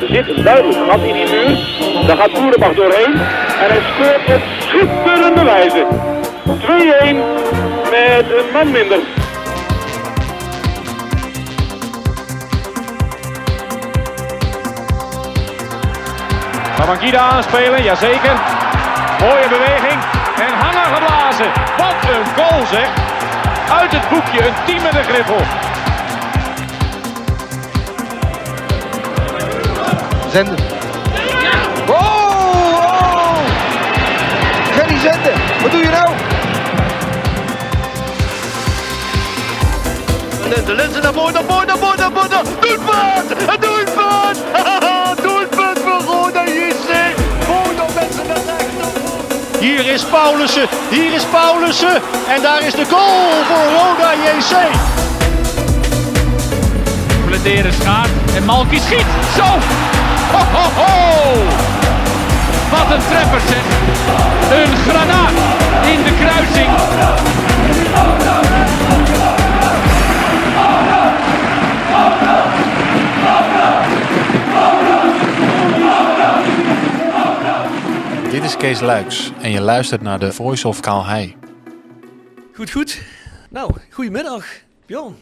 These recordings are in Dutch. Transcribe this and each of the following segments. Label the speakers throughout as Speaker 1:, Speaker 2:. Speaker 1: De zicht is duidelijk, gaat in die muur. Daar gaat Boerenbach doorheen. En hij scoort op schitterende wijze. 2-1 met een man minder.
Speaker 2: Kan Mangida aanspelen? Jazeker. Mooie beweging. En hangen geblazen. Wat een goal zeg. Uit het boekje, een team met een griffel.
Speaker 3: Zenden. Oh, oh! Gerry Zenden, wat doe je nou?
Speaker 4: De lenzen naar voren, naar voren, naar voren, naar voren. Doelpunt! Het Doelpunt! Doelpunt voor Roda JC. Roda met z'n rechter. Hier is Paulussen, hier is Paulussen. En daar is de goal voor Roda JC.
Speaker 2: Blederen schaart. En Malki schiet. Zo. Ho, ho, ho. Wat een treffer zeg. Een granaat in de kruising.
Speaker 5: Dit is Kees Luiks en je luistert naar de Voice of Kaalhei.
Speaker 6: Goed, goed. Nou, goedemiddag, Bjorn.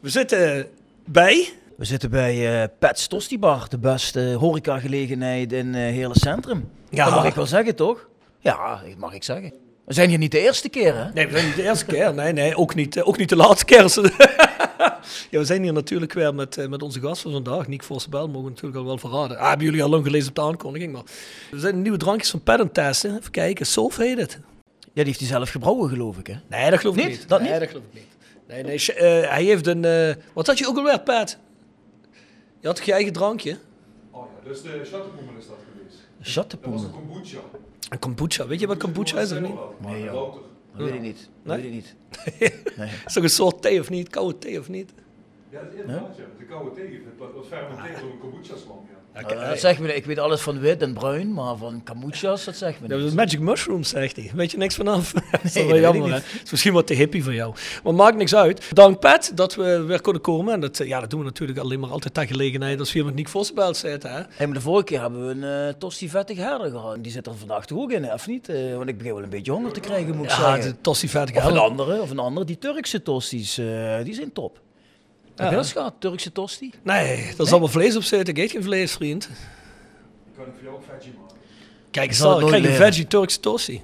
Speaker 6: We zitten eh, bij
Speaker 7: We zitten bij eh Pets Tosti Bar, de beste horecagelegenheid in eh Hele Centrum.
Speaker 6: Ja.
Speaker 7: Dat mag ik wel zeggen, toch? Ja, dat mag ik zeggen. We zijn hier niet de eerste keer, hè?
Speaker 6: Nee, we zijn niet de eerste keer. Nee, nee, ook niet, eh, ook niet de laatste keer. ja, we zijn hier natuurlijk weer met, eh, met onze gast van vandaag, Nick Forsebel, mogen we natuurlijk al wel verraden. Ah, hebben jullie al lang gelezen op de aankondiging, maar... We zijn nieuwe drankjes van Pet aan het testen. Even kijken, Sof heet het.
Speaker 7: Ja, die heeft hij zelf gebrouwen, geloof ik, hè?
Speaker 6: Nee, dat geloof ik
Speaker 7: Niet?
Speaker 6: niet.
Speaker 7: Dat
Speaker 6: nee,
Speaker 7: niet?
Speaker 6: dat geloof ik niet. Nee, nee, sh- eh, hij heeft een... eh, wat had je ook alweer, Pat? Je had toch je eigen drankje?
Speaker 7: Chattepoelen.
Speaker 6: Een kombucha. Weet je wat kombucha is of niet?
Speaker 7: Nee, joh. Dat weet ik niet. Dat
Speaker 6: Nee?
Speaker 7: weet ik niet.
Speaker 6: Is toch een soort thee of niet? Koude thee of niet? Ja, dat is
Speaker 7: Eh, dat
Speaker 6: inderdaad,
Speaker 7: zegt me, ik weet alles van wit en bruin, maar van kamoetjas, dat zegt
Speaker 6: ja.
Speaker 7: me
Speaker 6: De koude thee. Wat vermenteerd door een kombucha-slam, ja. Dat
Speaker 7: niet.
Speaker 6: is magic mushroom, zegt hij. Weet je niks vanaf? dat is
Speaker 7: Nee,
Speaker 6: wel
Speaker 7: dat
Speaker 6: jammer,
Speaker 7: weet ik
Speaker 6: hè?
Speaker 7: niet.
Speaker 6: is misschien wat te hippie van jou. Maar maakt niks uit. Dank Pat dat we weer konden komen. En dat, eh, ja, dat doen we natuurlijk alleen maar altijd ter gelegenheid als we hier met Nick Vossenbelt zitten. Hè?
Speaker 7: Hey, maar de vorige keer hebben we een eh, tosti vettig herder gehad. Die zit er vandaag toch ook in, hè, of niet? Eh, want ik begin wel een beetje honger te krijgen, moet ik
Speaker 6: Ja,
Speaker 7: zeggen.
Speaker 6: Ah, de Tossie
Speaker 7: Of een
Speaker 6: verder.
Speaker 7: andere, of een andere. Die Turkse tosties, eh, die zijn top. Heb je dat gehad, Turkse tosti?
Speaker 6: Nee, daar zal wel vlees op zitten. Ik eet geen vlees, vriend. Kan ik voor
Speaker 7: zal
Speaker 6: jou
Speaker 7: het
Speaker 6: een veggie maken? Kijk eens, ik
Speaker 7: nooit
Speaker 6: krijg een
Speaker 7: leren.
Speaker 6: veggie Turkse Tossie.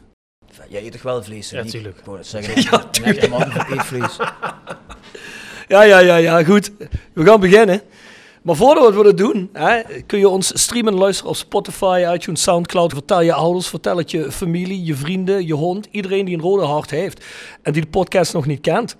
Speaker 7: Jij eet toch wel vlees, Ja,
Speaker 6: tuurlijk.
Speaker 7: Ik wou dat zeggen. Ja, tuurlijk. man die eet vlees.
Speaker 6: Ja, ja, ja, ja, goed. We gaan beginnen. Maar voordat we dat doen, hè, kun je ons streamen en luisteren op Spotify, iTunes, Soundcloud. Vertel je ouders, vertel het je familie, je vrienden, je hond, iedereen die een rode hart heeft en die de podcast nog niet kent.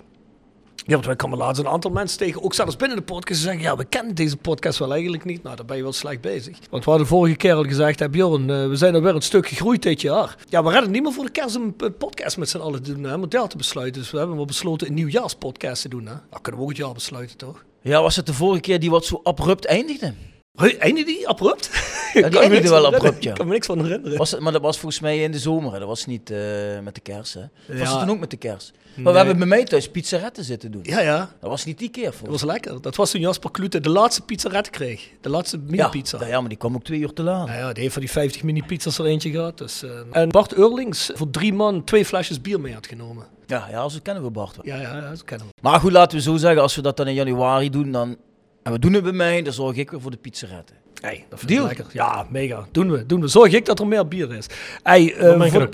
Speaker 6: Ja, want wij kwamen laatst een aantal mensen tegen, ook zelfs binnen de podcast, die zeggen, ja, we kennen deze podcast wel eigenlijk niet. Nou, daar ben je wel slecht bezig. Want we hadden vorige keer al gezegd, hè, Bjorn, eh, we zijn alweer een stuk gegroeid dit jaar. Ja, we redden niet meer voor de kerst een p- podcast met z'n allen te doen, hè, om het jaar te besluiten. Dus we hebben wel besloten een nieuwjaarspodcast te doen, hè. Dat kunnen we ook het jaar besluiten, toch?
Speaker 7: Ja, was het de vorige keer die wat zo abrupt eindigde?
Speaker 6: Hey, Eindigde die abrupt? Kan me
Speaker 7: eindigde
Speaker 6: niks van
Speaker 7: wel
Speaker 6: herinneren.
Speaker 7: abrupt, ja.
Speaker 6: Ik kan me niks van herinneren.
Speaker 7: Was het, maar dat was volgens mij in de zomer, hè. dat was niet eh, met de kerst. Hè. Was
Speaker 6: Ja.
Speaker 7: het toen ook met de kerst? Maar
Speaker 6: Nee.
Speaker 7: we hebben bij mij thuis pizzaretten zitten doen.
Speaker 6: Ja, ja.
Speaker 7: Dat was niet die keer volgens
Speaker 6: Dat was lekker. Dat was toen Jasper Klute de laatste pizzaret kreeg. De laatste
Speaker 7: Ja,
Speaker 6: mini-pizza.
Speaker 7: Ja, maar die kwam ook twee uur te laat.
Speaker 6: Nou ja, die heeft van die 50 mini-pizzas er eentje gehad. Dus, eh, En Bart Eurlings voor drie man twee flesjes bier mee had genomen.
Speaker 7: Ja, ja, zo kennen we Bart wel.
Speaker 6: Ja, ja, ja, dat kennen we.
Speaker 7: Maar goed, laten we zo zeggen, als we dat dan in januari doen, dan... En we doen het bij mij, dan zorg ik weer voor de pizzaretten.
Speaker 6: Hey, dat vind ik
Speaker 7: Deal.
Speaker 6: lekker. Ja, mega. Doen we, doen we. Zorg ik dat er meer bier is. Hey, eh, voor-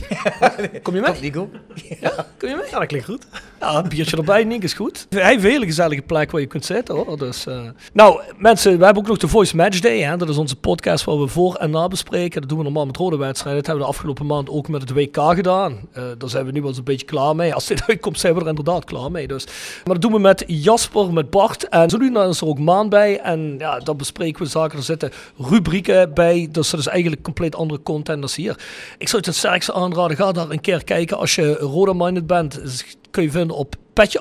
Speaker 6: Kom je mee?
Speaker 7: Die goal.
Speaker 6: Kom je mee? Ja, dat klinkt goed. Ja, een biertje erbij, Nink is goed. Hij heeft een hele gezellige plek waar je kunt zitten hoor. Dus, eh, Nou, mensen, we hebben ook nog de Voice Match Day. Hè? Dat is onze podcast waar we voor en na bespreken. Dat doen we normaal met rode wedstrijden. Dat hebben we de afgelopen maand ook met het WK gedaan. Eh, daar zijn we nu wel eens een beetje klaar mee. Als dit uitkomt, zijn we er inderdaad klaar mee. Dus. Maar dat doen we met Jasper, met Bart. En zo nu dan is er ook Maan bij. En ja, dan bespreken we zaken. Er zitten rubrieken bij. Dus dat is eigenlijk compleet andere content dan hier. Ik zou het een sterkste aanraden. Ga daar een keer kijken als je Roda Minded bent. Dus kun je vinden op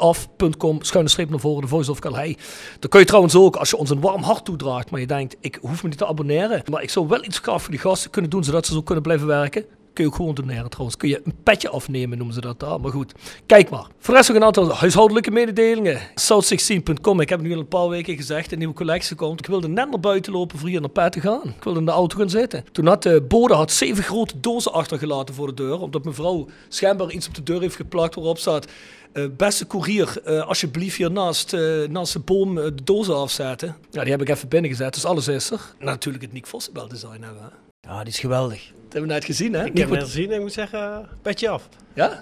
Speaker 6: petjeaf.com, schuine streep naar voren, de Voice of Calhei. Dan kun je trouwens ook, als je ons een warm hart toedraagt, maar je denkt, ik hoef me niet te abonneren, maar ik zou wel iets gaaf voor die gasten kunnen doen, zodat ze zo kunnen blijven werken. Kun je ook gewoon doneren trouwens. Kun je een petje afnemen, noemen ze dat daar. Maar goed, kijk maar. Voor de rest nog een aantal huishoudelijke mededelingen. South16.com, ik heb het nu al een paar weken gezegd, een nieuwe collectie komt. Ik wilde net naar buiten lopen voor hier naar pet te gaan. Ik wilde in de auto gaan zitten. Toen had de bode had zeven grote dozen achtergelaten voor de deur, omdat mevrouw schijnbaar iets op de deur heeft geplakt waarop staat... Eh, beste koerier, eh, alsjeblieft hier naast, eh, naast de boom eh, de dozen afzetten. Ja, die heb ik even binnengezet, dus alles is er. Natuurlijk het Nick Vossenbel design hebben. Hè?
Speaker 7: Ja, die is geweldig.
Speaker 6: Dat hebben we net gezien, hè?
Speaker 8: Ik
Speaker 6: Nick
Speaker 8: heb hem
Speaker 6: wordt-
Speaker 8: net gezien en ik moet zeggen, petje af.
Speaker 6: Ja?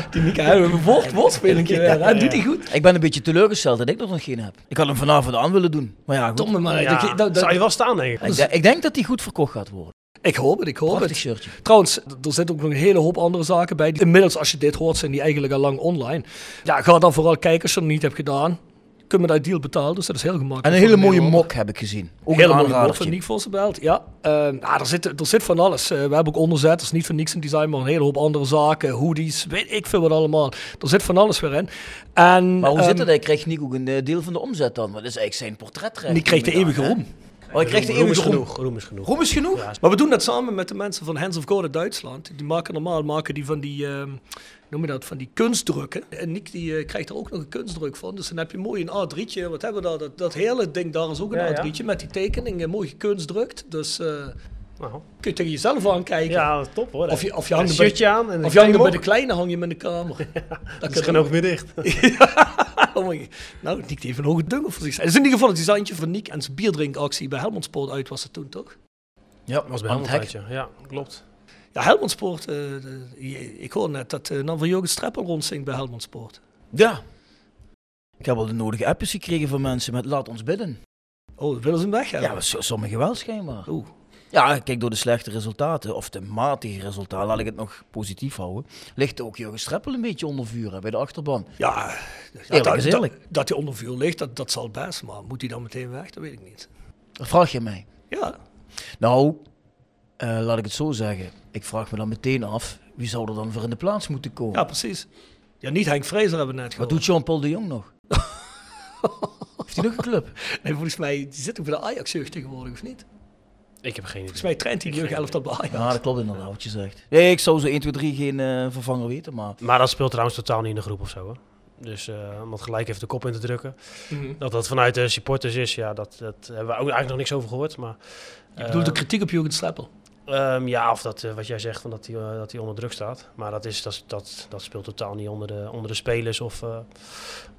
Speaker 6: die Nick, hè, we hebben een woord, woordspelingje weer. hè? Doet hij goed?
Speaker 7: Ik ben een beetje teleurgesteld dat ik er nog geen heb. Ik had hem vanavond aan willen doen. Maar ja, goed.
Speaker 6: Domme man.
Speaker 8: Ja,
Speaker 6: dat- dat- dat-
Speaker 8: zou je wel staan, denk ik.
Speaker 7: Ik, de- ik denk dat die goed verkocht gaat worden.
Speaker 6: ik hoop het, ik hoop
Speaker 7: Prachtig
Speaker 6: het.
Speaker 7: shirtje.
Speaker 6: Trouwens, d- er zitten ook nog een hele hoop andere zaken bij. Die- Inmiddels, als je dit hoort, zijn die eigenlijk al lang online. Ja, ga dan vooral kijken als je dat niet hebt gedaan. Kun je dat deal betalen, dus dat is heel gemakkelijk.
Speaker 7: En een
Speaker 6: voor
Speaker 7: hele
Speaker 6: de
Speaker 7: mooie
Speaker 6: medewerker.
Speaker 7: mok heb ik gezien. Ook een
Speaker 6: Helemaal niet van
Speaker 7: aanradertje.
Speaker 6: Nick Vossenbelt, ja. Eh, nou, er, zit, er zit van alles. Eh, we hebben ook onderzet, dat is niet voor niks een design, maar een hele hoop andere zaken. Hoodies, weet ik veel wat allemaal. Er zit van alles weer in. En,
Speaker 7: Maar hoe
Speaker 6: ehm,
Speaker 7: zit dat? Hij kreeg Nico een eh, deel van de omzet dan. Want dat is eigenlijk zijn portretrecht.
Speaker 6: Die kreeg de
Speaker 7: neem ik
Speaker 6: eeuwige
Speaker 7: aan, hè?
Speaker 6: roem.
Speaker 7: Oh, hij kreeg de
Speaker 8: Roem is
Speaker 7: eeuwige roem.
Speaker 8: genoeg. Roem is genoeg.
Speaker 7: Roem is genoeg?
Speaker 6: Maar we doen dat samen met de mensen van Hands of God uit Duitsland. Die maken normaal maken die van die, ehm, noem je dat, van die kunstdrukken. En Nick die, eh, krijgt er ook nog een kunstdruk van. Dus dan heb je mooi een A3'tje. Wat hebben we daar? Dat, dat hele ding daar is ook een
Speaker 8: Ja, ja.
Speaker 6: A3'tje met die tekening. eh, Mooi gekunstdrukt. Dus eh,
Speaker 8: Nou,
Speaker 6: kun je tegen jezelf aankijken.
Speaker 8: ja, dat is top hoor.
Speaker 6: Of je- of je
Speaker 8: een
Speaker 6: hangt bij-
Speaker 8: shirtje aan en een
Speaker 6: Of Jan,
Speaker 8: klein
Speaker 6: bij de
Speaker 8: mok.
Speaker 6: kleine hang je hem in de kamer. dat
Speaker 8: Het is gewoon ook weer dicht.
Speaker 6: Oh my- nou, Nick heeft een hoge dungel voor zichzelf. Het is in ieder geval het designje van Nick en zijn bierdrinkactie bij Helmond Sport uit was het toen, toch?
Speaker 7: Ja,
Speaker 8: was bij
Speaker 7: aan het hek.
Speaker 8: Ja, klopt.
Speaker 6: Ja, Helmond Sport. eh, de- je- ik hoor net dat eh Nan van Jurgen Streppel rondzingt bij Helmond Sport.
Speaker 7: Ja. Ik heb al de nodige appjes gekregen van mensen met laat ons bidden.
Speaker 6: Oh, willen ze hem weg
Speaker 7: Ja,
Speaker 6: hebben?
Speaker 7: maar so- sommigen wel schijnbaar.
Speaker 6: Oeh.
Speaker 7: Ja, kijk, door de slechte resultaten, of de matige resultaten, laat ik het nog positief houden, ligt ook Jurgen Streppel een beetje onder vuur hè, bij de achterban.
Speaker 6: Ja, ja,
Speaker 7: Eerlijk
Speaker 6: dat,
Speaker 7: is
Speaker 6: dat-
Speaker 7: eerlijk.
Speaker 6: dat hij onder vuur ligt, dat, dat zal best. Maar moet hij dan meteen weg? Dat weet ik niet.
Speaker 7: Dat vraag je mij.
Speaker 6: Ja,
Speaker 7: Nou, eh, laat ik het zo zeggen. Ik vraag me dan meteen af, wie zou er dan voor in de plaats moeten komen?
Speaker 6: ja precies. Ja, niet Henk Vrezer hebben we net
Speaker 7: Wat
Speaker 6: gehoord.
Speaker 7: doet Jean-Paul de Jong nog? Heeft hij nog een club?
Speaker 6: Nee, volgens mij die zit ook bij de Ajax-jeugd tegenwoordig, of niet? Volgens
Speaker 8: Ik heb geen idee.
Speaker 6: mij traint hij de jeugd-elftal bij Ajax.
Speaker 7: Ja, dat klopt inderdaad wat je zegt. Nee, ik zou zo 1, 2, 3 geen eh, vervanger weten, maar...
Speaker 8: Maar dat speelt trouwens totaal niet in de groep of zo. Hoor. Dus eh, om dat gelijk even de kop in te drukken.
Speaker 6: Mhm.
Speaker 8: Dat dat vanuit de supporters is, ja, dat, dat hebben we ook eigenlijk nog niks over gehoord. Maar,
Speaker 6: Ik bedoel de
Speaker 7: eh,
Speaker 6: kritiek op Jurgen Streppel.
Speaker 8: Ehm, ja, of dat, eh, wat jij zegt, van dat hij eh, dat hij onder druk staat. Maar dat, is, dat, dat, dat speelt totaal niet onder de, onder de spelers of, eh,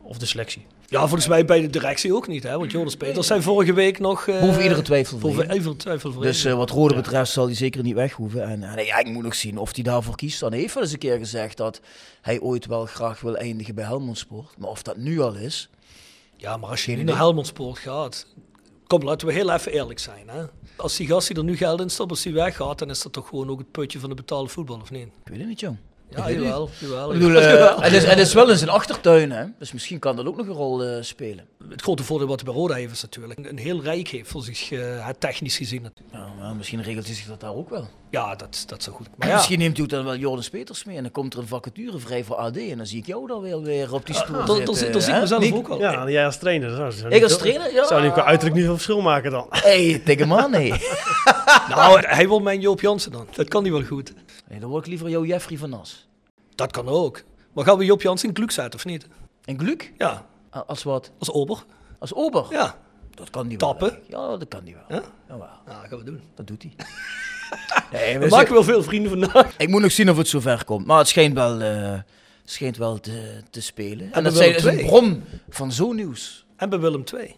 Speaker 8: of de selectie.
Speaker 6: Ja, volgens mij bij de directie ook niet, hè? Want Joris Peters zijn vorige week nog... eh,
Speaker 7: Boven iedere twijfel voor
Speaker 6: Boven iedere twijfel voor
Speaker 7: Dus
Speaker 6: één.
Speaker 7: eh, wat Rode betreft zal hij zeker niet weg hoeven. En, en ja, ik moet nog zien of hij daarvoor kiest. Dan heeft wel eens een keer gezegd dat hij ooit wel graag wil eindigen bij Helmond Sport. Maar of dat nu al is. eh,
Speaker 6: Ja, maar als je nu naar Helmond Sport gaat... Kom, laten we heel even eerlijk zijn, hè? Als die gast die er nu geld in stopt, als die weggaat... dan is dat toch gewoon ook het putje van de betaalde voetbal, of niet?
Speaker 7: Ik weet het niet, jong. Ik
Speaker 6: Ja,
Speaker 7: weet het niet.
Speaker 6: jawel, jawel.
Speaker 7: Ik bedoel, eh, het, is, het is wel in zijn achtertuin, hè? Dus misschien kan dat ook nog een rol eh, spelen.
Speaker 6: Het grote voordeel wat de Roda heeft is natuurlijk... een- een heel rijk heeft voor zich, eh, technisch gezien.
Speaker 7: Ja, maar misschien regelt hij zich dat daar ook wel.
Speaker 6: Ja, dat, dat is zo goed.
Speaker 7: En
Speaker 6: Maar ja,
Speaker 7: Misschien neemt hij ook dan wel Joris Peters mee. En dan komt er een vacature vrij voor AD. En dan zie ik jou dan wel weer op die stoel.
Speaker 6: Ah, dat- dat
Speaker 7: zitten,
Speaker 6: zie- dat zie ik
Speaker 7: eh, hè?
Speaker 6: mezelf
Speaker 7: Niet-
Speaker 6: ook wel.
Speaker 8: Ja, en jij als trainer. Zou, zou
Speaker 7: Oh, Ik
Speaker 8: niet-
Speaker 7: als trainer? Ja.
Speaker 8: Zou die qua uiterlijk niet veel verschil maken dan?
Speaker 7: hey, tegen hem aan, hé.
Speaker 6: Nou, hij wil mijn Joop Jansen dan. Dat kan niet wel goed.
Speaker 7: Hey, dan word ik liever jouw Jeffrey van Nas.
Speaker 6: Dat kan ook. Maar gaan we Joop Jansen in Kluk zetten, of niet?
Speaker 7: En Gluk?
Speaker 6: Ja,
Speaker 7: A- Als wat?
Speaker 6: als ober.
Speaker 7: Als ober?
Speaker 6: Ja.
Speaker 7: Dat kan die
Speaker 6: Tappen?
Speaker 7: wel. eigenlijk. Ja, dat kan die wel.
Speaker 6: Ja?
Speaker 7: Jawel,
Speaker 6: Nou, dat gaan we doen.
Speaker 7: dat doet hij. nee,
Speaker 6: We
Speaker 7: maar
Speaker 6: maken wel veel vrienden vandaag.
Speaker 7: ze- Ik moet nog zien of het zover komt. Maar het schijnt wel, eh, het schijnt wel te, te spelen. En,
Speaker 6: we willen
Speaker 7: dat zijn, het is een
Speaker 6: twee.
Speaker 7: bron van zo'n nieuws.
Speaker 6: En bij Willem II.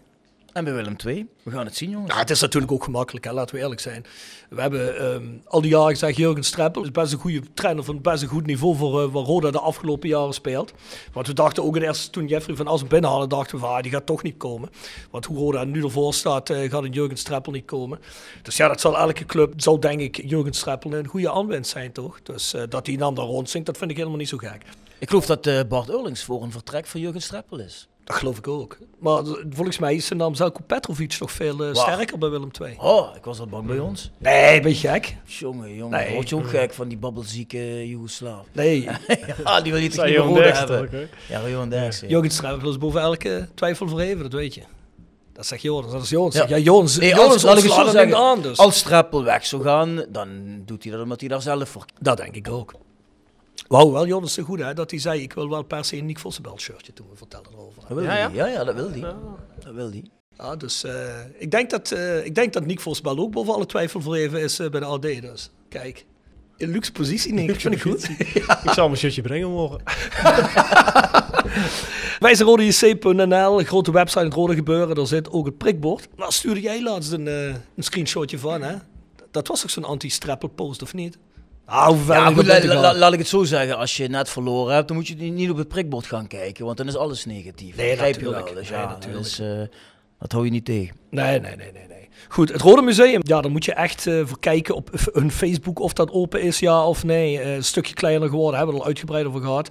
Speaker 7: En bij Willem II. We gaan het zien, jongens.
Speaker 6: Ja, het is natuurlijk ook gemakkelijk, hè, laten we eerlijk zijn. We hebben ehm, al die jaren gezegd, Jurgen Streppel is best een goede trainer van best een goed niveau voor eh, wat Roda de afgelopen jaren speelt. Want we dachten ook in eerste, toen Jeffrey van Assen binnenhaalde, dachten we van, ah, die gaat toch niet komen. Want hoe Roda nu ervoor staat, eh, gaat een Jurgen Streppel niet komen. Dus ja, dat zal elke club, zou denk ik Jurgen Streppel een goede aanwinst zijn, toch? Dus eh, dat die naam daar rondzinkt, dat vind ik helemaal niet zo gek.
Speaker 7: Ik geloof dat eh, Bart Eurlings voor een vertrek van Jurgen Streppel is.
Speaker 6: Dat geloof ik ook. Maar eh, volgens mij is zijn naam Zelko Petrovic nog veel eh, sterker bij Willem II.
Speaker 7: Oh, ik was al bang bij ons.
Speaker 6: Nee, ben je gek?
Speaker 7: Jongen, jongen,
Speaker 6: Nee.
Speaker 7: word je ook gek van die babbelzieke Joegoslaaf.
Speaker 6: Nee.
Speaker 7: ja, die wil je toch
Speaker 8: Zei
Speaker 7: niet meer
Speaker 8: Johan
Speaker 7: horen
Speaker 8: Derksen
Speaker 7: hebben.
Speaker 8: ook, hè?
Speaker 7: Ja, Johan Derksen.
Speaker 6: Jurgen Streppel is boven elke twijfel verheven, dat weet je. Dat zegt Joris, dat is Joris. Ja,
Speaker 7: Ja.
Speaker 6: Joris,
Speaker 7: Nee,
Speaker 6: Joris
Speaker 7: als, laat ik het
Speaker 6: ontslaat
Speaker 7: zo
Speaker 6: hem niet
Speaker 7: zeggen,
Speaker 6: aan, dus.
Speaker 7: als Streppel weg zou gaan, dan doet hij dat omdat hij daar zelf voor
Speaker 6: Dat denk ik ook. Wauw, wel Joris de Goede, hè, dat hij zei, ik wil wel per se een Nick Vossenbelt shirtje toen we vertelden erover.
Speaker 7: Dat wil
Speaker 8: Ja,
Speaker 7: die.
Speaker 8: ja?
Speaker 7: ja? ja, dat wil hij. Dat wil die.
Speaker 6: Ja, dus eh, ik, denk dat, eh, ik denk dat Nick Vossenbelt ook boven alle twijfel verheven is eh, bij de AD, dus kijk. In luxe positie, Nick, vind ik goed.
Speaker 8: Ik zal mijn shirtje brengen morgen.
Speaker 6: Wij zijn rodejc.nl, grote website, het rode gebeuren, daar zit ook het prikbord. Daar stuurde jij laatst een, eh, een screenshotje van, hè? Dat was ook zo'n anti-strappel post, of niet? Ah, hoe ver
Speaker 7: Ja,
Speaker 6: ik
Speaker 7: goed,
Speaker 6: ben
Speaker 7: la-
Speaker 6: te gaan.
Speaker 7: la- laat ik het zo zeggen. Als je net verloren hebt, dan moet je niet- niet op het prikbord gaan kijken. Want dan is alles negatief.
Speaker 6: Nee,
Speaker 7: Begrijp je
Speaker 6: natuurlijk.
Speaker 7: wel. Dus
Speaker 6: Nee,
Speaker 7: ja,
Speaker 6: natuurlijk.
Speaker 7: Dus, eh, dat hou je niet tegen.
Speaker 6: Nee, nee, nee, nee, nee. Goed, het Rode Museum, ja, daar moet je echt eh, voor kijken op f- hun Facebook of dat open is, ja of nee. Eh, een stukje kleiner geworden, hebben we er al uitgebreid over gehad.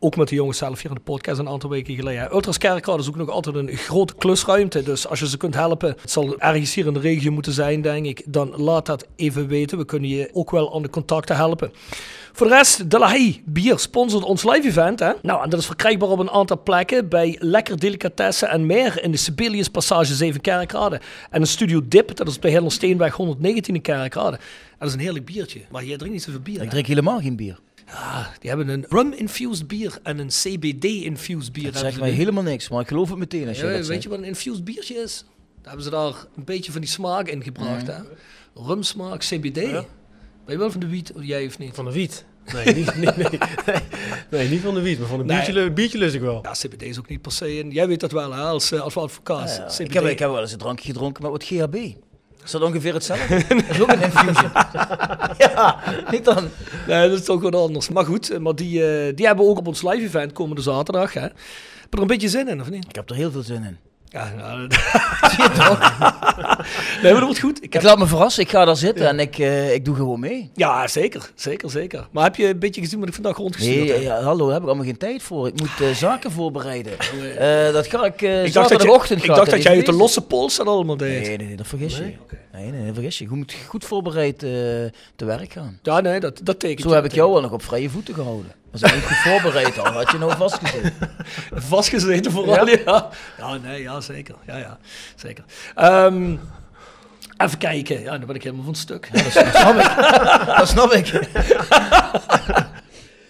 Speaker 6: Ook met de jongens zelf hier in de podcast een aantal weken geleden. hè. Ultras Kerkrade is ook nog altijd een grote klusruimte, dus als je ze kunt helpen, het zal ergens hier in de regio moeten zijn, denk ik, dan laat dat even weten. We kunnen je ook wel aan de contacten helpen. Voor de rest, De La Haye Bier sponsort ons live event. Hè? Nou, en dat is verkrijgbaar op een aantal plekken bij Lekker Delicatessen en meer in de Sibelius Passage 7 Kerkrade. En een Studio Dip, dat is op de Herlon Steenweg 119 in Kerkrade. En dat is een heerlijk biertje, maar jij drinkt niet zoveel bier. hè?
Speaker 7: Ik drink helemaal geen bier.
Speaker 6: Ah, die hebben een rum-infused bier en een CBD-infused bier.
Speaker 7: Dat
Speaker 6: hebben
Speaker 7: zegt
Speaker 6: ze
Speaker 7: mij
Speaker 6: nu.
Speaker 7: helemaal niks. Maar ik geloof het meteen als je
Speaker 6: Ja,
Speaker 7: dat
Speaker 6: weet
Speaker 7: zegt.
Speaker 6: je wat een infused biertje is? Daar hebben ze daar een beetje van die smaak in gebracht.
Speaker 7: Mhm.
Speaker 6: Hè? Rumsmaak, CBD. Ben je wel van de wiet, of jij of niet?
Speaker 8: Van de wiet. Nee, niet, niet- nee, nee, nee, niet van de wiet, maar van een
Speaker 6: Nee.
Speaker 8: biertje, lu- biertje lust ik wel.
Speaker 6: Ja, CBD is ook niet per se een... Jij weet dat wel, hè, als, eh, als advocaat.
Speaker 7: Ja,
Speaker 6: CBD.
Speaker 7: ik, heb, ik heb wel eens een drankje gedronken met wat GHB. Is dat ongeveer hetzelfde? Dat is ook een infusion. ja, niet dan.
Speaker 6: Nee, dat is toch wat anders. Maar goed, eh, maar die, eh, die hebben we ook op ons live-event komende zaterdag. Hè. Heb je er een beetje zin in, of niet?
Speaker 7: Ik heb er heel veel zin in.
Speaker 6: Ja, nou, dat... nee, maar dat wordt goed. Ik
Speaker 7: Ik
Speaker 6: heb...
Speaker 7: laat me verrassen. Ik ga daar zitten en ik, eh, ik doe gewoon mee.
Speaker 6: Ja, zeker. Zeker, zeker. Maar heb je een beetje gezien wat ik vandaag rondgestuurd
Speaker 7: Nee,
Speaker 6: heb?
Speaker 7: ja, hallo, daar heb ik allemaal geen tijd voor. Ik moet eh, zaken voorbereiden. Eh, dat ga ik eh
Speaker 6: Ik dacht dat, je,
Speaker 7: zaterdagochtend
Speaker 6: ik
Speaker 7: ga
Speaker 6: dacht dat
Speaker 7: eens
Speaker 6: jij uit de
Speaker 7: lezen.
Speaker 6: losse pols dat allemaal deed.
Speaker 7: Nee, nee, nee, dat vergis je. Nee, nee, dat vergis je. Je moet goed voorbereid eh, te werk gaan.
Speaker 6: Ja, nee, dat, dat tekent.
Speaker 7: Zo heb ik jou al nog op vrije voeten gehouden. Was ik niet goed voorbereid al, had je nou vastgezet.
Speaker 6: Vastgezeten vooral, ja. ja. nee, ja, zeker. Ja, ja, zeker. Ehm, even kijken. Ja, dan ben ik helemaal van het stuk.
Speaker 7: Dat snap ik.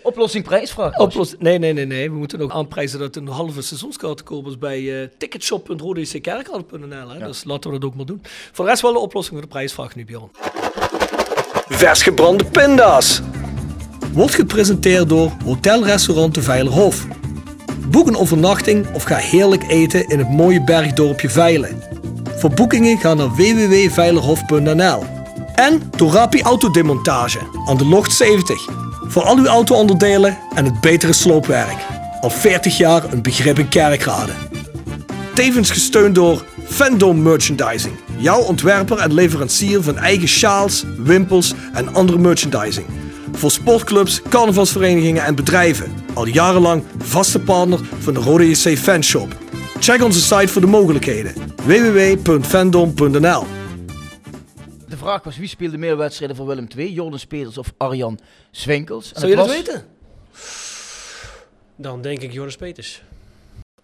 Speaker 7: Oplossing prijsvraag. Koos.
Speaker 6: Oplos- nee, nee, nee, nee. We moeten ook aanprijzen dat een halve seizoenskaart te koop is bij eh ticketshop.rodeckerkrade.nl. hè. Dus laten we dat ook maar doen. Voor de rest wel de oplossing voor de prijsvraag nu, Bjorn. Vers gebrande pinda's. Wordt gepresenteerd door Hotelrestaurant de Veilerhof. Boek een overnachting of ga heerlijk eten in het mooie bergdorpje Veilen. Voor boekingen ga naar www.veilerhof.nl. En Torapi Autodemontage aan de Locht 70. Voor al uw auto-onderdelen en het betere sloopwerk. Al 40 jaar een begrip in kerkrade. Tevens gesteund door Fandom Merchandising. Jouw ontwerper en leverancier van eigen sjaals, wimpels en andere merchandising. Voor sportclubs, carnavalsverenigingen en bedrijven. Al jarenlang vaste partner van de Rode JC Fanshop. Check onze site voor de mogelijkheden. www.fandom.nl
Speaker 7: De vraag was wie speelde meer wedstrijden voor Willem II? Jordan Speters of Arjan Swinkels? En
Speaker 6: Zou je
Speaker 7: het
Speaker 6: dat
Speaker 7: was-
Speaker 6: weten?
Speaker 8: Dan denk ik Joris Peters.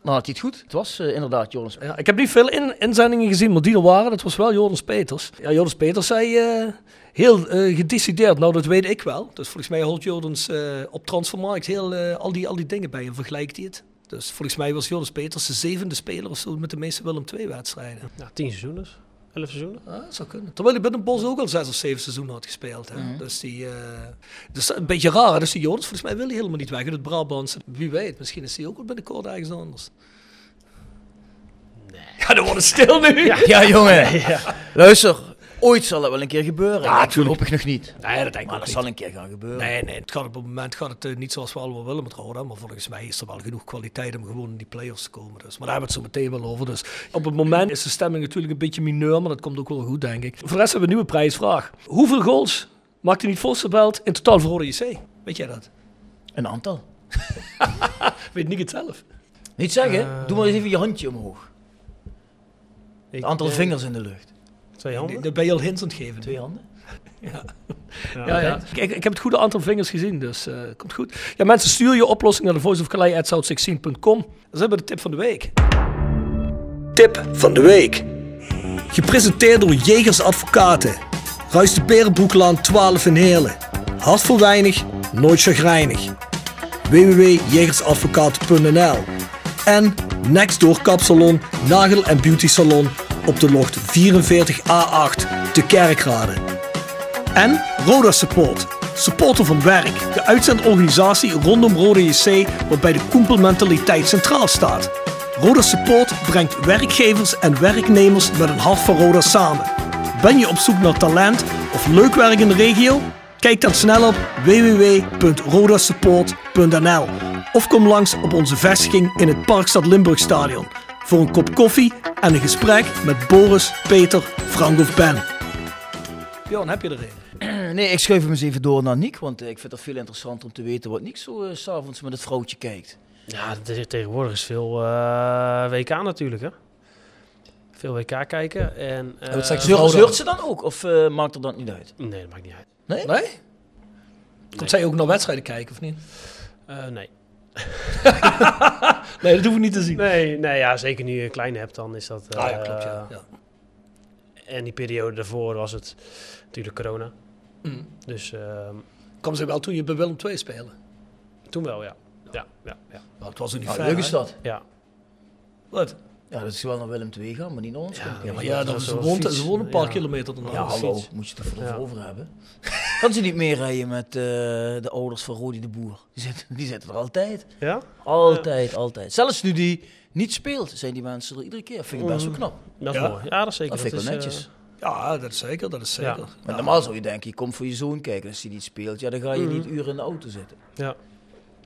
Speaker 7: Nou, had hij het goed. Het was eh, inderdaad Jordan Speters.
Speaker 6: Ja, ik heb niet veel in, inzendingen gezien, maar die er waren, dat was wel Joris Peters. Ja, Joris Peters zei eh, heel eh, gedecideerd, nou dat weet ik wel. Dus volgens mij houdt Joris eh, op Transfermarkt heel, eh, al, die, al die dingen bij en vergelijkt hij het. Dus volgens mij was Joris Peters de zevende speler of zo met de meeste Willem II-wedstrijden.
Speaker 8: Nou, tien seizoenen. Elf seizoenen.
Speaker 6: Ah, dat zou kunnen. Terwijl hij bij Den Bosch ook al zes of zeven seizoenen had gespeeld. Hè? Dus die, eh, dus dat is een beetje raar. hè. Dus die Joris, volgens mij wil hij helemaal niet weg uit het Brabantse. Wie weet, misschien is hij ook wel binnenkort ergens anders. Ja, dan worden stil nu. Ja,
Speaker 7: Ja, jongen. Luister, ooit zal het wel een keer gebeuren. Ja, Voorlopig nog niet.
Speaker 6: nee, dat denk ik
Speaker 7: Maar
Speaker 6: ook
Speaker 7: dat
Speaker 6: niet.
Speaker 7: zal een keer gaan gebeuren.
Speaker 6: Nee, nee, het gaat op het moment gaat het, eh, niet zoals we allemaal willen met Roda. Maar volgens mij is er wel genoeg kwaliteit om gewoon in die play-offs te komen. Dus. Maar daar hebben we het zo meteen wel over. Dus op het moment is de stemming natuurlijk een beetje mineur, maar dat komt ook wel goed, denk ik. Voor de rest hebben we een nieuwe prijsvraag. Hoeveel goals maakte niet Vossenbelt in totaal voor Roda JC? Weet jij dat?
Speaker 7: Een aantal.
Speaker 6: Weet niet het zelf.
Speaker 7: Niet zeggen, doe maar eens even je handje omhoog.
Speaker 8: Ik,
Speaker 7: Een aantal
Speaker 8: eh,
Speaker 7: vingers in de lucht.
Speaker 8: Twee handen?
Speaker 6: Daar ben je al hints aan het geven.
Speaker 7: Twee handen?
Speaker 8: Ja,
Speaker 6: Ja, ja. Kijk, ik heb het goede aantal vingers gezien, dus eh, komt goed. Ja, mensen, stuur je oplossing naar de voice of Dat is hebben we de tip van de week. Tip van de week. Gepresenteerd door Jegers Advocaten. Ruis de Berenbroeklaan 12 in Heerlen. Hart voor weinig, nooit chagrijnig. www.jegersadvocaten.nl En next door Kapsalon, Nagel en Beauty Salon op de locht 44A8 te Kerkrade. En Roda Support. Supporter van Werk, de uitzendorganisatie rondom Roda JC waarbij de koempelmentaliteit centraal staat. Roda Support brengt werkgevers en werknemers met een hart voor Roda samen. Ben je op zoek naar talent of leuk werk in de regio? Kijk dan snel op www.rodasupport.nl of kom langs op onze vestiging in het Parkstad Limburgstadion voor een kop koffie en een gesprek met Boris, Peter, Frank of Ben. Bjorn, heb je er een?
Speaker 7: Eh, Nee, ik schuif hem eens even door naar Nick, want eh, ik vind het veel interessanter om te weten wat Nick zo eh, s s'avonds met het vrouwtje kijkt.
Speaker 8: Ja, dat is- tegenwoordig is veel eh, WK natuurlijk, hè? Veel WK kijken en... eh,
Speaker 5: wat zegt
Speaker 7: Zeurt
Speaker 5: Roda.
Speaker 7: zeurt ze dan ook, of eh, maakt er dat niet uit?
Speaker 8: Nee, dat maakt niet uit.
Speaker 7: Nee?
Speaker 6: Nee? Komt zij ook naar wedstrijden kijken, of niet?
Speaker 8: Eh, nee.
Speaker 6: Nee, dat hoeven we niet te zien.
Speaker 8: Nee, nee ja, zeker nu je een kleine hebt, dan is dat... eh,
Speaker 6: Ah ja, klopt, ja. ja.
Speaker 8: En die periode daarvoor was het natuurlijk corona.
Speaker 6: Mm.
Speaker 8: Dus ehm,
Speaker 6: Kwam ze wel toen je bij Willem II spelen?
Speaker 8: toen wel, ja. Ja, ja, ja.
Speaker 6: Nou, het was ook niet
Speaker 7: Nou,
Speaker 6: ver,
Speaker 7: leuk is
Speaker 6: hè?
Speaker 7: dat.
Speaker 8: ja.
Speaker 6: Wat?
Speaker 7: Ja, dat is wel naar Willem II gaan, maar niet naar ons. Ja,
Speaker 6: Ja, maar ja,
Speaker 8: dat
Speaker 6: dat
Speaker 8: is
Speaker 6: ze
Speaker 8: wel
Speaker 6: woont,
Speaker 8: fiets.
Speaker 6: ze woont een paar
Speaker 8: Ja.
Speaker 6: kilometer dan
Speaker 7: ja hallo, moet je het er voor
Speaker 8: Ja.
Speaker 7: over hebben. kan ze niet meer rijden met eh, de ouders van Rodi de Boer? Die zitten, die zitten er altijd.
Speaker 8: Ja?
Speaker 7: Altijd, altijd. Zelfs nu die niet speelt, zijn die mensen er iedere keer. Vind ik
Speaker 6: Mm.
Speaker 7: best wel knap.
Speaker 8: Dat is
Speaker 6: Ja.
Speaker 8: mooi. Ja, dat is zeker.
Speaker 7: Dat vind ik wel
Speaker 8: is, eh,
Speaker 7: netjes.
Speaker 6: Ja, dat is zeker, dat is
Speaker 8: Ja.
Speaker 6: zeker. dus, eh, Ja. Mm.
Speaker 7: Maar normaal zou je denken, je komt voor je zoon kijken. Als hij niet speelt, ja, dan ga je niet uren in de auto zitten.
Speaker 8: eh, ja.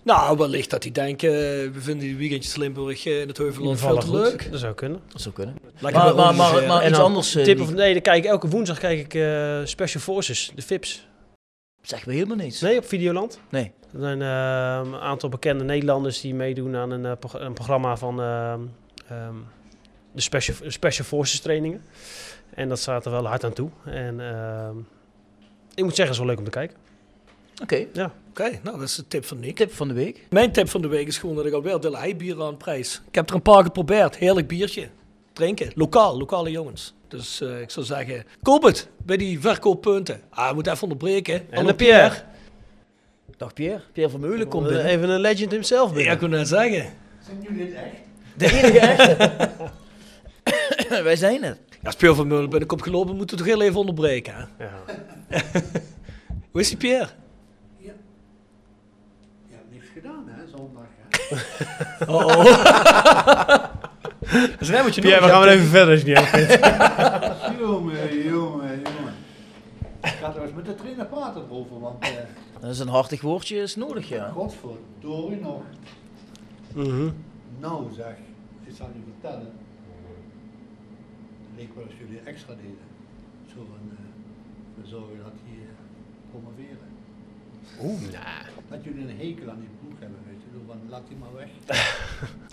Speaker 6: Nou, wellicht dat die denken, eh, we vinden die weekendjes Limburg eh, in het Heuvelland veel te
Speaker 8: Invallen goed.
Speaker 6: leuk.
Speaker 8: Dat zou kunnen.
Speaker 7: Dat zou kunnen.
Speaker 6: Lekker
Speaker 7: Maar-
Speaker 6: bij
Speaker 7: maar-
Speaker 6: ons,
Speaker 7: maar-
Speaker 6: eh,
Speaker 7: maar-
Speaker 6: en-
Speaker 7: iets
Speaker 8: dan
Speaker 7: anders, eh,
Speaker 8: Tip
Speaker 7: die-
Speaker 8: of nee, dan kijk ik elke woensdag kijk ik eh, Special Forces, de FIPS.
Speaker 7: Zeg me helemaal niets.
Speaker 8: Nee, op Videoland.
Speaker 7: Nee.
Speaker 8: Er zijn eh, een aantal bekende Nederlanders die meedoen aan een, eh, prog- een programma van ehm, ehm, de special, special Forces trainingen. En dat staat er wel hard aan toe. En ehm, ik moet zeggen, het is wel leuk om te kijken.
Speaker 7: Oké,
Speaker 6: Oké, nou, dat is de tip van Nick.
Speaker 7: tip van de week.
Speaker 6: Mijn tip van de week is gewoon dat ik alweer de heibier aan prijs. Ik heb er een paar geprobeerd. Heerlijk biertje. Drinken. Lokaal, lokale jongens. Dus eh, ik zou zeggen, koop het bij die verkooppunten. Ah, we moeten even onderbreken.
Speaker 8: En
Speaker 6: Hallo,
Speaker 8: de Pierre.
Speaker 7: Dag Pierre. Pierre van Meulen komt binnen.
Speaker 8: Even een legend himself
Speaker 6: Ja,
Speaker 8: binnen.
Speaker 6: ik wil net zeggen.
Speaker 7: De enige echte. Wij zijn het.
Speaker 6: Ja, Speel van Meulen ben ik opgelopen. Moeten we toch heel even onderbreken. Hè?
Speaker 8: Ja.
Speaker 6: Hoe is die Pierre?
Speaker 9: Je hebt niks gedaan, hè, zondag. Hè?
Speaker 6: Oh, oh. dat is net wat je
Speaker 8: Pierre, we
Speaker 6: nodig
Speaker 8: gaan
Speaker 6: hebt.
Speaker 8: weer even verder. Is niet erg.
Speaker 9: jongen, jongen, jongen. Ik ga er eens met de trainer praten over, want eh
Speaker 7: Dat is een hartig woordje, is nodig, ja.
Speaker 9: godverdorie nog. Nou zeg, ik zal je vertellen. Het leek wel als jullie extra deden. Zo van, eh, we zorgen dat die eh, promoveren. Oeh, Dat jullie een hekel aan die ploeg hebben, weet je. Zo van, laat die maar weg.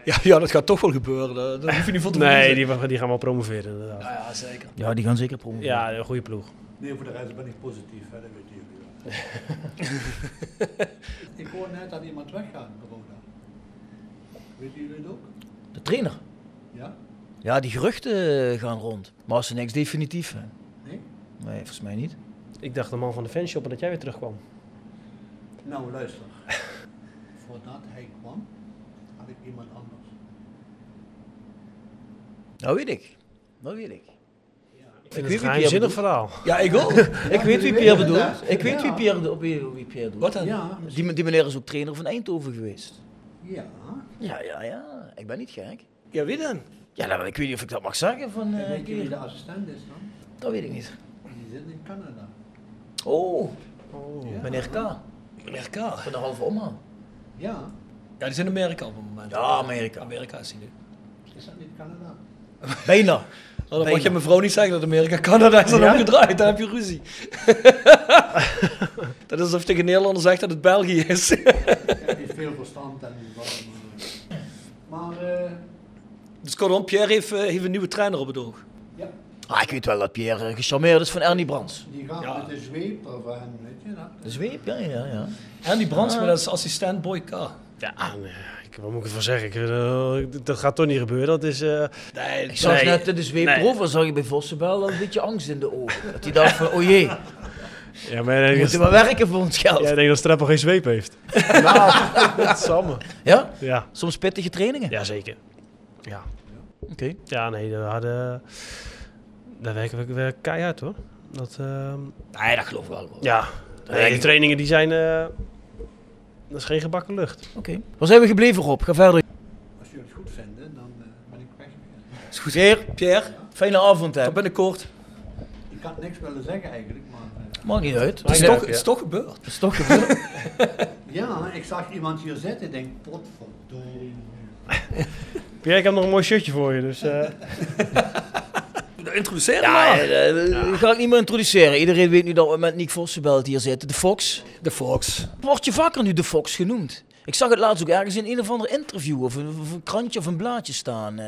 Speaker 6: ja, ja, dat gaat toch wel gebeuren. Daar daar hoef je niet voor te
Speaker 8: Nee,
Speaker 6: verliezen.
Speaker 8: die, die gaan wel promoveren inderdaad.
Speaker 6: Nou ja, zeker.
Speaker 7: Ja, die gaan zeker promoveren.
Speaker 8: Ja, een goede ploeg.
Speaker 9: Nee, voor de rest ben ik positief, hè, dat weten jullie wel. ik hoor net dat iemand weggaat, Roda. Weten jullie het ook?
Speaker 7: De trainer.
Speaker 9: Ja?
Speaker 7: Ja, die geruchten gaan rond. Maar als ze niks definitief zijn.
Speaker 9: Nee?
Speaker 7: Nee, volgens mij niet.
Speaker 8: Ik dacht de man van de fanshop en dat jij weer terugkwam.
Speaker 9: Nou, luister. Voordat hij kwam, had ik iemand anders.
Speaker 7: Dat Nou weet ik. Dat weet ik.
Speaker 8: Ik vind
Speaker 7: wie
Speaker 8: het een
Speaker 7: Pierre
Speaker 8: geheimzinnig
Speaker 7: bedoelt.
Speaker 8: verhaal.
Speaker 6: Ja, ik ook.
Speaker 7: ik weet wie
Speaker 9: weet
Speaker 7: Pierre
Speaker 9: het,
Speaker 7: bedoelt.
Speaker 9: hè?
Speaker 7: Ik weet wie
Speaker 9: Ja.
Speaker 7: Pierre, de- wie, wie Pierre doet.
Speaker 6: Wat dan?
Speaker 9: Ja,
Speaker 7: Die, die meneer is ook trainer van Eindhoven geweest.
Speaker 9: ja.
Speaker 7: Ja, ja, ja. Ik ben niet gek.
Speaker 6: Ja, wie dan?
Speaker 7: Ja, nou, ik weet niet of ik dat mag zeggen van
Speaker 9: En
Speaker 7: eh,
Speaker 9: weet je wie
Speaker 7: Keer.
Speaker 9: de assistent is dan?
Speaker 7: Dat weet ik niet.
Speaker 9: Die zit in Canada.
Speaker 7: Oh, meneer K.
Speaker 6: Meneer K.
Speaker 7: Van de halve omhaal.
Speaker 9: Ja,
Speaker 6: Ja, die is in Amerika op het moment.
Speaker 7: Ja, Amerika.
Speaker 6: Amerika is hij nu.
Speaker 9: is dat niet Canada?
Speaker 7: Bijna.
Speaker 6: Oh, dan mag
Speaker 7: Bijna.
Speaker 6: je mevrouw niet zeggen dat Amerika Canada is dan
Speaker 7: Ja?
Speaker 6: omgedraaid. Dan heb je ruzie. dat is alsof je tegen Nederlanders zegt dat het België is.
Speaker 9: Ik heb niet veel verstand en wat. Maar, eh,
Speaker 6: dus kortom, Pierre heeft, eh, heeft een nieuwe trainer op het oog.
Speaker 9: ja,
Speaker 7: Ah, ik weet wel dat Pierre eh, gecharmeerd is van Ernie Brands.
Speaker 9: die gaat
Speaker 6: Ja.
Speaker 9: met de zweep over hem, weet je dat?
Speaker 7: De zweep, ja, ja, ja.
Speaker 6: En die Brandsma, dat is assistent Boy K.
Speaker 8: Ja, ah, nee, ik, wat moet ik ervan zeggen? Ik, eh, dat- dat gaat toch niet gebeuren. Dat is... eh,
Speaker 6: Nee,
Speaker 7: Ik zag
Speaker 8: Nee.
Speaker 7: net in de zweep
Speaker 8: Nee.
Speaker 7: over, zag je bij Vossenbel een beetje angst in de ogen. Dat hij dacht van, oh jee,
Speaker 8: ja, maar ik
Speaker 7: we
Speaker 8: denk,
Speaker 7: moeten
Speaker 8: dat,
Speaker 7: maar werken voor ons geld.
Speaker 8: ja,
Speaker 7: Ja?
Speaker 8: ik denk dat Streppel geen zweep heeft. Nou, samen. Ja,
Speaker 7: Soms pittige trainingen.
Speaker 8: ja zeker. Ja.
Speaker 7: Oké.
Speaker 8: Ja, nee, daar, hadden, daar werken we weer keihard hoor. Dat, ehm,
Speaker 7: Nee, dat geloof ik wel. Oké.
Speaker 8: ja,
Speaker 7: denk
Speaker 8: nee, de
Speaker 7: ik.
Speaker 8: trainingen die zijn, eh, dat is geen gebakken lucht.
Speaker 7: Waar zijn we gebleven, Rob? Ga verder.
Speaker 9: Als jullie het goed vinden, dan eh, ben ik weg.
Speaker 7: Is goed. Pierre,
Speaker 6: Pierre,
Speaker 7: fijne avond, hè.
Speaker 6: tot binnenkort.
Speaker 9: Ik had niks willen zeggen eigenlijk, maar... eh,
Speaker 7: Maakt niet uit.
Speaker 6: Het is,
Speaker 7: Nee,
Speaker 6: toch, het is toch gebeurd.
Speaker 7: dat is toch gebeurd.
Speaker 9: ja, ik zag iemand hier zitten, ik denk, potverdorie.
Speaker 8: Pierre, ik heb nog een mooi shirtje voor je, dus eh,
Speaker 6: Nou, Introduceer hem
Speaker 7: Ja,
Speaker 6: maar.
Speaker 7: eh, eh, ga ik niet meer introduceren. Iedereen weet nu dat we met Nick Vossenbelt hier zitten. De Fox.
Speaker 6: De Fox.
Speaker 7: Word je vaker nu de Fox genoemd? Ik zag het laatst ook ergens in een of ander interview of een, of een krantje of een blaadje staan. eh,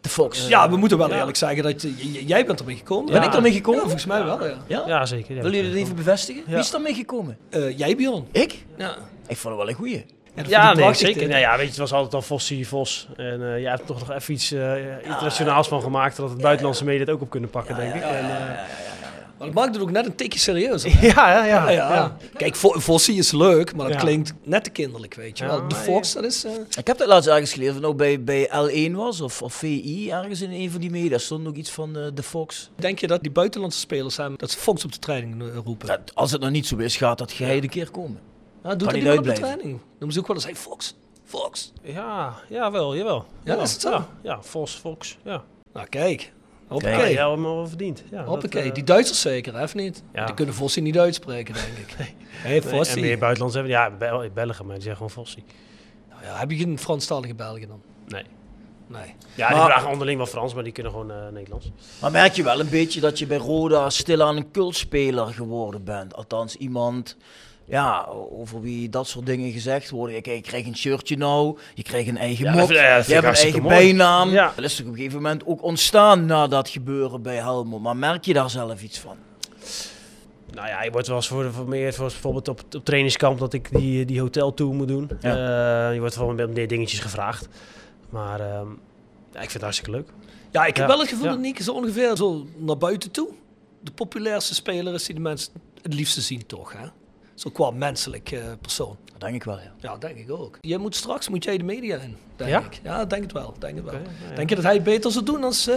Speaker 7: de Fox.
Speaker 6: Ja, we moeten wel eerlijk zeggen dat eh, j- j- jij bent ermee gekomen.
Speaker 7: Ben ik daarmee
Speaker 6: Ja,
Speaker 7: gekomen?
Speaker 6: volgens mij wel, ja.
Speaker 7: Ja?
Speaker 8: ja, zeker. ja.
Speaker 7: Willen jullie dat even bevestigen? Wie is daarmee gekomen?
Speaker 6: Eh, jij, Bjorn.
Speaker 7: Ik?
Speaker 6: Ja,
Speaker 7: Ik vond het wel een goeie.
Speaker 8: Ja, nee,
Speaker 6: prachtig,
Speaker 8: zeker.
Speaker 6: dit.
Speaker 8: Nou ja, weet je, het was altijd al Fossie Vos. En eh, jij hebt er toch nog even iets eh, internationaals van gemaakt, zodat het buitenlandse media het ook op kunnen pakken, denk ik. En, eh,
Speaker 6: Maar het maakt het ook net een tikje serieus. hè?
Speaker 8: Ja, ja, ja.
Speaker 6: Ja, ja.
Speaker 8: ja.
Speaker 6: Kijk, Vo- Vossie is leuk, maar dat
Speaker 8: Ja.
Speaker 6: klinkt net te kinderlijk, weet je
Speaker 8: Ja,
Speaker 6: wel. De
Speaker 8: maar-
Speaker 6: Fox, dat is... eh,
Speaker 7: Ik heb dat laatst ergens geleerd, of het nou bij, bij L1 was of, of VI, ergens in een van die media. Daar stond ook iets van eh, de Fox.
Speaker 6: Denk je dat die buitenlandse spelers zijn, dat ze Fox op de training eh, roepen?
Speaker 7: Dat, als het nog niet zo is, gaat dat geheid een keer komen.
Speaker 6: Ja, doet
Speaker 7: niet
Speaker 6: hij wel op de
Speaker 7: uitblijven.
Speaker 6: training? Noemen ze ook wel eens, hey, Fox, Fox.
Speaker 8: ja, jawel, jawel.
Speaker 6: Ja, is het zo?
Speaker 8: Ja, ja, Vos, Fox, ja.
Speaker 6: Nou, kijk.
Speaker 8: Ja,
Speaker 6: Hoppakee.
Speaker 8: jij hebt hem al verdiend. Ja, dat,
Speaker 6: Hoppakee.
Speaker 8: eh,
Speaker 6: Die Duitsers zeker, hè, of niet?
Speaker 8: Ja.
Speaker 6: Die kunnen Vossie niet uitspreken, denk ik. hey,
Speaker 8: Nee, En
Speaker 6: Vossie.
Speaker 8: meer buitenlands hebben. Ja, Bel Belgen, maar die zeggen gewoon Fossi.
Speaker 6: Ja, heb je geen Franstalige Belgen dan?
Speaker 8: Nee.
Speaker 6: Nee.
Speaker 8: Ja, die
Speaker 6: Maar-
Speaker 8: vragen onderling wel Frans, maar die kunnen gewoon eh, Nederlands.
Speaker 7: Maar merk je wel een beetje dat je bij Roda stilaan een cultspeler geworden bent? Althans, iemand ja, over wie dat soort dingen gezegd worden. Je, krijgt- je krijgt een shirtje nou, je krijgt een eigen
Speaker 8: Ja,
Speaker 7: mok,
Speaker 8: dat vind- ja, dat vind
Speaker 7: je hebt
Speaker 8: ik
Speaker 7: een
Speaker 8: hartstikke
Speaker 7: eigen
Speaker 8: mooi.
Speaker 7: bijnaam.
Speaker 8: Ja.
Speaker 7: Dat is toch op een gegeven moment ook ontstaan na dat gebeuren bij Helmond. Maar merk je daar zelf iets van?
Speaker 8: Nou ja, je wordt wel eens voor, voor meer, voor bijvoorbeeld op, op trainingskamp, dat ik die, eh, die hoteltour moet doen. Eh, je wordt gewoon met meer dingetjes gevraagd. Maar ehm, ja, ik vind het hartstikke leuk.
Speaker 6: Ja, ik heb
Speaker 8: Ja,
Speaker 6: wel het gevoel
Speaker 8: ja.
Speaker 6: dat Nick zo ongeveer zo naar buiten toe de populairste speler is die de mensen het liefste zien, toch? Hè? Zo qua menselijk eh, persoon.
Speaker 7: Dat denk ik wel, ja.
Speaker 6: Ja, denk ik ook. Je moet straks moet jij de media in, denk
Speaker 8: Ja?
Speaker 6: ik. Ja, denk het wel. Denk, het wel.
Speaker 8: Oké, ja, ja.
Speaker 6: denk je dat hij het beter zou doen als, eh,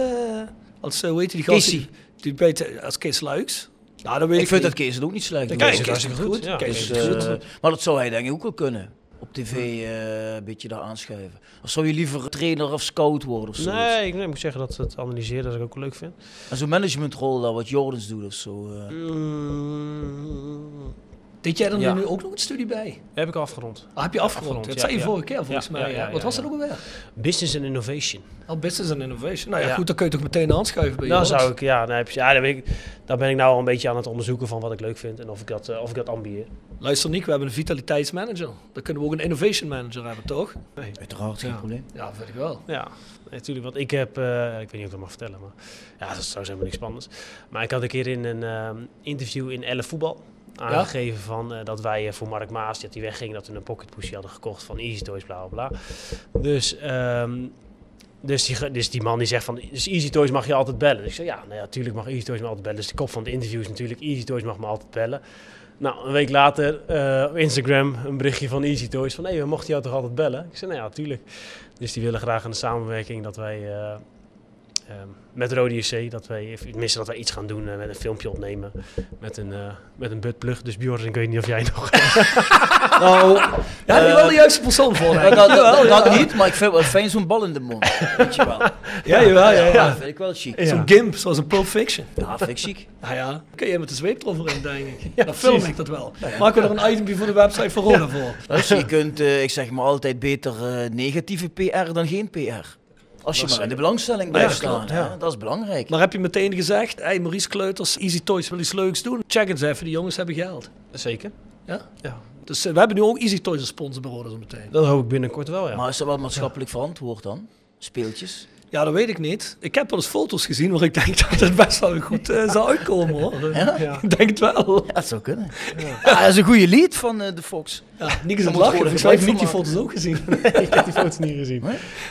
Speaker 6: als eh, hoe heet die gast?
Speaker 7: Casey.
Speaker 6: Die, die beter, als Kees Luiks? Nou, dat weet
Speaker 7: Ik,
Speaker 6: ik,
Speaker 7: vind
Speaker 6: niet.
Speaker 7: dat Kees het ook niet slecht doet.
Speaker 6: Kees
Speaker 8: Kees
Speaker 6: is
Speaker 8: is
Speaker 6: hartstikke
Speaker 8: goed,
Speaker 6: goed.
Speaker 8: ja.
Speaker 6: Kees is
Speaker 7: Dus,
Speaker 6: goed.
Speaker 7: eh, maar dat zou hij denk ik ook wel kunnen. Op tv eh, een beetje daar aanschuiven. Of zou je liever trainer of scout worden of zo?
Speaker 8: Nee, ik, nee, ik moet zeggen dat het analyseren dat ik ook leuk vind.
Speaker 7: En zo'n managementrol daar wat Jordans doet of zo. eh.
Speaker 8: Mm,
Speaker 6: Deed jij dan
Speaker 8: Ja.
Speaker 6: nu ook nog een studie bij?
Speaker 8: heb ik al afgerond.
Speaker 6: Ah, heb je afgerond?
Speaker 8: afgerond,
Speaker 6: dat
Speaker 8: ja,
Speaker 6: zei je
Speaker 8: ja.
Speaker 6: vorige keer volgens
Speaker 8: Ja,
Speaker 6: mij.
Speaker 8: ja,
Speaker 6: hè?
Speaker 8: ja, ja,
Speaker 6: Wat was
Speaker 8: ja.
Speaker 6: dat ook alweer?
Speaker 8: Business and Innovation.
Speaker 6: Al business and innovation. Nou ja,
Speaker 8: Ja.
Speaker 6: goed, dan kun je toch meteen aanschuiven bij
Speaker 8: Nou
Speaker 6: jou.
Speaker 8: zou ik, ja, dan heb je, ja dan ben ik, daar ben ik nou al een beetje aan het onderzoeken van wat ik leuk vind en of ik dat, eh, of ik dat ambieer.
Speaker 6: Luister Nick, we hebben een vitaliteitsmanager. Dan kunnen we ook een innovation manager hebben, toch?
Speaker 7: Uiteraard, geen
Speaker 6: Ja.
Speaker 7: probleem.
Speaker 6: Ja, vind ik wel.
Speaker 8: Ja, natuurlijk. Want ik heb, eh, ik weet niet of ik dat mag vertellen, maar ja, dat is trouwens helemaal niks spannends. Maar ik had een keer in een ehm, interview in Elle Voetbal aangegeven van eh, dat wij eh, voor Mark Maas, die, dat die wegging, dat we een pocket pushie hadden gekocht van Easy Toys, bla bla bla. Dus, ehm, dus, die, ge- dus die man die zegt van, dus Easy Toys mag je altijd bellen. Dus ik zei, ja, natuurlijk mag Easy Toys me altijd bellen. Dus de kop van de interview is natuurlijk, Easy Toys mag me altijd bellen. Nou, een week later eh, op Instagram een berichtje van Easy Toys van, hé, we mochten jou toch altijd bellen? Ik zei, nou ja, tuurlijk. Dus die willen graag een samenwerking dat wij eh, ehm, met Rode JC, dat wij, tenminste dat wij iets gaan doen eh, met een filmpje opnemen met een, eh met een buttplug. Dus Bjorn, ik weet niet of jij nog...
Speaker 7: Nou,
Speaker 8: Oh.
Speaker 6: Ja,
Speaker 8: Eh,
Speaker 6: die wel de juiste persoon voor.
Speaker 7: dat,
Speaker 6: hè.
Speaker 7: dat, dat, dat niet, maar ik vind wel fijn zo'n bal in de mond. Weet je wel.
Speaker 6: Ja, jawel, ja,
Speaker 7: Ja,
Speaker 6: ja.
Speaker 7: vind ik wel chic.
Speaker 6: Zo'n gimp, zoals een Pulp Fiction.
Speaker 7: Ja, vind ik chic.
Speaker 6: Nou ja, kun je met de zweep eroverheen, denk ik. Dan film ik dat wel. Maken we er een itemje voor de website van Roda voor.
Speaker 7: Dus je kunt, eh, ik zeg maar altijd beter eh, negatieve PR dan geen PR. Als je maar in de belangstelling blijft staan,
Speaker 6: klopt, ja.
Speaker 7: hè, dat is belangrijk.
Speaker 6: Maar heb je meteen gezegd, hey Maurice Kleuters, Easy Toys wil iets leuks doen. Check eens even, die jongens hebben geld.
Speaker 8: Zeker.
Speaker 6: Ja?
Speaker 8: Ja.
Speaker 6: Dus eh, we hebben nu ook Easy Toys als sponsor bij Roda zo meteen.
Speaker 8: Dat hoop ik binnenkort wel, ja.
Speaker 7: Maar is dat wel maatschappelijk verantwoord dan? Speeltjes?
Speaker 6: Ja, dat weet ik niet. Ik heb wel eens foto's gezien waar ik denk dat het best wel goed eh, zou uitkomen hoor.
Speaker 8: Ja.
Speaker 6: Ik denk het wel.
Speaker 7: Ja, dat zou kunnen. Ja. dat is een goede lied van eh, de Fox.
Speaker 6: Ja, Nick is aan
Speaker 7: moet
Speaker 6: het lachen.
Speaker 7: worden
Speaker 6: Volgens mij heeft Nick die
Speaker 7: gebruikt
Speaker 6: foto's ook gezien.
Speaker 8: ik heb die foto's niet gezien.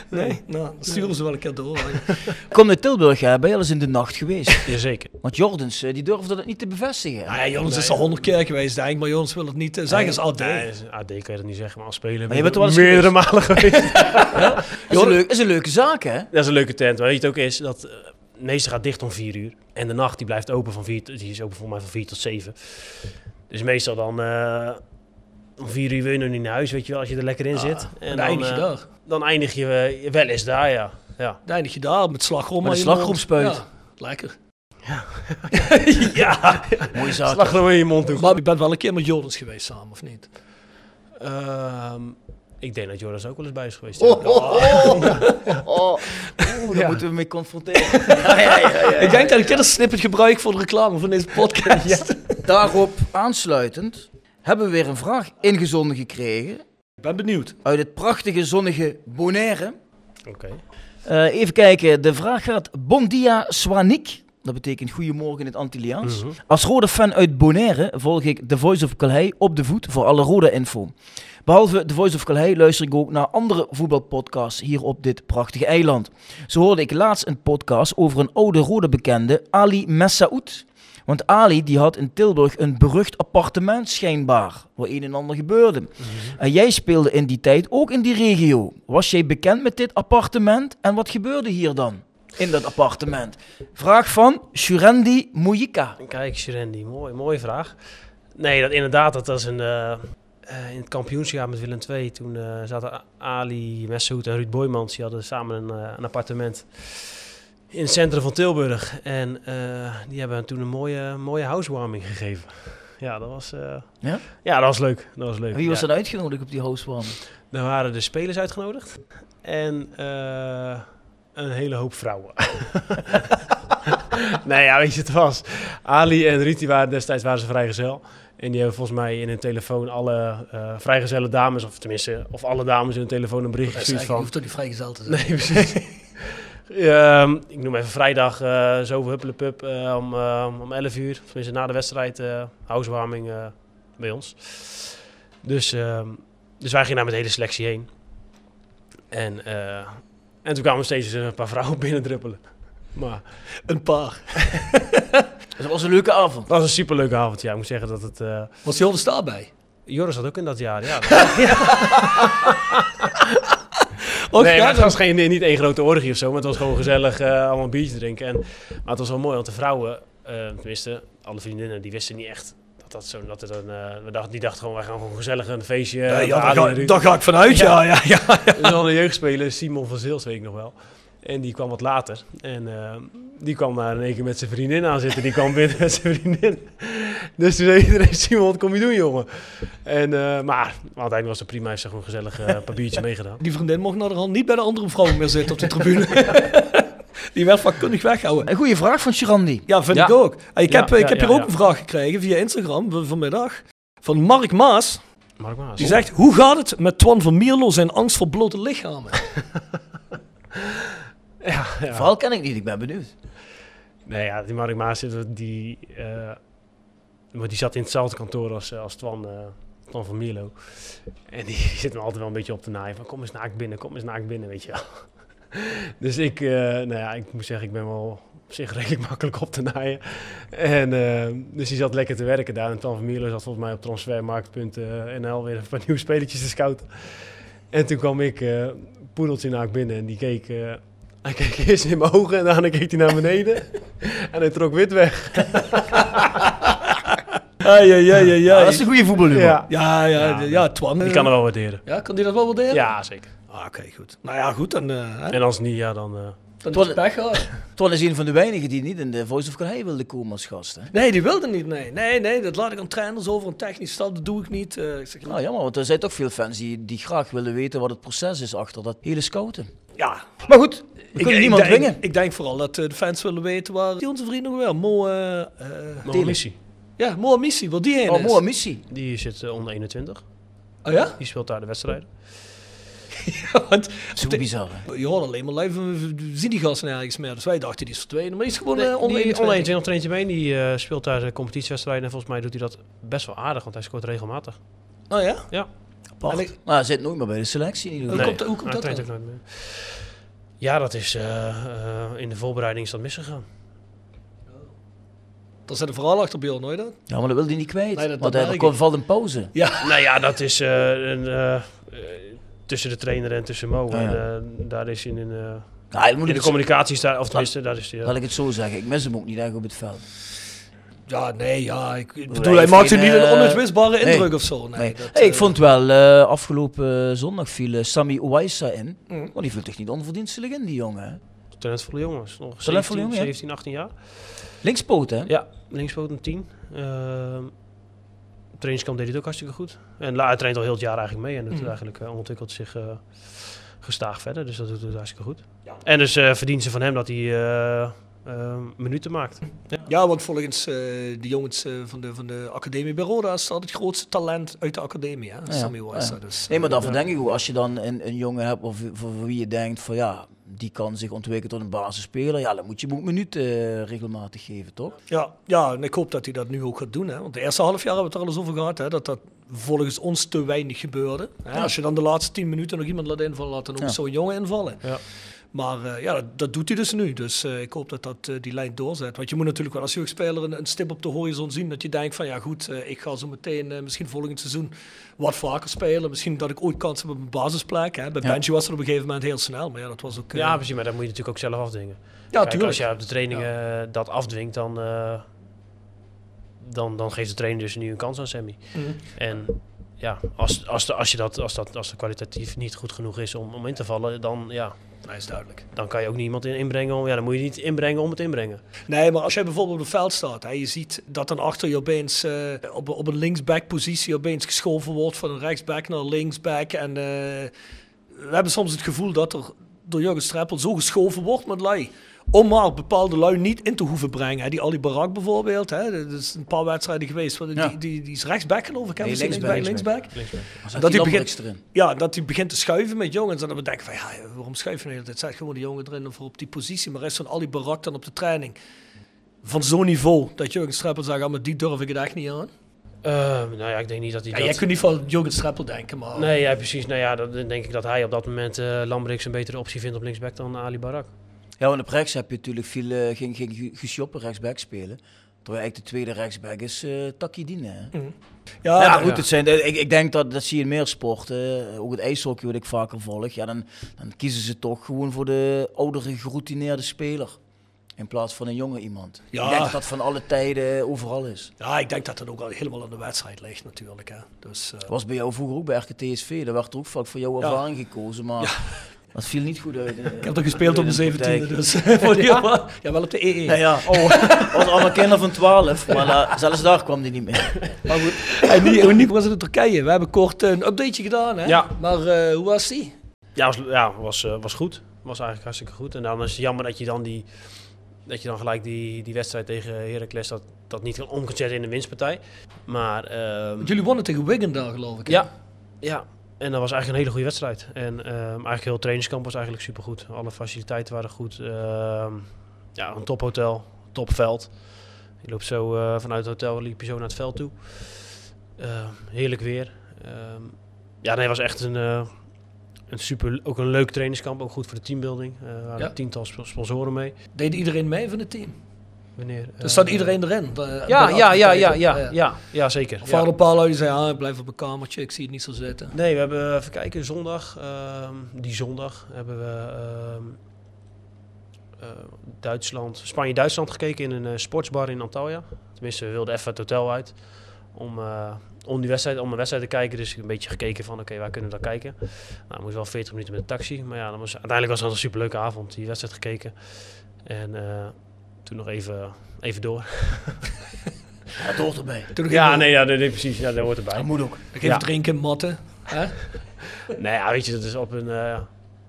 Speaker 6: Nee, nou, dan sturen ze wel een keer door. hè.
Speaker 7: Kom naar Tilburg, hè? ben je al eens in de nacht geweest?
Speaker 8: Jazeker.
Speaker 7: Want Jordens, eh, die durfde dat niet te bevestigen.
Speaker 6: Nou ja, Jonas is al honderd keer geweest, denk ik, maar Jonas wil het niet eh, zeggen. is
Speaker 8: Nee,
Speaker 6: altijd.
Speaker 8: is- AD kan je dat niet zeggen, maar als speler
Speaker 7: je bent er wel eens
Speaker 8: meerdere malen geweest.
Speaker 7: Dat is, een leuk, is een leuke zaak, hè?
Speaker 8: dat is een leuke tent. Maar weet je het ook is, dat eh, de meeste gaat dicht om vier uur. En de nacht die blijft open van vier, die is open volgens mij van vier tot zeven. Dus meestal dan eh, om vier uur wil je nog niet naar huis, weet je wel, als je er lekker in zit.
Speaker 6: En
Speaker 8: En
Speaker 6: dan eindig je
Speaker 8: eh,
Speaker 6: daar.
Speaker 8: Dan eindig je eh, wel eens daar, ja. ja.
Speaker 6: Dan eindig je daar met slagroom.
Speaker 7: Met
Speaker 6: aan
Speaker 7: een
Speaker 6: je mond.
Speaker 7: slagroomspuit.
Speaker 6: Ja, lekker.
Speaker 7: Mooie zaak.
Speaker 8: Slag er weer in je mond toe.
Speaker 6: Maar je bent wel een keer met Jonas geweest samen, of niet?
Speaker 8: Ehm, ik denk dat Joris ook wel eens bij is geweest.
Speaker 7: Oh, oh, oh. Oh. Oeh, daar moeten we mee confronteren. Ja, ja, ja, ja.
Speaker 6: Ik denk dat ik dit als snippet gebruik voor de reclame van deze podcast.
Speaker 7: Daarop aansluitend hebben we weer een vraag ingezonden gekregen
Speaker 6: Ik ben benieuwd.
Speaker 7: uit het prachtige zonnige Bonaire.
Speaker 8: Oké.
Speaker 7: Eh, even kijken, de vraag gaat Bon dia Swanik. Dat betekent goedemorgen in het Antilliaans. Als rode fan uit Bonaire volg ik The Voice of Calhei op de voet voor alle rode info. Behalve The Voice of Calhei luister ik ook naar andere voetbalpodcasts hier op dit prachtige eiland. Zo hoorde ik laatst een podcast over een oude rode bekende, Ali Messaoud. Want Ali die had in Tilburg een berucht appartement schijnbaar, waar een en ander gebeurde.
Speaker 8: Mhm.
Speaker 7: En jij speelde in die tijd ook in die regio. Was jij bekend met dit appartement en wat gebeurde hier dan? In dat appartement. Vraag van Shurendi Moujika.
Speaker 8: Kijk, Sherendi, mooi, mooie vraag. Nee, dat, inderdaad, dat was een, eh, eh, in het kampioensjaar met Willem II. Toen eh, zaten Ali Messehoed en Ruud Boymans. Die hadden samen een, eh, een appartement in het centrum van Tilburg. En eh, die hebben toen een mooie, mooie housewarming gegeven. Ja, dat was, eh,
Speaker 7: Ja?
Speaker 8: ja, dat was leuk. Dat was leuk.
Speaker 7: Wie was
Speaker 8: ja.
Speaker 7: er uitgenodigd op die housewarming?
Speaker 8: Daar waren de spelers uitgenodigd. En eh, een hele hoop vrouwen. nee, ja, weet je, het was. Ali en Riti waren destijds waren ze vrijgezel. En die hebben volgens mij in hun telefoon alle eh vrijgezelle dames, of tenminste, of alle dames in hun telefoon een berichtje
Speaker 6: Je
Speaker 8: gestuurd van.
Speaker 6: hoeft toch niet vrijgezel te zijn?
Speaker 8: Nee, precies. Ehm, ik noem even vrijdag, eh zo huppelepup, eh, om, eh, om 11 uur. Of Tenminste, na de wedstrijd, eh housewarming eh, bij ons. Dus, ehm, dus wij gingen daar met de hele selectie heen. En, eh, en toen kwamen er steeds een paar vrouwen binnendruppelen. Maar
Speaker 6: Een paar.
Speaker 7: Dat was een leuke avond.
Speaker 8: het was een superleuke avond, ja. Ik moet zeggen dat het... eh,
Speaker 6: Was Jonas daarbij?
Speaker 8: Joris had ook in dat jaar, ja.
Speaker 6: Oh,
Speaker 8: nee,
Speaker 6: ja,
Speaker 8: maar het
Speaker 6: dan-
Speaker 8: was geen, niet één grote orgie of zo, maar het was gewoon gezellig eh, allemaal een biertje drinken. En, maar het was wel mooi, want de vrouwen, eh, tenminste, alle vriendinnen, die wisten niet echt dat dat zo... Dat het een, eh, we dachten, die dachten gewoon, wij gaan gewoon gezellig een feestje.
Speaker 6: Ja,
Speaker 8: eh,
Speaker 6: ja,
Speaker 8: Ali
Speaker 6: daar,
Speaker 8: en
Speaker 6: ga,
Speaker 8: Ruud.
Speaker 6: daar ga ik vanuit, ja. ja, ja, ja.
Speaker 8: Dus we hadden een jeugdspeler, Simon van Zils, weet ik nog wel. En die kwam wat later. En eh, die kwam daar in één keer met zijn vriendin aan zitten. Die kwam binnen met zijn vriendin. Dus toen zei iedereen, Simon, wat kom je doen, jongen? En, eh, maar uiteindelijk was het prima. Hij heeft gewoon gezellig eh, een paar biertjes meegedaan.
Speaker 6: Die vriendin mocht naderhand niet bij de andere vrouwen meer zitten op de tribune. Die werd vakkundig weggehouden.
Speaker 7: Een goede vraag van Shurendi.
Speaker 6: Ja, vind
Speaker 8: Ja.
Speaker 6: ik ook. En ik
Speaker 8: Ja,
Speaker 6: heb, eh, ik
Speaker 8: ja,
Speaker 6: heb
Speaker 8: ja,
Speaker 6: hier ook
Speaker 8: ja.
Speaker 6: een vraag gekregen via Instagram van- vanmiddag. Van Mark Maas.
Speaker 8: Mark Maas.
Speaker 6: Die zegt, hoe gaat het met Twan van Mierlo zijn angst voor blote lichamen?
Speaker 8: Ja, ja.
Speaker 7: Verhaal ken ik niet, ik ben benieuwd.
Speaker 8: Nee, ja, die Mark Maas, die, die, eh, maar die zat in hetzelfde kantoor als, eh, als Twan, eh, Twan van Mierlo. En die zit me altijd wel een beetje op te naaien van kom eens naakt binnen, kom eens naakt binnen, weet je wel. Dus ik, eh, nou ja, ik moet zeggen, ik ben wel op zich redelijk makkelijk op te naaien. En, eh, dus die zat lekker te werken daar. En Twan van Mierlo zat volgens mij op transfermarkt.nl weer een paar nieuwe spelletjes te scouten. En toen kwam ik eh poedeltje naakt binnen en die keek... eh,
Speaker 10: Hij keek eerst in mijn ogen en daarna keek hij naar beneden. en hij trok wit weg.
Speaker 6: Ja, ja, ja, ja. Ja,
Speaker 7: Ah, dat is een goede voetbalhumor.
Speaker 10: Ja.
Speaker 6: ja, ja, ja, Twan. eh,
Speaker 8: Die kan er wel waarderen.
Speaker 6: Ja, kan die dat wel waarderen?
Speaker 8: Ja, zeker.
Speaker 6: Ah, Oké, goed. Nou ja, goed, dan, eh hè,
Speaker 8: En als niet, ja, dan... eh,
Speaker 6: dan is
Speaker 7: Twan-
Speaker 6: het pech gehad.
Speaker 7: Twan is een van de weinigen die niet in de Voice of Calais wilde komen als gast. Hè?
Speaker 6: Nee, die wilde niet, nee. Nee, nee, dat laat ik aan trainers over, een technisch stap, dat doe ik niet. Eh, ik zeg,
Speaker 7: Nou jammer, want er zijn toch veel fans die, die graag willen weten wat het proces is achter dat hele scouten.
Speaker 6: ja,
Speaker 7: Maar goed, we kunnen niemand
Speaker 6: denk,
Speaker 7: dwingen.
Speaker 6: Ik denk vooral dat eh, de fans willen weten waar die onze vriend nog wel, Mo... eh, eh,
Speaker 8: Mohamed Missie,
Speaker 6: ja, Mo Amissi, waar die heen
Speaker 7: Oh,
Speaker 6: is.
Speaker 7: mooie missie.
Speaker 8: die zit eh, onder 21.
Speaker 6: Oh ja?
Speaker 8: Die speelt daar de wedstrijden.
Speaker 6: Want
Speaker 7: Zo bizar. hè?
Speaker 6: je hoort alleen maar live, we we zien die gasten nergens meer. Dus wij dachten, die is verdwenen, maar die is gewoon eh,
Speaker 8: Nee,
Speaker 6: onder
Speaker 8: die
Speaker 6: 21.
Speaker 8: onder 21 traint hij mee. Die eh, speelt daar de competitiewedstrijden. En volgens mij doet hij dat best wel aardig, want hij scoort regelmatig.
Speaker 6: Oh ja?
Speaker 8: Ja.
Speaker 6: En ik-
Speaker 7: Maar Nou, hij zit nooit meer bij de selectie. in ieder geval.
Speaker 6: komt- hoe komt
Speaker 8: hij
Speaker 6: dat
Speaker 8: traint
Speaker 6: dan?
Speaker 8: ook nooit meer. Ja, dat is eh, eh, in de voorbereiding is dat misgegaan.
Speaker 6: Dan zit er vooral achter Bjorn, hoor je dat?
Speaker 7: Ja, maar dat wil hij niet kwijt.
Speaker 6: Nee, dat-
Speaker 7: want
Speaker 6: dat
Speaker 7: hij
Speaker 6: merk ik.
Speaker 7: kon- valt een pauze.
Speaker 6: Ja.
Speaker 8: Nou ja, dat is eh, een, eh, eh, tussen de trainer en tussen Mo.
Speaker 7: Ja, ja.
Speaker 8: En, eh, daar is in, een, eh,
Speaker 7: Nou, dan moet
Speaker 8: in
Speaker 7: ik
Speaker 8: de
Speaker 7: het-
Speaker 8: communicatie, is daar, of tenminste, daar is hij. eh,
Speaker 7: Laat ik het zo zeggen, ik mis hem ook niet erg op het veld.
Speaker 6: Ja, nee, ja. Ik, ik bedoel,
Speaker 7: Nee,
Speaker 6: hij maakte
Speaker 7: geen,
Speaker 6: niet een
Speaker 7: eh,
Speaker 6: onuitwisbare
Speaker 7: nee.
Speaker 6: indruk of zo. Nee,
Speaker 7: Nee.
Speaker 6: dat,
Speaker 7: Hey, ik
Speaker 6: eh,
Speaker 7: vond wel, eh, afgelopen zondag viel eh, Sammy Ouaissa in.
Speaker 6: Mm.
Speaker 7: Maar die viel toch niet onverdienstelijk in, die jongen. hè?
Speaker 8: talentvolle jongens. Nog
Speaker 7: Talentvolle
Speaker 8: 17,
Speaker 7: jongen, ja.
Speaker 8: 17, 18 jaar.
Speaker 7: Linkspoot, hè?
Speaker 8: Ja, linkspoot een 10. Ehm trainingskamp deed hij het ook hartstikke goed. En La, hij traint al heel het jaar eigenlijk mee. En het eigenlijk eh, ontwikkelt zich eh, gestaag verder. Dus dat doet het hartstikke goed. En dus eh verdienen ze van hem dat hij eh, eh, minuten maakt.
Speaker 6: Ja, want volgens eh, de jongens eh, van, de, van de academie bij Roda is dat het grootste talent uit de academie, hè? Sammy Weiss.
Speaker 7: ja.
Speaker 6: Dus,
Speaker 7: Nee, maar
Speaker 6: eh,
Speaker 7: daarvoor denk ik ook, als je dan een, een jongen hebt of voor, voor wie je denkt van ja, die kan zich ontwikkelen tot een basisspeler, ja, dan moet je hem ook minuten eh, regelmatig geven, toch?
Speaker 6: Ja, ja, en ik hoop dat hij dat nu ook gaat doen. Hè? Want de eerste half jaar hebben we het er alles over gehad, hè? dat dat volgens ons te weinig gebeurde. Hè? Als je dan de laatste tien minuten nog iemand laat invallen, laat dan ook
Speaker 7: Ja.
Speaker 6: zo'n jongen invallen.
Speaker 8: Ja.
Speaker 6: Maar eh, ja, dat, dat doet hij dus nu. Dus eh, ik hoop dat dat eh, die lijn doorzet. Want je moet natuurlijk wel als jeugdspeler een, een stip op de horizon zien. Dat je denkt van ja goed, eh, ik ga zo meteen eh, misschien volgend seizoen wat vaker spelen. Misschien dat ik ooit kans heb op een basisplek. Hè? Bij
Speaker 7: Ja.
Speaker 6: Benji was er op een gegeven moment heel snel. Maar ja, dat was ook... eh,
Speaker 8: Ja, precies. Maar dat moet je natuurlijk ook zelf afdwingen.
Speaker 6: ja,
Speaker 8: Kijk,
Speaker 6: tuurlijk.
Speaker 8: als je op de trainingen eh, dat afdwingt, dan, eh, dan, dan geeft de trainer dus nu een kans aan Sammy. En ja, als, als, de, als, je dat, als, dat, als de kwalitatief niet goed genoeg is om, om in te vallen, dan, ja,
Speaker 6: Nee, is duidelijk.
Speaker 8: dan kan je ook niemand in, inbrengen. Om, ja, dan moet je niet inbrengen om het inbrengen.
Speaker 6: Nee, maar als jij bijvoorbeeld op het veld staat en je ziet dat dan achter je opeens eh, op, op een linksback-positie opeens geschoven wordt van een rechtsback naar een linksback. En eh, we hebben soms het gevoel dat er door Jurgen Streppel zo geschoven wordt met lui. Om maar bepaalde lui niet in te hoeven brengen. Hè. Die Ali Barak bijvoorbeeld, hè. dat is een paar wedstrijden geweest. want
Speaker 7: Ja.
Speaker 6: Die, die, die is rechtsback geloof ik, hè?
Speaker 7: Nee,
Speaker 6: Misschien
Speaker 7: linksback,
Speaker 6: linksback.
Speaker 7: Dat
Speaker 6: hij
Speaker 7: die
Speaker 6: begint-
Speaker 7: Lambrix erin.
Speaker 6: Ja, dat hij begint te schuiven met jongens. En dan bedenk ik van, ja, waarom schuiven we nou? Dat zet gewoon de jongen erin voor op die positie. Maar is zo'n Ali Barak dan op de training van zo'n niveau dat Jurgen Streppel zegt, ah, maar die durf ik het echt niet aan.
Speaker 8: Eh, nou ja, ik denk niet dat hij
Speaker 6: Ja,
Speaker 8: dat...
Speaker 6: jij kunt niet van Jurgen Streppel denken, maar...
Speaker 8: Nee, ja, precies. Nou ja, dan denk ik dat hij op dat moment eh Lambrix een betere optie vindt op linksback dan Ali Barak.
Speaker 7: Ja, want op rechts heb je natuurlijk veel, eh, ging, ging Gu- Guus Joppe rechtsback spelen. Terwijl eigenlijk de tweede rechtsback is eh Takidine. hè?
Speaker 6: Mm. Ja,
Speaker 7: ja,
Speaker 6: dat-
Speaker 7: goed, Het zijn, eh, ik, ik denk dat dat zie je in meer sporten. eh, Ook het ijshockey, wat ik vaker volg. Ja, dan, dan kiezen ze toch gewoon voor de oudere, geroutineerde speler. In plaats van een jonge iemand.
Speaker 6: Ja.
Speaker 7: Ik denk dat dat van alle tijden eh, overal is.
Speaker 6: ja, ik denk dat dat ook al helemaal aan de wedstrijd ligt natuurlijk. Hè. Dus, eh,
Speaker 7: Dat was bij jou vroeger ook bij RKTSV. Daar werd er ook vaak voor jouw
Speaker 6: Ja.
Speaker 7: ervaring gekozen. Maar dat viel niet goed uit.
Speaker 6: ik heb er gespeeld op de
Speaker 7: In de
Speaker 6: 17e,
Speaker 7: praktijk.
Speaker 6: dus... voor die- ja. wel op de E EE.
Speaker 7: Nou ja, oh, was allemaal kinderen van 12. Maar eh, zelfs daar kwam die niet meer.
Speaker 6: Maar goed. En die, hoe was het in Turkije? We hebben kort een updateje gedaan, hè?
Speaker 8: Ja.
Speaker 6: Maar eh, hoe was die?
Speaker 8: Ja, was, ja, was, eh, was goed. Was eigenlijk hartstikke goed. En dan is het jammer dat je dan, die, dat je dan gelijk die, die wedstrijd tegen Heracles dat, dat niet kan omzetten in een winstpartij. Maar ehm,
Speaker 6: Want jullie wonnen tegen Wigan daar, geloof ik. hè?
Speaker 8: ja, ja, en dat was eigenlijk een hele goede wedstrijd. En ehm, eigenlijk heel het trainingskamp was eigenlijk supergoed. Alle faciliteiten waren goed. Ehm, ja, een tophotel, topveld. Je loopt zo eh, vanuit het hotel, liep je zo naar het veld toe. Ehm, heerlijk weer. Ehm, ja, nee, het was echt een, eh, een super, ook een leuk trainingskamp. Ook goed voor de teambuilding. Eh, er waren
Speaker 6: Ja.
Speaker 8: een tiental sp- sponsoren mee.
Speaker 6: Deed iedereen mee van het team?
Speaker 8: Wanneer, eh,
Speaker 6: Dus staat iedereen erin? eh,
Speaker 8: Ja,
Speaker 6: bij de
Speaker 8: ja, ja, ja,
Speaker 6: activiteiten?
Speaker 8: ja, ja, ja, zeker.
Speaker 6: Of
Speaker 8: Ja.
Speaker 6: waren er een paar lui die zeiden, ah, ik blijf op mijn kamertje, ik zie het niet zo zitten.
Speaker 8: Nee, we hebben, even kijken, zondag, ehm, die zondag hebben we ehm, eh, Duitsland, Spanje-Duitsland gekeken in een eh, sportsbar in Antalya. Tenminste, we wilden even het hotel uit om, eh, om, die wedstrijd, om een wedstrijd te kijken. Dus een beetje gekeken van, oké, waar kunnen we dan kijken? Nou, moest wel 40 minuten met de taxi. Maar ja, dat was, uiteindelijk was het een superleuke avond, die wedstrijd gekeken. En eh, toen nog even, even door.
Speaker 7: Dat hoort erbij.
Speaker 6: Toen nog
Speaker 8: Ja,
Speaker 6: even-
Speaker 8: nee, ja, nee, nee, precies. Ja, dat hoort erbij.
Speaker 7: Dat moet ook.
Speaker 6: Nog even
Speaker 8: Ja.
Speaker 6: drinken, matten. Hè?
Speaker 8: Nee, ja, weet je, dat is op een... eh,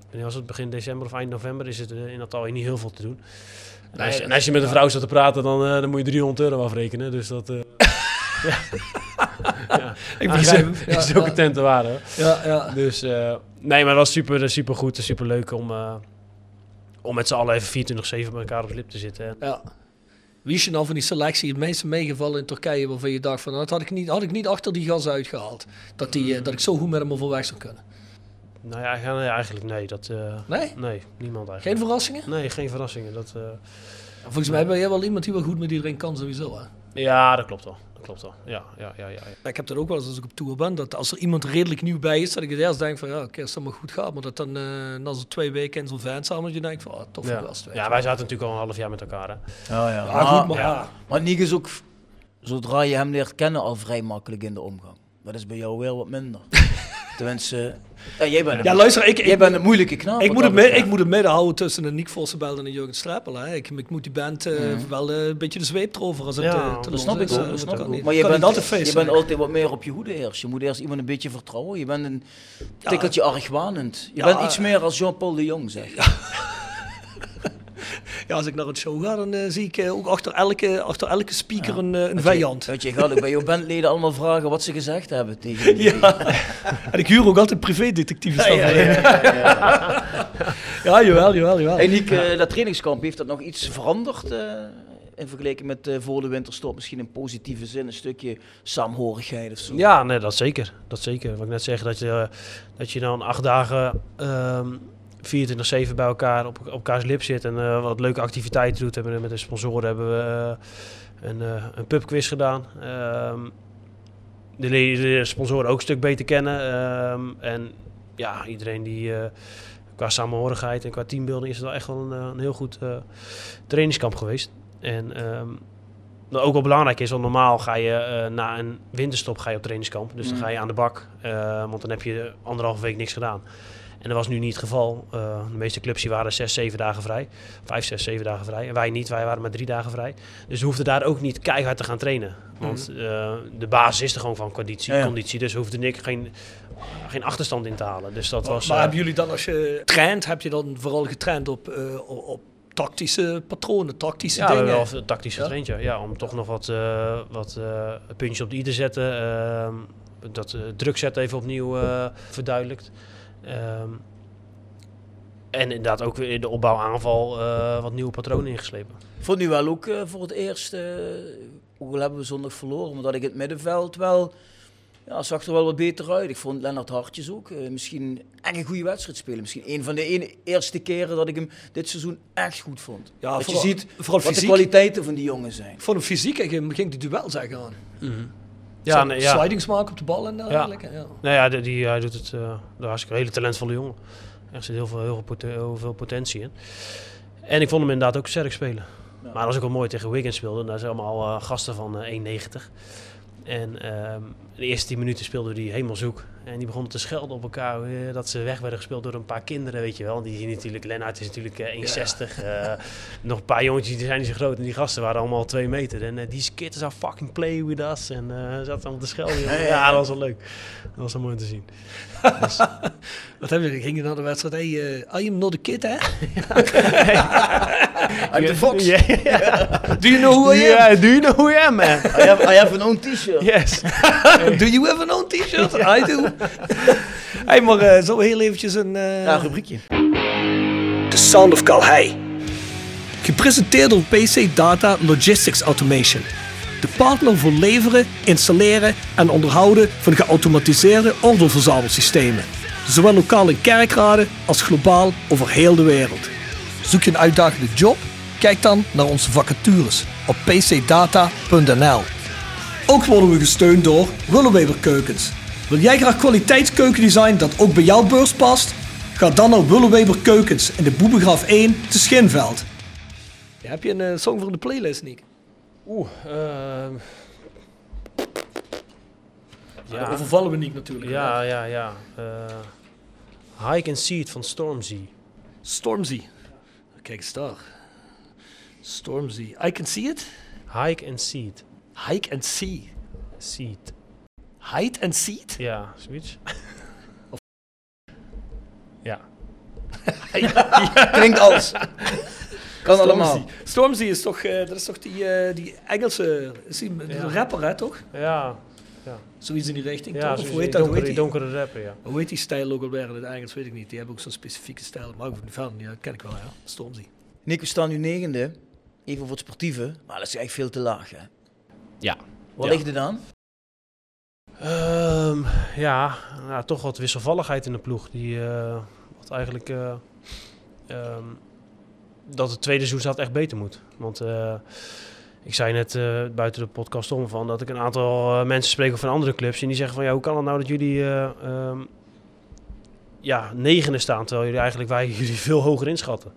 Speaker 8: wanneer was het begin december of eind november is het eh, in Antalya niet heel veel te doen. En als, je, en als je met een vrouw staat te praten, dan, eh, dan moet je 300 euro afrekenen. Dus dat eh
Speaker 6: Ik
Speaker 8: is,
Speaker 6: begrijp hem.
Speaker 8: is ook een tent te waarde. hoor.
Speaker 6: Ja, ja.
Speaker 8: Dus eh, nee, maar het was super, super goed en super leuk om, eh, om met z'n allen even 24-7 met elkaar op de lip te zitten. En
Speaker 6: ja. Wie is je nou van die selectie het meeste meegevallen in Turkije waarvan je dacht van, nou, dat had ik niet, had ik niet achter die gas uitgehaald. Dat, die, eh, dat ik zo goed met hem overweg zou kunnen.
Speaker 8: nou ja, ja, nee, eigenlijk nee. Dat, eh,
Speaker 6: Nee?
Speaker 8: nee, niemand
Speaker 6: Geen
Speaker 8: eigenlijk.
Speaker 6: verrassingen?
Speaker 8: nee, geen verrassingen. Dat, eh,
Speaker 6: Volgens mij ben jij wel iemand die wel goed met iedereen kan sowieso. Hè?
Speaker 8: ja, dat klopt wel. Dat klopt wel. Ja, ja, ja, ja. ja.
Speaker 6: Ik heb dat ook wel eens als ik op tour ben, dat als er iemand redelijk nieuw bij is, dat ik het eerst denk van, ja, oké, als dat maar goed gaat. Maar dat dan eh, na zo'n twee weken in zo'n van samen, dat je denkt van, ah, tof
Speaker 8: Ja.
Speaker 6: gast. weet je.
Speaker 8: ja, Ah, wij zaten natuurlijk al een half jaar met elkaar. Hè.
Speaker 7: Ja, ja.
Speaker 6: Ja, goed, maar
Speaker 8: Ja.
Speaker 7: Maar Nick is ook, zodra je hem leert kennen, al vrij makkelijk in de omgang. Dat is bij jou wel wat minder. Tenminste, ja, jij bent een,
Speaker 6: Ja, luister, ik,
Speaker 7: jij
Speaker 6: ik,
Speaker 7: bent een moeilijke knaap.
Speaker 6: ik,
Speaker 7: wat
Speaker 6: moet
Speaker 7: dat
Speaker 6: het mee,
Speaker 7: betreft.
Speaker 6: ik moet het midden houden tussen een Nick Vossenbelt en een Jurgen Strappel. Hè. Ik, ik moet die band eh, wel eh, een beetje de zweep erover als het
Speaker 8: Ja,
Speaker 6: eh, te
Speaker 8: dat
Speaker 6: los
Speaker 7: snap ik
Speaker 6: is.
Speaker 7: ook,
Speaker 6: Eh,
Speaker 7: Mm. dat snap
Speaker 6: kan
Speaker 7: ik ook.
Speaker 6: niet.
Speaker 7: Maar je
Speaker 6: Kan
Speaker 7: bent,
Speaker 6: niet altijd feest
Speaker 7: je
Speaker 6: zijn.
Speaker 7: bent altijd wat meer op je hoede eerst. Je moet eerst iemand een beetje vertrouwen. Je bent een tikkeltje argwanend. Je
Speaker 6: Ja,
Speaker 7: bent iets meer als Jean-Paul de Jong, zeg.
Speaker 6: Ja, als ik naar een show ga, dan eh, zie ik eh, ook achter elke, achter elke speaker een, eh, een vijand.
Speaker 7: Weet je, je gaat ook bij jouw bandleden allemaal vragen wat ze gezegd hebben tegen die.
Speaker 6: En ik huur ook altijd privédetectives. Ja, ja, jawel, jawel, jawel.
Speaker 7: Hey Niek, eh, dat trainingskamp, heeft dat nog iets veranderd eh, in vergelijking met eh, voor de winterstop? Misschien in positieve zin, een stukje saamhorigheid of zo?
Speaker 8: Ja, nee, dat zeker. Dat zeker. Wat ik net zeg, dat je, eh, dat je dan acht dagen ehm 24-7 bij elkaar op, op elkaars lip zit en eh, wat leuke activiteiten doet. Hebben we met de sponsoren hebben we eh, een, eh, een pubquiz gedaan. Ehm de, le- de sponsoren ook een stuk beter kennen. ehm, en ja, iedereen die eh, qua samenhorigheid en qua teambuilding is het wel echt wel een, eh, een heel goed eh, trainingskamp geweest. En ehm, wat ook wel belangrijk is, want normaal ga je eh, na een winterstop ga je op trainingskamp. Dus dan
Speaker 6: Mm.
Speaker 8: ga je aan de bak, eh, want dan heb je anderhalve week niks gedaan. En dat was nu niet het geval. Eh, de meeste clubs die waren zes, zeven dagen vrij. Vijf, zes, zeven dagen vrij. En wij niet, wij waren maar drie dagen vrij. Dus we hoefden daar ook niet keihard te gaan trainen. Want
Speaker 6: Mm.
Speaker 8: eh, de basis is er gewoon van conditie.
Speaker 7: Ja, ja.
Speaker 8: conditie dus hoefde ik geen, geen achterstand in te halen. Dus dat was...
Speaker 6: maar
Speaker 8: eh,
Speaker 6: hebben jullie dan, als je traint, heb je dan vooral getraind op, eh, op, op tactische patronen, tactische
Speaker 8: Ja, we
Speaker 6: dingen?
Speaker 8: hebben wel veel tactisch
Speaker 6: Ja?
Speaker 8: getraind, ja. Ja, om toch nog wat, eh, wat eh, puntjes op de i te zetten. ehm, dat eh, druk zetten even opnieuw eh, verduidelijkt. Ehm, en inderdaad ook weer in de opbouw-aanval eh, wat nieuwe patronen ingeslepen.
Speaker 7: Ik vond nu wel ook eh, voor het eerst, eh hoewel hebben we zondag verloren, omdat ik het middenveld wel, ja, zag er wel wat beter uit. Ik vond Lennart Hartjes ook eh, misschien echt een goede wedstrijd spelen. Misschien een van de ene- eerste keren dat ik hem dit seizoen echt goed vond.
Speaker 6: Ja,
Speaker 7: dat
Speaker 6: vooral-
Speaker 7: je ziet
Speaker 6: vooral
Speaker 7: wat de
Speaker 6: fysiek.
Speaker 7: kwaliteiten van die jongen zijn.
Speaker 6: Voor een fysiek ging ging die duel zeggen aan.
Speaker 8: Ja,
Speaker 6: Zo,
Speaker 8: nee, ja.
Speaker 6: Slidings maken op de bal en dergelijke. Ja.
Speaker 8: Nou ja, die, die- hij doet het eh de hartstikke hele talentvolle jongen. Er zit heel veel, heel, veel poten- heel veel potentie in. En ik vond hem inderdaad ook sterk spelen. Maar dat was ook wel mooi tegen Wiggins speelde. Daar zijn allemaal eh, gasten van eh, 1,90. En ehm, de eerste 10 minuten speelden die helemaal zoek. En die begonnen te schelden op elkaar. eh, dat ze weg werden gespeeld door een paar kinderen, weet je wel. Die zien natuurlijk, Lennart is natuurlijk eh, 1,60. eh, nog een paar jongetjes die zijn niet zo groot. En die gasten waren allemaal 2 meter. En eh, these kids are fucking play with us. En eh zaten allemaal te schelden. joh. Ja, dat was wel leuk. Dat was wel mooi om te zien.
Speaker 6: Wat hebben we? Ging je naar de wedstrijd? Hey, eh, I am not a kid, hè?
Speaker 7: I'm the Fox.
Speaker 8: Ja,
Speaker 6: Do you know who I am?
Speaker 8: do you
Speaker 6: nou
Speaker 8: know who I am, man?
Speaker 7: I, have, I have an own t-shirt.
Speaker 8: Yes.
Speaker 6: Do you have an own t-shirt? I do. hey, maar eh, zo heel eventjes een... eh,
Speaker 7: Ja, rubriekje.
Speaker 6: The Sound of Calhei. Gepresenteerd door PC Data Logistics Automation. De partner voor leveren, installeren en onderhouden van geautomatiseerde ordeelverzamelsystemen. Zowel lokaal in kerkraden als globaal over heel de wereld. Zoek je een uitdagende job? Kijk dan naar onze vacatures op pcdata.nl. Ook worden we gesteund door Willeweber Keukens. Wil jij graag kwaliteitskeukendesign dat ook bij jouw beurs past? Ga dan naar Willeweber Keukens in de Boebegraaf 1 te Schinveld. Ja, heb je een eh, song voor in de playlist, Nick?
Speaker 8: Oeh, ehm
Speaker 6: Ja. Dan overvallen we Nick natuurlijk.
Speaker 8: Ja, ja, ja. Eh Hike and See It van Stormzy.
Speaker 6: Stormzy. Kijk eens daar. Stormzy. I can see it.
Speaker 8: Hike and See It.
Speaker 6: Hike and see.
Speaker 8: See It.
Speaker 6: Hide and see it?
Speaker 8: Ja, zoiets. ja.
Speaker 7: Klinkt als. Kan allemaal.
Speaker 6: Stormzy. Stormzy is toch, eh, dat is toch die, eh, die Engelse is die, die
Speaker 8: Ja.
Speaker 6: rapper, hè, toch?
Speaker 8: Ja,
Speaker 6: Zoiets in die richting,
Speaker 8: ja
Speaker 6: toch? Of
Speaker 8: zoiets.
Speaker 6: hoe heet dat? Hoe heet
Speaker 8: donkere,
Speaker 6: die,
Speaker 8: donkere rapper, ja.
Speaker 6: hoe heet die stijl ook alweer in het Engels? Weet ik niet. Die hebben ook zo'n specifieke stijl. Maar ik ben van, ja, dat ken ik wel, ja. Stormzy.
Speaker 7: Nick, we staan nu negende. Even voor het sportieve. Maar dat is eigenlijk veel te laag, hè?
Speaker 8: Ja.
Speaker 7: Wat
Speaker 8: Ja.
Speaker 7: ligt er dan?
Speaker 8: Ehm, ja, nou, toch wat wisselvalligheid in de ploeg. Die, eh, wat eigenlijk eh, ehm, dat het tweede seizoen echt beter moet. Want eh, ik zei net eh, buiten de podcast om van dat ik een aantal eh, mensen spreek van andere clubs. En die zeggen van ja, hoe kan het nou dat jullie eh, ehm, ja, negende staan, terwijl jullie eigenlijk wij jullie veel hoger inschatten.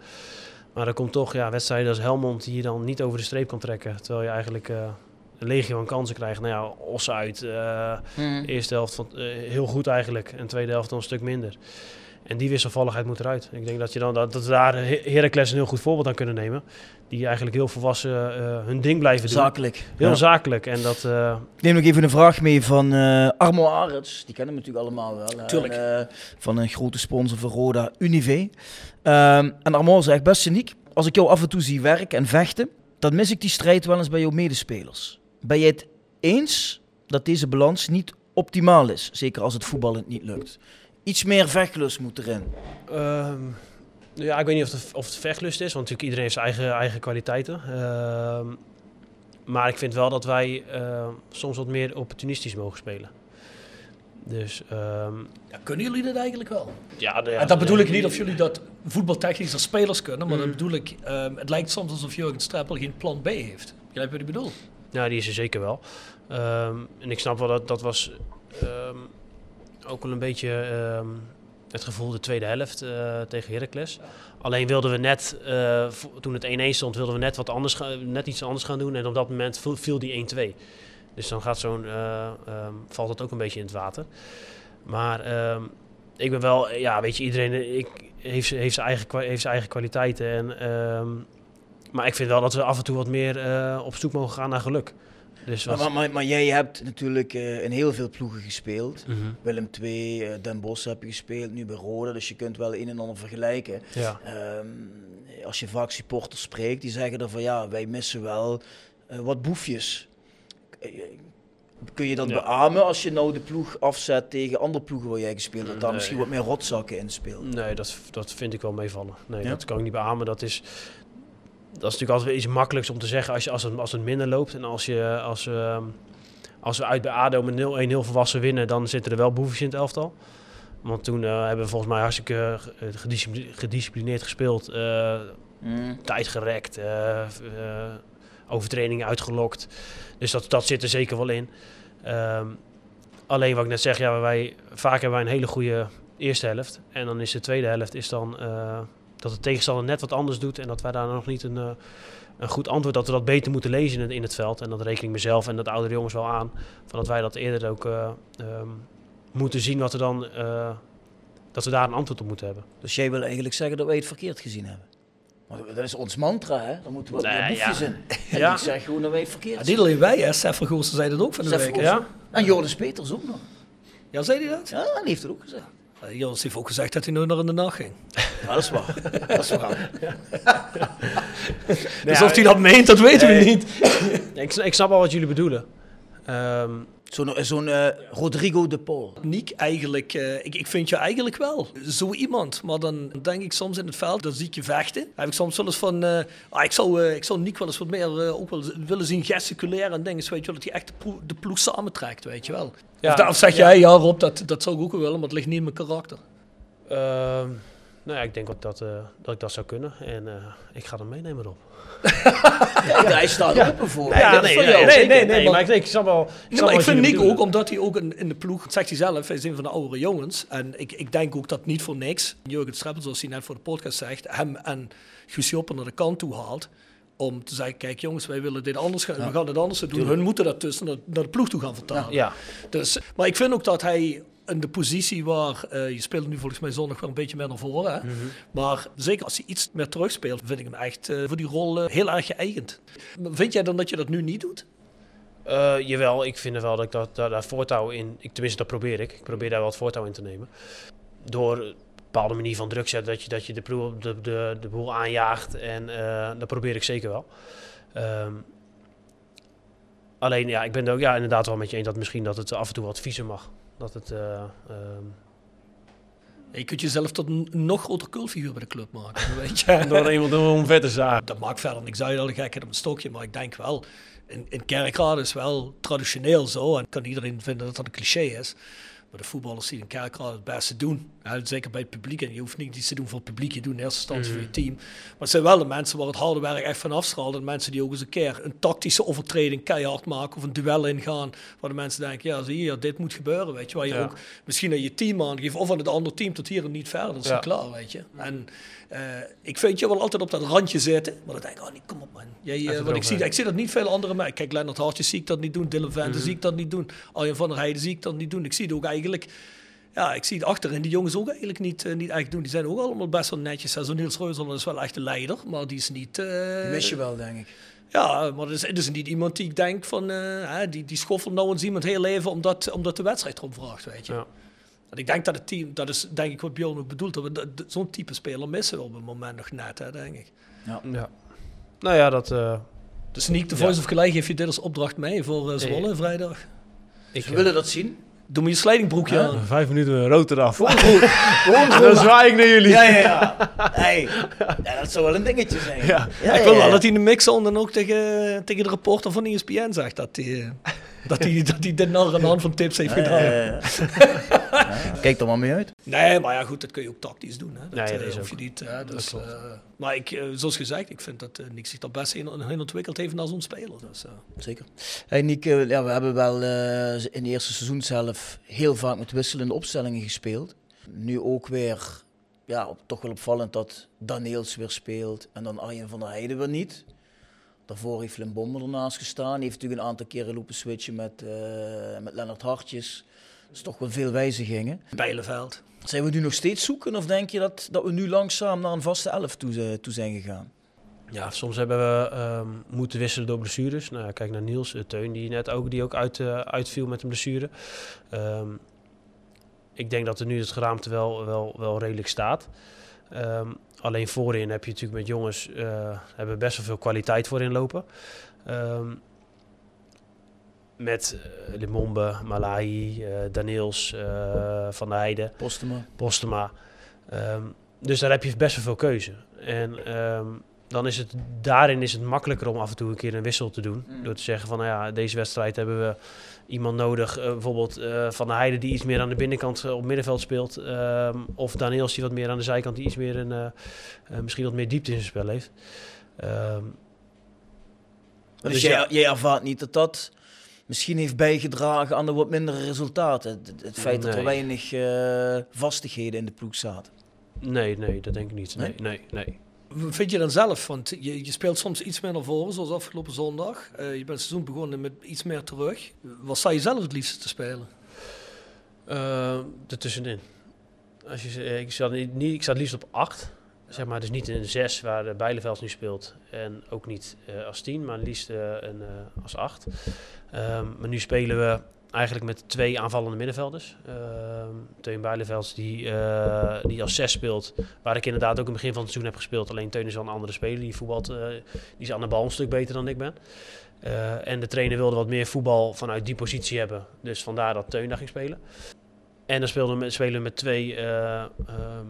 Speaker 8: Maar dan komt toch ja, wedstrijden als Helmond die je dan niet over de streep kan trekken. Terwijl je eigenlijk eh, een legio aan kansen krijgt. Nou ja, Os uit. eh, Eerste helft van, eh, heel goed eigenlijk. En tweede helft dan een stuk minder. En die wisselvalligheid moet eruit. Ik denk dat, je dan, dat, dat we daar He- Heracles een heel goed voorbeeld aan kunnen nemen. Die eigenlijk heel volwassen eh, hun ding blijven doen.
Speaker 7: Zakelijk.
Speaker 8: Heel
Speaker 7: Ja.
Speaker 8: zakelijk. En dat, eh,
Speaker 7: Ik neem nog even een vraag mee van eh, Armo Arets. Die kennen we natuurlijk allemaal wel. hè.
Speaker 6: Tuurlijk.
Speaker 7: En, eh, van een grote sponsor van Roda, Unive. Ehm, en Armo zegt, beste Nick, als ik jou af en toe zie werken en vechten, dan mis ik die strijd wel eens bij jouw medespelers. Ben je het eens dat deze balans niet optimaal is? Zeker als het voetballend niet lukt. Iets meer vechtlust moet erin.
Speaker 8: Ehm, nou ja, ik weet niet of het, of het vechtlust is, want natuurlijk iedereen heeft zijn eigen, eigen kwaliteiten. Ehm, maar ik vind wel dat wij ehm, soms wat meer opportunistisch mogen spelen. Dus ehm,
Speaker 6: Ja, kunnen jullie dat eigenlijk wel?
Speaker 8: ja, de- Mm.
Speaker 6: en dat bedoel ik
Speaker 8: de-
Speaker 6: niet of jullie dat voetbaltechnisch als spelers kunnen, maar dat bedoel ik, ehm, het lijkt soms alsof Jurgen Streppel geen plan B heeft. Begrijp je wat ik bedoel?
Speaker 8: Ja, die is er zeker wel. Ehm, en ik snap wel dat dat was ehm, ook wel een beetje ehm, het gevoel de tweede helft eh, tegen Heracles. Alleen wilden we net, eh, vo- toen het 1-1 stond, wilden we net, wat anders ga- net iets anders gaan doen. En op dat moment vo- viel die 1-2. Dus dan gaat zo'n, eh, ehm, valt dat ook een beetje in het water. Maar ehm, ik ben wel, eh, ja, weet je, iedereen eh, ik, heeft, z'n- heeft, zijn eigen, kwa- heeft zijn eigen kwaliteiten. En, ehm, maar ik vind wel dat we af en toe wat meer eh, op zoek mogen gaan naar geluk. Dus wat,
Speaker 7: Maar, maar, maar jij hebt natuurlijk eh, in heel veel ploegen gespeeld.
Speaker 8: Mhm.
Speaker 7: Willem II, eh, Den Bosch heb je gespeeld, nu bij Roda. Dus je kunt wel een en ander vergelijken.
Speaker 8: ja.
Speaker 7: Ehm, als je vaak supporters spreekt, die zeggen dan van ja, wij missen wel eh, wat boefjes. Eh, Kun je dat
Speaker 8: Ja.
Speaker 7: beamen als je nou de ploeg afzet tegen andere ploegen waar jij gespeeld hebt, daar
Speaker 8: Nee.
Speaker 7: misschien wat meer rotzakken in speelt?
Speaker 8: Nee, dat, dat vind ik wel meevallen. Nee,
Speaker 7: Ja?
Speaker 8: dat kan ik niet beamen. Dat is, dat is natuurlijk altijd weer iets makkelijks om te zeggen als, je, als, het, als het minder loopt. En als, je, als, ehm, als we uit bij ADO met 0-1 heel volwassen winnen, dan zitten er wel boefjes in het elftal. Want toen eh, hebben we volgens mij hartstikke eh, gediscipli- gedisciplineerd gespeeld. eh,
Speaker 7: Mm.
Speaker 8: tijd gerekt, eh, v- eh, overtredingen uitgelokt. Dus dat, dat zit er zeker wel in. Ehm, alleen wat ik net zeg, ja, wij, vaak hebben wij een hele goede eerste helft. En dan is de tweede helft is dan, eh, dat de tegenstander net wat anders doet. En dat wij daar nog niet een, eh, een goed antwoord, dat we dat beter moeten lezen in het, in het veld. En dat reken ik mezelf en dat oudere jongens wel aan. Van dat wij dat eerder ook eh, ehm, moeten zien wat er dan... eh, dat we daar een antwoord op moeten hebben.
Speaker 7: Dus jij wil eigenlijk zeggen dat wij het verkeerd gezien hebben? Want dat is ons mantra, hè? Dan moeten we wat
Speaker 8: Nee,
Speaker 7: meer boefjes
Speaker 8: ja.
Speaker 7: in. En
Speaker 8: Ja.
Speaker 7: ik zeg gewoon dat wij het verkeerd
Speaker 6: Ja,
Speaker 7: gezien
Speaker 6: niet alleen wij, hè. Seth van Goossen zei dat ook van de
Speaker 7: Seth
Speaker 6: week.
Speaker 7: van
Speaker 6: hè.
Speaker 7: Goossen.
Speaker 8: Ja?
Speaker 7: En Joris Peters ook nog.
Speaker 6: Ja, zei hij dat?
Speaker 7: Ja, die heeft het ook gezegd.
Speaker 6: Eh, Jonas heeft ook gezegd dat hij nooit naar in de nacht ging.
Speaker 7: Ja, dat is waar. dat is waar.
Speaker 6: dus of hij dat meent, dat weten we niet.
Speaker 8: Ik, sn- ik snap al wat jullie bedoelen. Ehm,
Speaker 7: Zo'n zo'n, eh, Rodrigo de Paul.
Speaker 6: Niek, eigenlijk, eh, ik, ik vind je eigenlijk wel zo iemand. Maar dan denk ik soms in het veld, dan zie ik je vechten. Dan heb ik soms wel eens van, eh, ah, ik, zou, eh, ik zou Niek wel eens wat meer eh, ook wel z- willen zien gesticuleren. En dingen, weet je wel, dat hij echt de, ploeg- de ploeg samentrekt, weet je wel.
Speaker 8: Ja,
Speaker 6: of, da- of zeg
Speaker 8: ja.
Speaker 6: jij, ja Rob, dat, dat zou ik ook wel willen, maar het ligt niet in mijn karakter.
Speaker 8: ehm, nou ja, ik denk dat, dat, eh, dat ik dat zou kunnen. En eh, ik ga hem meenemen, Rob.
Speaker 7: Ja, hij staat er open voor.
Speaker 8: Ja,
Speaker 7: Dat is
Speaker 8: nee,
Speaker 7: van
Speaker 8: nee,
Speaker 7: jou,
Speaker 8: nee, nee,
Speaker 7: zeker.
Speaker 8: nee,
Speaker 6: maar-
Speaker 8: maar ik, ik snap wel.
Speaker 6: Nee, maar ik vind Nick ook, omdat hij ook in, in de ploeg, dat zegt hij zelf, hij is een van de oudere jongens. En ik, ik denk ook dat niet voor niks Jurgen Streppel, zoals hij net voor de podcast zegt, hem en Guus Joppen naar de kant toe haalt. om te zeggen, kijk jongens, wij willen dit anders gaan, we gaan dit anders doen. Hun moeten dat tussen naar, naar de ploeg toe gaan vertalen.
Speaker 7: Ja.
Speaker 6: Dus, maar ik vind ook dat hij in de positie waar, eh, je speelt nu volgens mij zondag wel een beetje meer naar voren,
Speaker 7: Mhm.
Speaker 6: hè? maar zeker als hij iets meer terugspeelt, vind ik hem echt eh, voor die rol eh, heel erg geëigend. Vind jij dan dat je dat nu niet doet?
Speaker 8: Eh, jawel, ik vind wel dat ik dat, daar, daar voortouw in... Ik, tenminste, dat probeer ik. Ik probeer daar wel het voortouw in te nemen. Door een bepaalde manier van druk zetten, dat je, dat je de, ploeg- de, de, de boel aanjaagt. En eh, dat probeer ik zeker wel. Ehm, alleen, ja, ik ben er ook ja, inderdaad wel met je eens dat misschien dat het af en toe wat viezer mag. Dat het... eh, ehm,
Speaker 6: Je kunt jezelf tot een nog groter cultfiguur bij de club maken, weet je.
Speaker 10: Door iemand om vet te zagen.
Speaker 6: Dat maakt verder niks uit, alle gekheid op een stokje. Maar ik denk wel, in, in kerkraden is wel traditioneel zo. En kan iedereen vinden dat dat een cliché is. Maar de voetballers die in kerkraden het beste doen. hè, zeker bij het publiek. En je hoeft niet iets te doen voor het publiek. Je doet in eerste instantie voor je team. Maar het zijn wel de mensen waar het harde werk echt van afstraalt. En mensen die ook eens een keer een tactische overtreding keihard maken. Of een duel ingaan. Waar de mensen denken, ja zie je, ja, dit moet gebeuren. Weet je. Waar je ook misschien aan je team aangeeft. Of aan het andere team tot hier en niet verder. Dat is dan klaar, weet je. En eh, ik vind je wel altijd op dat randje zitten. Maar dan denk ik, oh nee, kom op man. Jij, eh, want ik, zie, ik zie dat niet veel andere mensen. Kijk, Leonard Hartjes zie ik dat niet doen. Dylan Vente zie ik dat niet doen. Arjen van der Heijden zie ik dat niet doen. Ik zie het ook eigenlijk... Ja, ik zie het achterin. Die jongens ook eigenlijk niet, eh, niet echt doen. Die zijn ook allemaal best wel netjes. hè. Zo'n Niels Reuzel is wel echt de leider. Maar die is niet... eh,
Speaker 7: Wist je wel, denk ik.
Speaker 6: ja, maar dat is, dat is niet iemand die ik denk van... eh, hè, die, die schoffelt nou eens iemand heel even omdat, omdat de wedstrijd erom vraagt, weet je.
Speaker 8: Ja.
Speaker 6: En ik denk dat het team, dat is denk ik wat Bjorn ook bedoelt, dat we dat- dat- zo'n type speler missen we op het moment nog net, hè, denk ik.
Speaker 8: ja. Nou ja, dat... eh,
Speaker 6: Dus Niek, de Voice of Gelijk geef je dit als opdracht mee voor eh, Zwolle vrijdag.
Speaker 8: ik,
Speaker 7: We willen dat zien.
Speaker 6: Doe me je slijdingbroekje aan.
Speaker 10: Vijf minuten rood eraf.
Speaker 7: Gewoon goed.
Speaker 10: Dan zwaai ik naar jullie.
Speaker 7: Ja, ja, ja. Hey. ja. Dat zou wel een dingetje zijn.
Speaker 10: Ja.
Speaker 6: ik wil
Speaker 7: ja,
Speaker 6: wel
Speaker 7: ja.
Speaker 6: dat hij in de mix al dan ook tegen, tegen de reporter van E ESPN zegt dat hij, eh, dat hij, dat hij dit nou aan de hand van tips heeft gedaan.
Speaker 7: Eh, ja. Kijk er maar mee uit.
Speaker 6: Nee, maar ja, goed, dat kun je ook tactisch doen. Hè. Dat,
Speaker 8: Nee, dat
Speaker 6: eh,
Speaker 8: is
Speaker 6: hoef
Speaker 8: ook-
Speaker 6: je niet. Hè, dus, eh, maar ik, eh, zoals gezegd, ik vind dat eh, Nick zich daar best in, in ontwikkeld heeft als zo'n speler. Dus, eh.
Speaker 7: Zeker. Hey Nick, eh, ja, we hebben wel eh, in het eerste seizoen zelf heel vaak met wisselende opstellingen gespeeld. Nu ook weer, ja, op, toch wel opvallend dat Daniels weer speelt en dan Arjen van der Heijden weer niet. Daarvoor heeft Limbomber ernaast gestaan. Die heeft natuurlijk een aantal keren lopen switchen met, eh, met Lennart Hartjes. Dat is toch wel veel wijzigingen.
Speaker 6: Bijleveld.
Speaker 7: Zijn we nu nog steeds zoeken of denk je dat, dat we nu langzaam naar een vaste elf toe, eh, toe zijn gegaan?
Speaker 8: Ja, soms hebben we ehm, moeten wisselen door blessures. Nou, ja, kijk naar Niels, eh, Teun, die net ook, die ook uit, eh, uitviel met een blessure. Ehm, ik denk dat er nu het geraamte wel, wel, wel redelijk staat. Ehm, alleen voorin heb je natuurlijk met jongens eh, hebben best wel veel kwaliteit voorin lopen. Ehm, met eh, Limombe, Malahi, eh Daniels, eh, Van der Heijden.
Speaker 7: Postema.
Speaker 8: Postema. Ehm, dus daar heb je best wel veel keuze. En ehm, dan is het, daarin is het makkelijker om af en toe een keer een wissel te doen. Door te zeggen van, nou ja, deze wedstrijd hebben we iemand nodig. eh, bijvoorbeeld eh, Van der Heijden die iets meer aan de binnenkant eh, op middenveld speelt. ehm, of Daniels die wat meer aan de zijkant, die iets meer een, eh, eh, misschien wat meer diepte in zijn spel heeft. Ehm,
Speaker 7: Dus,
Speaker 8: Dus
Speaker 7: jij,
Speaker 8: ja.
Speaker 7: jij ervaart niet dat dat misschien heeft bijgedragen aan de wat mindere resultaten. Het, het feit dat er
Speaker 8: Nee.
Speaker 7: weinig eh, vastigheden in de ploeg zaten.
Speaker 8: nee, nee, dat denk ik niet. Nee, nee, nee.
Speaker 6: Vind je dan zelf, want je, je speelt soms iets meer naar voren, zoals afgelopen zondag. Eh, je bent het seizoen begonnen met iets meer terug. Wat zou je zelf het liefste te spelen?
Speaker 8: Ehm ertussenin. Als je, eh, ik, zat niet, niet- ik zat liefst op 8. Zeg maar, dus niet in een 6 waar de Bijleveld nu speelt. En ook niet eh, als 10, maar liefst eh, een, eh, als 8. Ehm, maar nu spelen we eigenlijk met twee aanvallende middenvelders. Ehm Teun Bijleveld die, eh, die als 6 speelt. Waar ik inderdaad ook in het begin van het seizoen heb gespeeld. Alleen Teun is wel een andere speler. Die voetbalt, eh, die is aan de bal een stuk beter dan ik ben. Eh, en de trainer wilde wat meer voetbal vanuit die positie hebben. Dus vandaar dat Teun daar ging spelen. En dan speelden we met, spelen we met twee eh, ehm,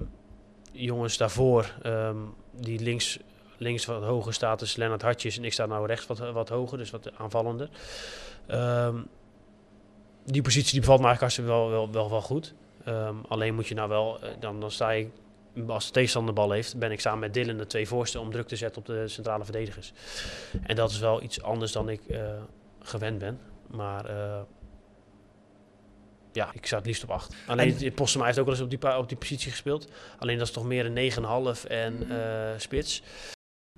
Speaker 8: jongens daarvoor. ehm, die links, links wat hoger staat, dus Lennart Hartjes. En ik sta nou rechts wat, wat hoger, dus wat aanvallender. Ehm, die positie die bevalt me eigenlijk hartstikke wel, wel, wel, wel goed. Ehm, alleen moet je nou wel, eh, dan, dan sta ik, als de tegenstander de bal heeft, ben ik samen met Dylan de twee voorsten om druk te zetten op de centrale verdedigers. En dat is wel iets anders dan ik eh, gewend ben. Maar eh, ja, ik zou het liefst op 8. Alleen en... Postema heeft ook wel eens op die, pa- op die positie gespeeld. Alleen dat is toch meer een 9,5 en eh, spits.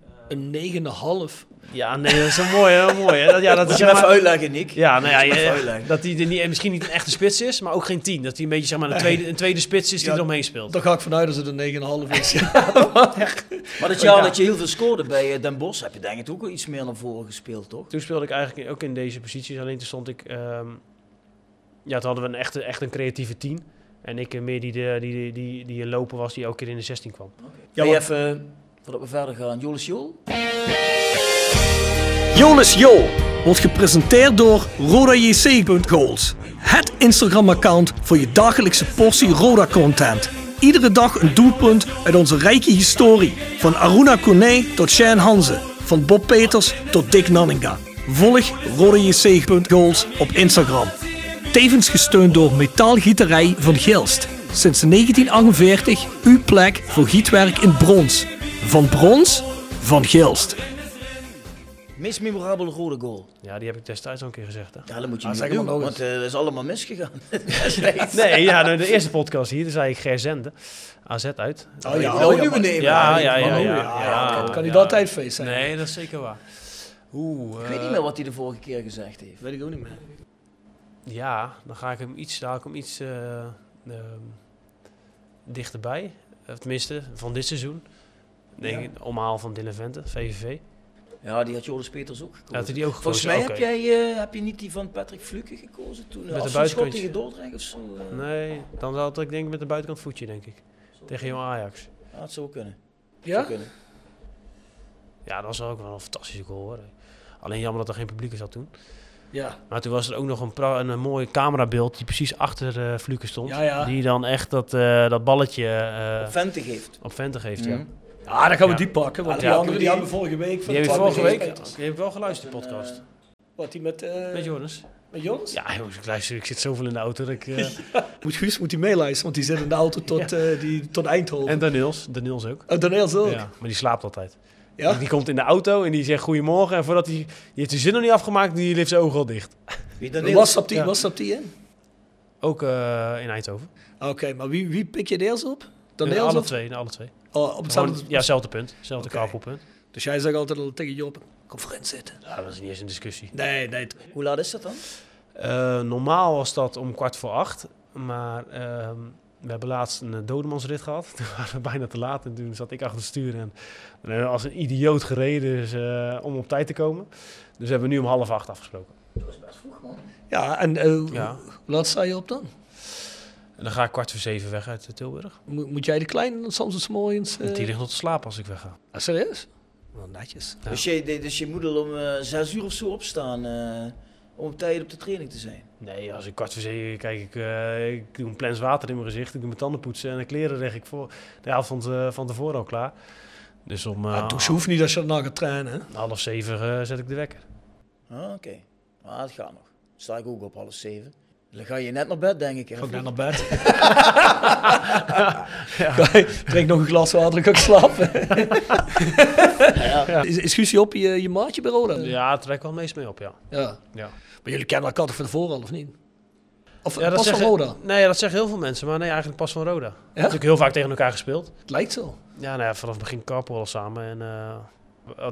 Speaker 8: Eh,
Speaker 6: Een 9,5.
Speaker 8: Ja, nee, dat is een mooi, heel mooi. Hè? Dat, ja, dat
Speaker 7: Moet
Speaker 8: is
Speaker 7: je hem
Speaker 8: zeg
Speaker 7: even
Speaker 8: maar-
Speaker 7: uitleggen, Nick.
Speaker 8: Ja, nou ja,
Speaker 7: Moet je hem even
Speaker 8: je-
Speaker 7: uitleggen.
Speaker 8: dat hij er niet, misschien niet een echte spits is, maar ook geen 10. Dat hij een beetje zeg maar, een, tweede, een tweede spits is die
Speaker 6: Ja.
Speaker 8: eromheen speelt.
Speaker 6: Daar ga ik vanuit dat het een 9,5 is. Ja.
Speaker 7: Maar dat jaar
Speaker 8: Ja.
Speaker 7: dat je heel veel scoorde bij eh, Den Bosch, heb je denk ik ook wel iets meer naar voren gespeeld, toch?
Speaker 8: Toen speelde ik eigenlijk ook in deze posities. Alleen toen stond ik. ehm, ja, toen hadden we een echte, echt een creatieve 10. En ik eh, meer die, de, die, die, die, die een loper was die elke keer in de 16 kwam.
Speaker 7: Ja, maar... even, eh, voordat we verder gaan, Jolis Jol?
Speaker 6: Jonas Jo wordt gepresenteerd door RodaJC.goals. Het Instagram-account voor je dagelijkse portie Roda-content. Iedere dag een doelpunt uit onze rijke historie. Van Aruna Kone tot Shane Hanze. Van Bob Peters tot Dick Nanninga. Volg RodaJC.goals op Instagram. Tevens gesteund door Metaalgieterij van Gilst. Sinds 1948 uw plek voor gietwerk in brons. Van brons, van Gilst.
Speaker 7: Meest memorabele rode goal.
Speaker 8: Ja, die heb ik destijds al een keer gezegd. Hè?
Speaker 7: Ja, dat moet je
Speaker 6: Ah,
Speaker 7: niet
Speaker 6: zeg
Speaker 7: meer
Speaker 6: maar
Speaker 7: doen,
Speaker 6: nog
Speaker 7: want eh, dat is allemaal misgegaan.
Speaker 8: Nee, ja, nou, de eerste podcast hier, toen zei ik Gerzende. AZ uit.
Speaker 6: Oh ja,
Speaker 7: Nou, nu beneden.
Speaker 8: Ja, ja, ja. ja,
Speaker 6: ja,
Speaker 8: ja,
Speaker 6: dat kan niet
Speaker 8: ja.
Speaker 6: altijd feest zijn.
Speaker 8: Nee, dat is zeker waar. Oeh,
Speaker 6: eh.
Speaker 7: Ik weet niet meer wat hij de vorige keer gezegd heeft.
Speaker 6: Weet ik ook niet meer.
Speaker 8: Ja, dan ga ik hem iets, daar haal ik hem iets eh, ehm, dichterbij. Of tenminste, van dit seizoen. Denk ik, omhaal van Dylan Vente, VVV.
Speaker 7: Ja, die had Joris Peters ook gekozen.
Speaker 8: Ja, had hij die ook
Speaker 7: Volgens
Speaker 8: gekozen?
Speaker 7: mij
Speaker 8: Oké.
Speaker 7: heb, jij, eh heb je niet die van Patrick Fluke gekozen toen? eh,
Speaker 8: een
Speaker 7: Met schot
Speaker 8: buitenkantje.
Speaker 7: tegen Dordrecht of zo? eh?
Speaker 8: Nee, dan zou het ik denk ik met een buitenkant voetje, denk ik. Tegen jong Ajax.
Speaker 7: Ah, het zou kunnen.
Speaker 6: Ja?
Speaker 7: Zou kunnen.
Speaker 8: Ja, dat was ook wel een fantastische goal hoor. Alleen jammer dat er geen publiek zat toen.
Speaker 6: Ja.
Speaker 8: Maar toen was er ook nog een, pra- een, een mooi camerabeeld die precies achter eh Fluke stond.
Speaker 6: Ja, ja.
Speaker 8: Die dan echt dat, eh, dat balletje eh,
Speaker 7: Vente geeft.
Speaker 8: op Vente geeft. Ja.
Speaker 7: Mhm.
Speaker 6: Ah, dan gaan we
Speaker 8: Ja.
Speaker 6: die pakken, want
Speaker 7: Ah,
Speaker 6: die
Speaker 7: ja.
Speaker 6: andere die hebben we vorige week. van
Speaker 8: Die heb je
Speaker 6: de
Speaker 8: vorige
Speaker 6: Twente
Speaker 8: week
Speaker 6: gespeeld.
Speaker 8: die heb je wel geluisterd, de podcast.
Speaker 6: Wat, die met, eh
Speaker 8: Met Joris?
Speaker 6: met Joris?
Speaker 8: Ja, jongens, ik luister, ik zit zoveel in de auto. Dat ik, eh,
Speaker 6: Moet Guus, moet die meeluisteren, want die zit in de auto tot, eh, die, tot Eindhoven.
Speaker 8: En
Speaker 6: En
Speaker 8: Daniels, Daniels ook.
Speaker 6: Daniels ook.
Speaker 8: Ja,
Speaker 6: Ja.
Speaker 8: maar die slaapt altijd. Die komt in de auto en die zegt goedemorgen. En voordat hij, die heeft zijn zin nog niet afgemaakt, die lift zijn ogen al dicht.
Speaker 7: Wie
Speaker 6: Waar
Speaker 7: dan
Speaker 6: WhatsApp die,
Speaker 8: Ja.
Speaker 6: WhatsApp die in? Ah,
Speaker 8: Ook eh, in Eindhoven.
Speaker 6: Oké, maar wie, wie pik je deels op?
Speaker 8: In
Speaker 6: Daniels
Speaker 8: alle
Speaker 6: op?
Speaker 8: twee, in alle twee.
Speaker 6: Oh, op
Speaker 8: Gewoon-
Speaker 6: hetzelfde...
Speaker 8: ja, hetzelfde punt. Hetzelfde
Speaker 6: Oké.
Speaker 8: kabelpunt.
Speaker 6: Dus jij zegt altijd al tegen Job, kom voor in zitten.
Speaker 8: Ja, dat is niet eens een discussie.
Speaker 6: Nee, nee.
Speaker 7: Hoe laat is dat dan?
Speaker 8: Eh, normaal was dat om kwart voor acht. Maar ehm, we hebben laatst een eh, dodemansrit gehad. Toen waren we bijna te laat en toen zat ik achter het stuur. En we hebben als een idioot gereden dus, eh, om op tijd te komen. Dus hebben we nu om half acht afgesproken.
Speaker 6: Ja, en eh,
Speaker 8: Ja.
Speaker 6: hoe laat sta je op dan?
Speaker 8: En dan ga ik kwart voor zeven weg uit eh, Tilburg.
Speaker 6: Moet, moet jij de kleine dan soms eens morgens...
Speaker 8: Want die
Speaker 6: eh
Speaker 8: ligt nog te slapen als ik wegga.
Speaker 6: ah, serieus? Wel netjes.
Speaker 8: Ja.
Speaker 7: Dus, je, dus je moet al om eh, zes uur of zo opstaan eh, om op tijd op de training te zijn.
Speaker 8: Nee, als ik kwart voor zeven kijk ik, eh, ik doe een plens water in mijn gezicht. Ik doe mijn tanden poetsen en de kleren leg ik voor de avond eh, van tevoren al klaar. Dus om eh,
Speaker 6: Ah, douchen hoeft niet als je daarna gaat trainen. Hè?
Speaker 8: half zeven eh, zet ik de wekker.
Speaker 7: Ah, oké. Ah, dat gaat nog. Sta ik ook op half zeven. Dan ga je net naar bed, denk ik. hè,
Speaker 6: Ga ik
Speaker 7: Fluke?
Speaker 6: net naar bed. Ga je- Drink nog een glas water en ga ik slapen. Is, is Guusje op je, je maatje bij Roda?
Speaker 8: Ja, daar trek ik wel het meest mee op, ja.
Speaker 6: Ja.
Speaker 8: Ja.
Speaker 6: Maar jullie kennen elkaar toch van tevoren al, of niet? Of
Speaker 8: Ja, dat
Speaker 6: pas van
Speaker 8: zeggen-
Speaker 6: Roda?
Speaker 8: Nee, dat zeggen heel veel mensen, maar nee, eigenlijk pas van Roda. Natuurlijk
Speaker 6: Het
Speaker 8: heel vaak tegen elkaar gespeeld.
Speaker 6: lijkt zo.
Speaker 8: Ja, nou ja, vanaf het begin karpen we al samen. En eh,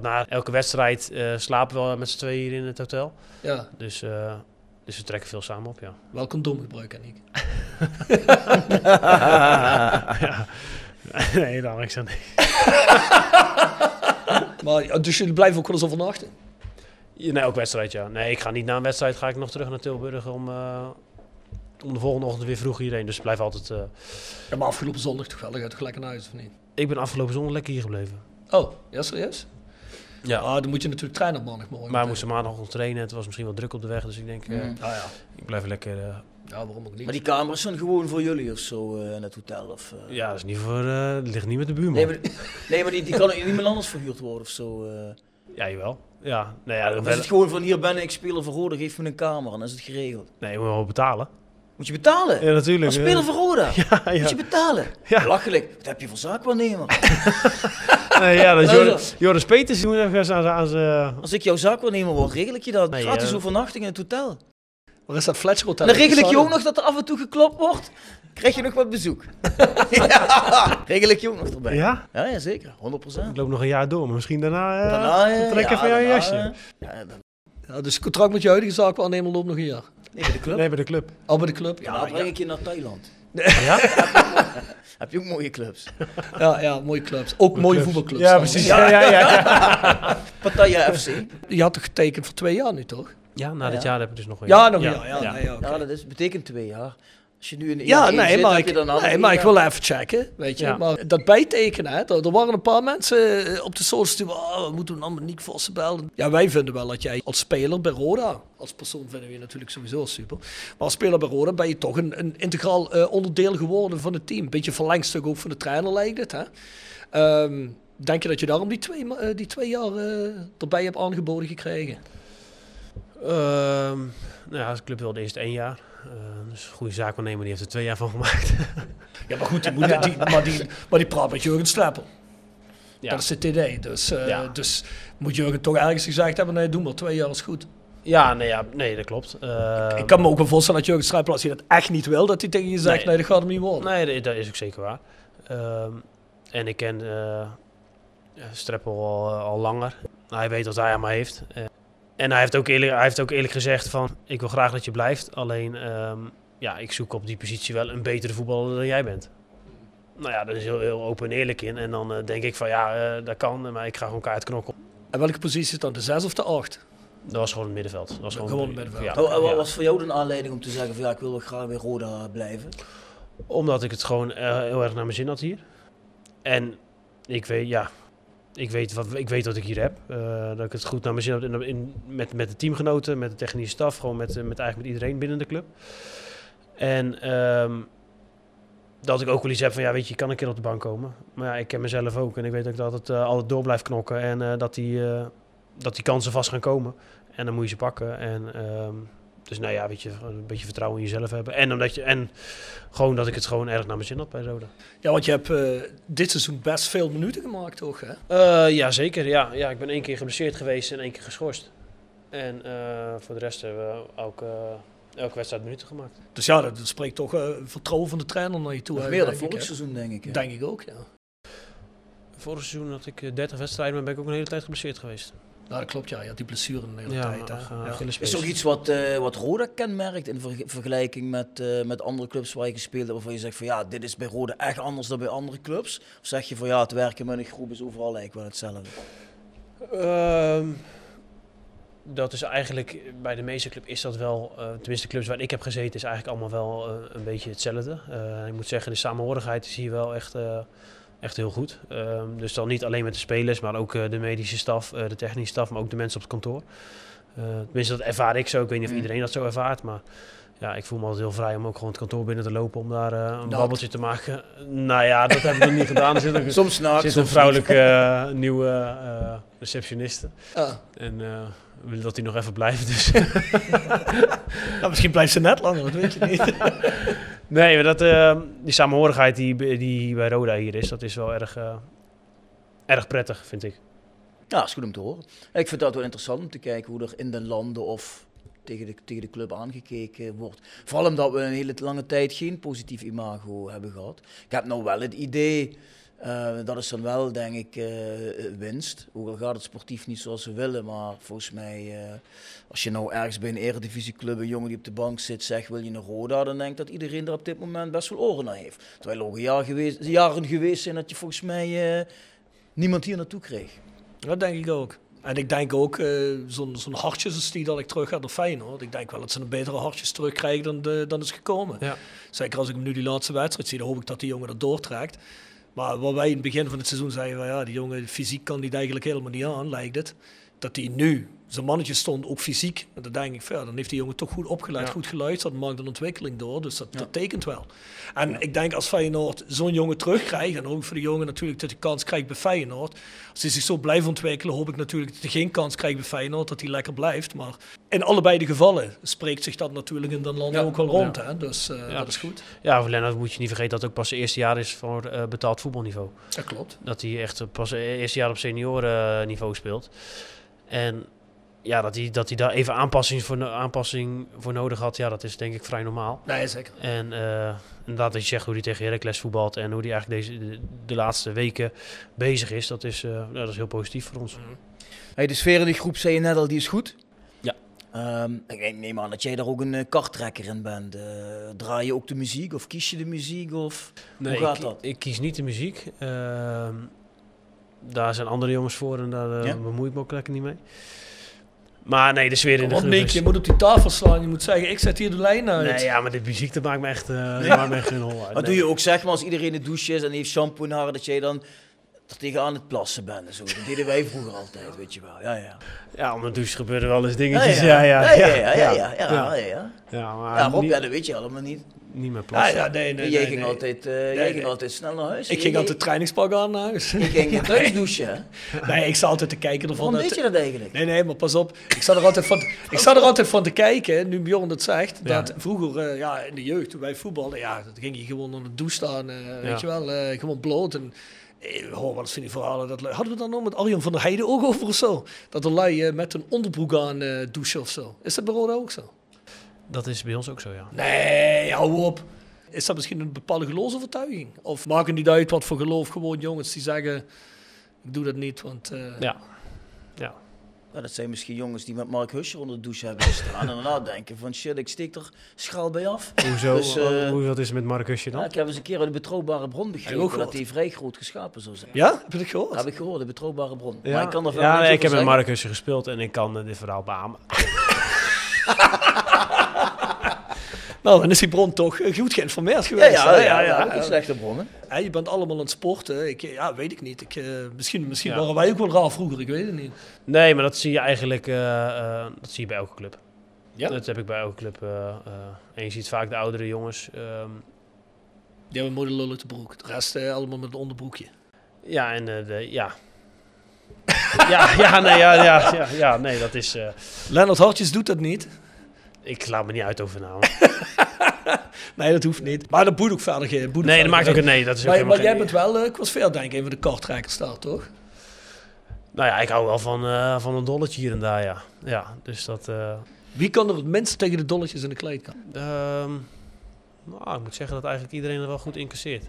Speaker 8: na elke wedstrijd eh, slapen we wel met z'n tweeën hier in het hotel.
Speaker 6: Ja,
Speaker 8: Dus, eh, dus we trekken veel samen op, ja.
Speaker 6: wel condoom gebruiken, Nick.
Speaker 8: ja. nee, dan ik zeg nee.
Speaker 6: Maar, ja, dus jullie blijven ook wel eens overnachten?
Speaker 8: Ja, Nee, elke wedstrijd, ja. Nee, ik ga niet na een wedstrijd, ga ik nog terug naar Tilburg om, eh, om de volgende ochtend weer vroeg hierheen. Dus ik blijf altijd... eh,
Speaker 6: Ja, maar afgelopen zondag toch wel, dan ga je toch lekker naar huis, of niet?
Speaker 8: ik ben afgelopen zondag lekker hier gebleven.
Speaker 6: Oh, ja, serieus?
Speaker 8: Ja.
Speaker 6: Ah, dan moet je natuurlijk trainen op maandagmorgen.
Speaker 8: Maar we moesten maandag trainen, het was misschien wel druk op de weg. Dus ik denk, eh,
Speaker 7: Mm.
Speaker 6: Ah ja,
Speaker 8: ik blijf lekker... eh,
Speaker 6: ja waarom ook niet?
Speaker 7: Maar die kamers zijn gewoon voor jullie of zo eh, in het hotel? Of, eh?
Speaker 8: Ja, dat is niet voor. eh, dat ligt niet met de buurman.
Speaker 7: Nee, maar, nee, maar die, die kan ook niet meer anders verhuurd worden of zo. eh.
Speaker 8: Ja, jawel. Ja, nee, ja,
Speaker 7: Of
Speaker 8: dat
Speaker 7: is het gewoon van hier ben ik, speler voor Roda, geef me een kamer en dan is het geregeld.
Speaker 8: nee, je moet wel betalen.
Speaker 7: Moet je betalen?
Speaker 8: Ja, natuurlijk.
Speaker 7: Als speler
Speaker 8: eh,
Speaker 7: voor Roda,
Speaker 8: Ja, ja.
Speaker 7: moet je betalen.
Speaker 8: Ja.
Speaker 7: Lachelijk, wat heb je voor zaakwaarnemer?
Speaker 8: Nee, ja, dat is
Speaker 7: Nou,
Speaker 8: Joris, Joris Peters die moet even aan zijn- aan zijn... eh,
Speaker 7: Als ik jouw zaakwaarnemer word, regel ik je dat.
Speaker 8: Nee,
Speaker 7: Gratis
Speaker 8: eh.
Speaker 7: overnachting in het hotel.
Speaker 6: Waar is dat Fletcher Hotel?
Speaker 7: Dan regel ik je ook nog dat er af en toe geklopt wordt. Krijg je nog wat bezoek? ja, regel ik je ook nog erbij.
Speaker 10: Ja?
Speaker 7: Ja, ja, zeker. 100%.
Speaker 10: Ik loop nog een jaar door, maar misschien daarna, eh,
Speaker 7: Daarna, eh,
Speaker 10: trek
Speaker 7: ja,
Speaker 10: even jouw
Speaker 7: daarna,
Speaker 10: jasje.
Speaker 7: eh, ja, dan-
Speaker 6: Ja, dus het contract met je huidige zaakwaarnemer loopt nog een jaar.
Speaker 7: nee, bij de club.
Speaker 10: Nee, bij de club.
Speaker 6: Al bij de club? Ja,
Speaker 7: dan breng
Speaker 6: ja,
Speaker 7: ik je naar Thailand.
Speaker 10: Ja?
Speaker 7: Heb je ook mooie clubs?
Speaker 6: ja, ja, mooie clubs. Ook mooie voetbalclubs.
Speaker 10: Ja,
Speaker 6: trouwens.
Speaker 10: precies. Ja, ja, ja.
Speaker 7: Pattaya FC.
Speaker 6: Je had toch getekend voor twee jaar nu, toch?
Speaker 8: Ja, na dit
Speaker 7: Ja.
Speaker 8: jaar heb ik dus nog een
Speaker 6: Ja, nog ja. Ja, nee, oké.
Speaker 7: Ja, dat is, betekent twee jaar. Als je nu in de
Speaker 6: Ja,
Speaker 7: Eredivisie
Speaker 6: nee,
Speaker 7: zit,
Speaker 6: maar
Speaker 7: heb je
Speaker 6: ik,
Speaker 7: dan al
Speaker 6: nee,
Speaker 7: een
Speaker 6: maar ik
Speaker 7: jaar.
Speaker 6: wil even checken, weet je.
Speaker 8: Ja.
Speaker 6: Maar dat bijtekenen, hè, er, er waren een paar mensen eh, op de socials die oh, we moeten allemaal Nick Vossen bellen. Ja, wij vinden wel dat jij als speler bij Roda, als persoon vinden we je natuurlijk sowieso super. Maar als speler bij Roda ben je toch een, een integraal eh, onderdeel geworden van het team. Beetje verlengstuk ook van de trainer lijkt het, hè. Ehm, denk je dat je daarom die twee, ma- eh, die twee jaar eh, erbij hebt aangeboden gekregen?
Speaker 8: Ehm, nou ja, als club wilde eerst één jaar. Eh, dus een goede zaakwaarnemer, die heeft er twee jaar van gemaakt.
Speaker 6: Ja, maar goed, die moet, die, maar, die, maar die praat met Jurgen Strappel.
Speaker 8: Ja.
Speaker 6: Dat is het idee. Dus, eh,
Speaker 8: Ja.
Speaker 6: dus moet Jurgen toch ergens gezegd hebben, nee, doe maar, twee jaar is goed.
Speaker 8: ja, nee, ja, nee, dat klopt. Ehm,
Speaker 6: ik kan me ook wel voorstellen dat Jurgen Strappel, als hij dat echt niet wil, dat hij tegen je zegt, nee,
Speaker 8: Nee.
Speaker 6: dat gaat hem niet worden.
Speaker 8: Nee, dat- dat is ook zeker waar. Ehm, en ik ken eh Streppel al, eh, al langer. Hij weet wat hij aan mij heeft. Eh, en hij heeft, ook eerlijk, hij heeft ook eerlijk gezegd van... Ik wil graag dat je blijft. Alleen, ehm, ja, ik zoek op die positie wel een betere voetballer dan jij bent. Nou ja, daar is heel, heel open en eerlijk in. En dan eh, denk ik van ja, eh, dat kan. Maar ik ga gewoon kaart knokken.
Speaker 6: En welke positie is dan, de zes of de acht?
Speaker 8: Dat was gewoon het middenveld. Dat was gewoon,
Speaker 6: Gewoon het middenveld.
Speaker 8: Ja,
Speaker 7: Oh, en wat
Speaker 8: ja.
Speaker 7: was voor jou de aanleiding om te zeggen van ja, ik wil wel graag bij Roda blijven?
Speaker 8: Omdat ik het gewoon eh, heel erg naar mijn zin had hier. En ik weet, ja, ik weet wat, ik weet wat ik hier heb. Eh, dat ik het goed naar mijn zin had in, in- met, met de teamgenoten, met de technische staf, gewoon met, eh, met, eigenlijk met iedereen binnen de club. En ehm, dat ik ook wel iets heb van, ja, weet je, je kan een keer op de bank komen. Maar ja, ik ken mezelf ook en ik weet ook dat het eh, altijd door blijft knokken en eh, dat, die, eh, dat die kansen vast gaan komen. En dan moet je ze pakken. En, ehm, dus nou ja, weet je, een beetje vertrouwen in jezelf hebben. En omdat je, en gewoon dat ik het gewoon erg naar mijn zin had bij Roda.
Speaker 6: Ja, want je hebt eh, dit seizoen best veel minuten gemaakt, toch? Hè?
Speaker 8: Jazeker, Eh, ja, zeker. Ja. ja, ik ben één keer geblesseerd geweest en één keer geschorst. En eh, voor de rest hebben we ook, eh, elke wedstrijd minuten gemaakt.
Speaker 6: Dus ja, dat, dat spreekt toch eh, vertrouwen van de trainer naar je toe.
Speaker 7: Nog
Speaker 6: hè,
Speaker 7: meer dan
Speaker 6: denk ik,
Speaker 7: vorig
Speaker 6: hè?
Speaker 7: seizoen, denk ik. hè.
Speaker 6: Denk ik ook, ja.
Speaker 8: Vorig seizoen had ik eh, 30 wedstrijden, maar ben ik ook een hele tijd geblesseerd geweest.
Speaker 6: Nou, dat klopt, ja. Je had die blessure een hele tijd. Hè?
Speaker 8: eh,
Speaker 6: ja.
Speaker 8: Achillespees.
Speaker 7: Is er ook iets wat, eh, wat Roda kenmerkt in verge- vergelijking met, eh, met andere clubs waar je gespeeld hebt? Waarvan je zegt van ja, dit is bij Roda echt anders dan bij andere clubs? Of zeg je van ja, het werken met een groep is overal eigenlijk wel hetzelfde?
Speaker 8: Ehm, dat is eigenlijk bij de meeste club is dat wel, eh, tenminste de clubs waar ik heb gezeten, is eigenlijk allemaal wel eh, een beetje hetzelfde. Eh, ik moet zeggen, de samenhorigheid is hier wel echt, eh, echt heel goed. Ehm, dus dan niet alleen met de spelers, maar ook eh, de medische staf, eh, de technische staf, maar ook de mensen op het kantoor. Eh, tenminste, dat ervaar ik zo. Ik weet niet of
Speaker 7: Mm.
Speaker 8: iedereen dat zo ervaart, maar ja, ik voel me altijd heel vrij om ook gewoon het kantoor binnen te lopen om daar eh, een
Speaker 6: Dat.
Speaker 8: babbeltje te maken. Nou ja, dat heb ik nog niet gedaan. Er zit ook-
Speaker 7: Soms
Speaker 8: er
Speaker 7: naakt,
Speaker 8: zit een
Speaker 7: soms
Speaker 8: vrouwelijke eh, nieuwe eh, receptioniste.
Speaker 6: Ah.
Speaker 8: En eh, we willen dat hij nog even blijft. Dus.
Speaker 6: Nou, misschien blijft ze net langer, dat weet je niet.
Speaker 8: nee, maar dat, eh, die samenhorigheid die, bij- die bij Roda hier is, dat is wel erg, eh, erg prettig, vind ik.
Speaker 7: Ja, is goed om te horen. Ik vind dat wel interessant om te kijken hoe er in de landen of tegen de, tegen de club aangekeken wordt. Vooral omdat we een hele lange tijd geen positief imago hebben gehad. Ik heb nou wel het idee, eh, dat is dan wel denk ik eh, winst. Ook al gaat het sportief niet zoals we willen, maar volgens mij eh, als je nou ergens bij een eredivisieclub een jongen die op de bank zit zegt wil je naar Roda, dan denk ik dat iedereen er op dit moment best wel oren naar heeft. Terwijl er ook een jaar geweest, jaren geweest zijn dat je volgens mij eh, niemand hier naartoe kreeg.
Speaker 6: Dat denk ik ook. En ik denk ook, eh, zo'n zo'n hartjes is die dat ik terug ga naar Feyenoord. Ik denk wel dat ze een betere hartjes terugkrijgen dan, de, dan is gekomen.
Speaker 8: Ja.
Speaker 6: Zeker als ik hem nu die laatste wedstrijd zie, dan hoop ik dat die jongen dat doortrekt. Maar wat wij in het begin van het seizoen zeiden, van, ja, die jongen fysiek kan die het eigenlijk helemaal niet aan, lijkt het. Dat hij nu zijn mannetje stond, ook fysiek. En dan denk ik, van, ja, dan heeft die jongen toch goed opgeleid,
Speaker 8: Ja.
Speaker 6: goed geluisterd, maakt een ontwikkeling door. Dus dat, dat tekent wel. En ik denk als Feyenoord zo'n jongen terugkrijgt, en ook voor de jongen natuurlijk dat hij kans krijgt bij Feyenoord. Als hij zich zo blijft ontwikkelen, hoop ik natuurlijk dat hij geen kans krijgt bij Feyenoord, dat hij lekker blijft. Maar in allebei de gevallen spreekt zich dat natuurlijk in dan land ook wel rond. Hè? Dus eh, dat is goed.
Speaker 8: Ja, voor Lennart moet je niet vergeten dat het ook pas het eerste jaar is voor eh, betaald voetbalniveau.
Speaker 6: Dat klopt.
Speaker 8: Dat hij echt pas het eerste jaar op seniorenniveau speelt. En ja, dat hij dat hij daar even aanpassing voor, no- aanpassing voor nodig had, ja, dat is denk ik vrij normaal.
Speaker 6: Nee, zeker.
Speaker 8: En eh, inderdaad, dat je zegt hoe hij tegen Heracles voetbalt en hoe hij eigenlijk deze, de, de laatste weken bezig is, dat is, eh, ja, dat is heel positief voor ons.
Speaker 7: Hey, de sfeer in die groep, zei je net al, die is goed.
Speaker 8: Ja.
Speaker 7: Ehm, ik denk- neem aan dat jij daar ook een eh, karttrekker in bent. Eh, draai je ook de muziek of kies je de muziek? Of...
Speaker 8: Nee,
Speaker 7: Hoe gaat
Speaker 8: ik,
Speaker 7: dat?
Speaker 8: Ik kies niet de muziek. Ehm, daar zijn andere jongens voor en daar eh,
Speaker 7: Ja?
Speaker 8: bemoei ik me ook lekker niet mee. Maar nee, de sfeer in de
Speaker 6: Op
Speaker 8: groep
Speaker 6: Nick,
Speaker 8: is-
Speaker 6: je moet op die tafel slaan. Je moet zeggen, ik zet hier de lijn uit.
Speaker 8: Nee, ja, maar dit muziek, dat maakt me echt, eh, dat
Speaker 7: Ja.
Speaker 8: maakt me echt geen hol
Speaker 7: Wat
Speaker 8: uit. Nee.
Speaker 7: doe je ook, zeg maar, als iedereen in de douche is en heeft shampoo in haar, dat jij dan er tegenaan het plassen bent. en Zo. Dat deden wij vroeger altijd, weet je wel. Ja, ja.
Speaker 8: Ja, onder de douche gebeuren wel eens dingetjes.
Speaker 7: ja,
Speaker 8: Ja, ja,
Speaker 7: ja, ja, ja, ja, ja, ja, ja.
Speaker 8: Ja, maar
Speaker 7: Ja, Rob,
Speaker 8: niet,
Speaker 7: ja, dat weet je allemaal niet.
Speaker 8: niet meer plat.
Speaker 6: Ah, ja, nee, nee,
Speaker 7: jij
Speaker 6: nee,
Speaker 7: ging,
Speaker 6: nee.
Speaker 7: Altijd, eh, jij ging
Speaker 6: nee.
Speaker 7: altijd snel naar huis.
Speaker 6: Ik
Speaker 7: Jij-
Speaker 6: ging
Speaker 7: jij-
Speaker 6: altijd trainingspak aan naar huis.
Speaker 7: Ik ging in thuis douchen. hè?
Speaker 6: Nee, ik zat altijd te kijken ervan.
Speaker 7: Waarom weet je dat eigenlijk?
Speaker 6: Nee, nee, maar pas op. Ik zat er altijd van, ik zat er altijd van te kijken, nu Bjorn dat zegt. Dat vroeger, eh, ja, in de jeugd, toen wij voetballen, ja, dat ging je gewoon onder de douche staan. eh, Weet je wel, eh, gewoon bloot. En eh, hoor wel eens van die verhalen. Dat, lui- hadden we dan nog met Arjan van der Heijden ook over of zo? Dat er lui eh, met een onderbroek aan eh, douchen of zo. Is dat bij Roda ook zo?
Speaker 8: Dat is bij ons ook zo, ja.
Speaker 6: Nee, hou op. Is dat misschien een bepaalde geloofsovertuiging? Of maken niet uit wat voor geloof gewoon jongens die zeggen... Ik doe dat niet, want... eh,
Speaker 8: Ja. ja.
Speaker 7: Ja, Nou, dat zijn misschien jongens die met Mark Husser onder de douche hebben gestaan. en daarna denken van shit, ik steek er schaal bij af.
Speaker 10: Hoezo?
Speaker 7: Dus, eh,
Speaker 10: Hoe, wat is er met Marcusje dan?
Speaker 7: Ja, ik heb eens een keer uit de betrouwbare bron begrepen
Speaker 6: Heb ik ook
Speaker 7: dat
Speaker 6: gehoord.
Speaker 7: die vrij groot geschapen zou zijn.
Speaker 6: Ja? Heb je dat gehoord?
Speaker 7: Dat heb ik gehoord, de betrouwbare bron.
Speaker 10: Ja.
Speaker 7: Maar ik kan er verder
Speaker 8: Ja,
Speaker 7: niks
Speaker 8: nee, ik heb
Speaker 7: over
Speaker 8: met
Speaker 7: zeggen.
Speaker 8: Marcus gespeeld en ik kan eh, dit verhaal beamen.
Speaker 6: Nou, dan is die bron toch eh, goed geïnformeerd
Speaker 7: Ja,
Speaker 6: geweest.
Speaker 7: ja,
Speaker 6: hè?
Speaker 7: ja, ja, ook een slechte bronnen.
Speaker 6: Ja, je bent allemaal aan het sporten. Ik, eh, ja, weet ik niet. Ik, eh, misschien misschien
Speaker 8: Ja.
Speaker 6: waren wij ook wel raar vroeger, ik weet het niet.
Speaker 8: Nee, maar dat zie je eigenlijk eh, eh, dat zie je bij elke club.
Speaker 6: Ja?
Speaker 8: Dat heb ik bij elke club. eh, eh. en je ziet vaak de oudere jongens. ehm,
Speaker 6: Die hebben een mooie lul uit de broek. De rest eh, allemaal met een onderbroekje.
Speaker 8: ja, en eh, de, ja. ja, ja, nee, ja, ja, ja, ja, nee, dat is... eh,
Speaker 6: Lennart Hartjes doet dat niet.
Speaker 8: ik laat me niet uit over namen.
Speaker 6: Nee, dat hoeft niet. Maar dat boeit ook verder geen. boeit
Speaker 8: Nee, dat
Speaker 6: verder
Speaker 8: maakt ook
Speaker 6: geen-
Speaker 8: een nee. Dat is ook
Speaker 6: Maar,
Speaker 8: helemaal
Speaker 6: maar jij
Speaker 8: geen-
Speaker 6: bent wel, eh, ik was veel denk ik, een van de kartrekkers daar, toch?
Speaker 8: Nou ja, ik hou wel van, eh, van een dolletje hier en daar, ja. Ja, dus dat... eh,
Speaker 6: Wie kan er het minst tegen de dolletjes in de kleedkamer?
Speaker 8: Ehm, nou, ik moet zeggen dat eigenlijk iedereen er wel goed incasseert.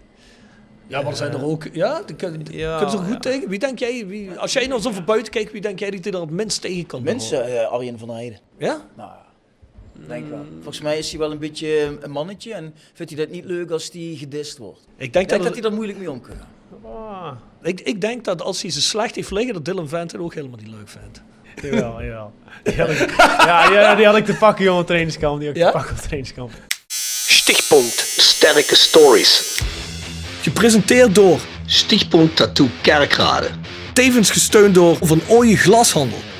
Speaker 6: Ja, maar er zijn er ook. Ja, die kun- die
Speaker 8: ja,
Speaker 6: kunnen ze er goed
Speaker 8: ja.
Speaker 6: tegen. Wie denk jij, wie, als jij nou zo van buiten kijkt, wie denk jij die er het minst tegen kan?
Speaker 7: Mensen, eh, Arjen van der Heijden.
Speaker 6: Ja?
Speaker 7: Nou ja, denk wel. Volgens mij is hij wel een beetje eh, een mannetje en vindt hij dat niet leuk als hij gedist wordt. Ik
Speaker 6: Ik denk, dat,
Speaker 7: denk dat hij er moeilijk mee om kan gaan.
Speaker 8: Ah,
Speaker 6: ik, ik denk dat als hij ze slecht heeft liggen, dat Dylan Vent het ook helemaal niet leuk vindt.
Speaker 8: jawel, jawel. Die had ik, ja, die, die had ik te pakken, jongen, op trainingskamp. Die had ik
Speaker 6: Ja?
Speaker 8: te pakken op trainingskamp.
Speaker 11: Stichtpunt Sterke Stories.
Speaker 6: Gepresenteerd door,
Speaker 11: Stichtpunt Tattoo Kerkrade.
Speaker 6: tevens gesteund door Van Ooyen Glashandel.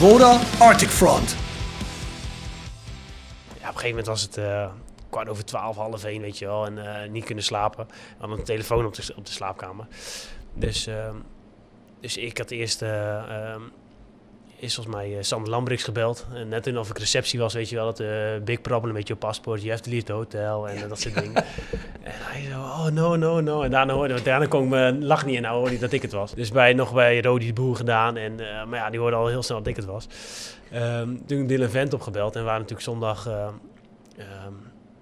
Speaker 6: Roda Arctic Front.
Speaker 8: Ja, op een gegeven moment was het eh, kwart over twaalf, half één, weet je wel. En eh, niet kunnen slapen. We hadden een telefoon op de, op de slaapkamer. Dus, ehm, dus ik had eerst... eh, ehm, is volgens mij eh, Sander Lambrix gebeld. En net toen of ik receptie was, weet je wel, dat eh big problem met je paspoort. You have to leave the hotel en eh, dat soort dingen. En hij zo, oh no, no, no. En daarna hoorde, want daarna kon ik mijn lach niet en nou hoorde ik dat ik het was. Dus bij, nog bij Rodi de Boer gedaan. En, eh, maar ja, die hoorde al heel snel dat ik het was. Ehm, toen Dylan Vent opgebeld en we waren natuurlijk zondag ehm, ehm,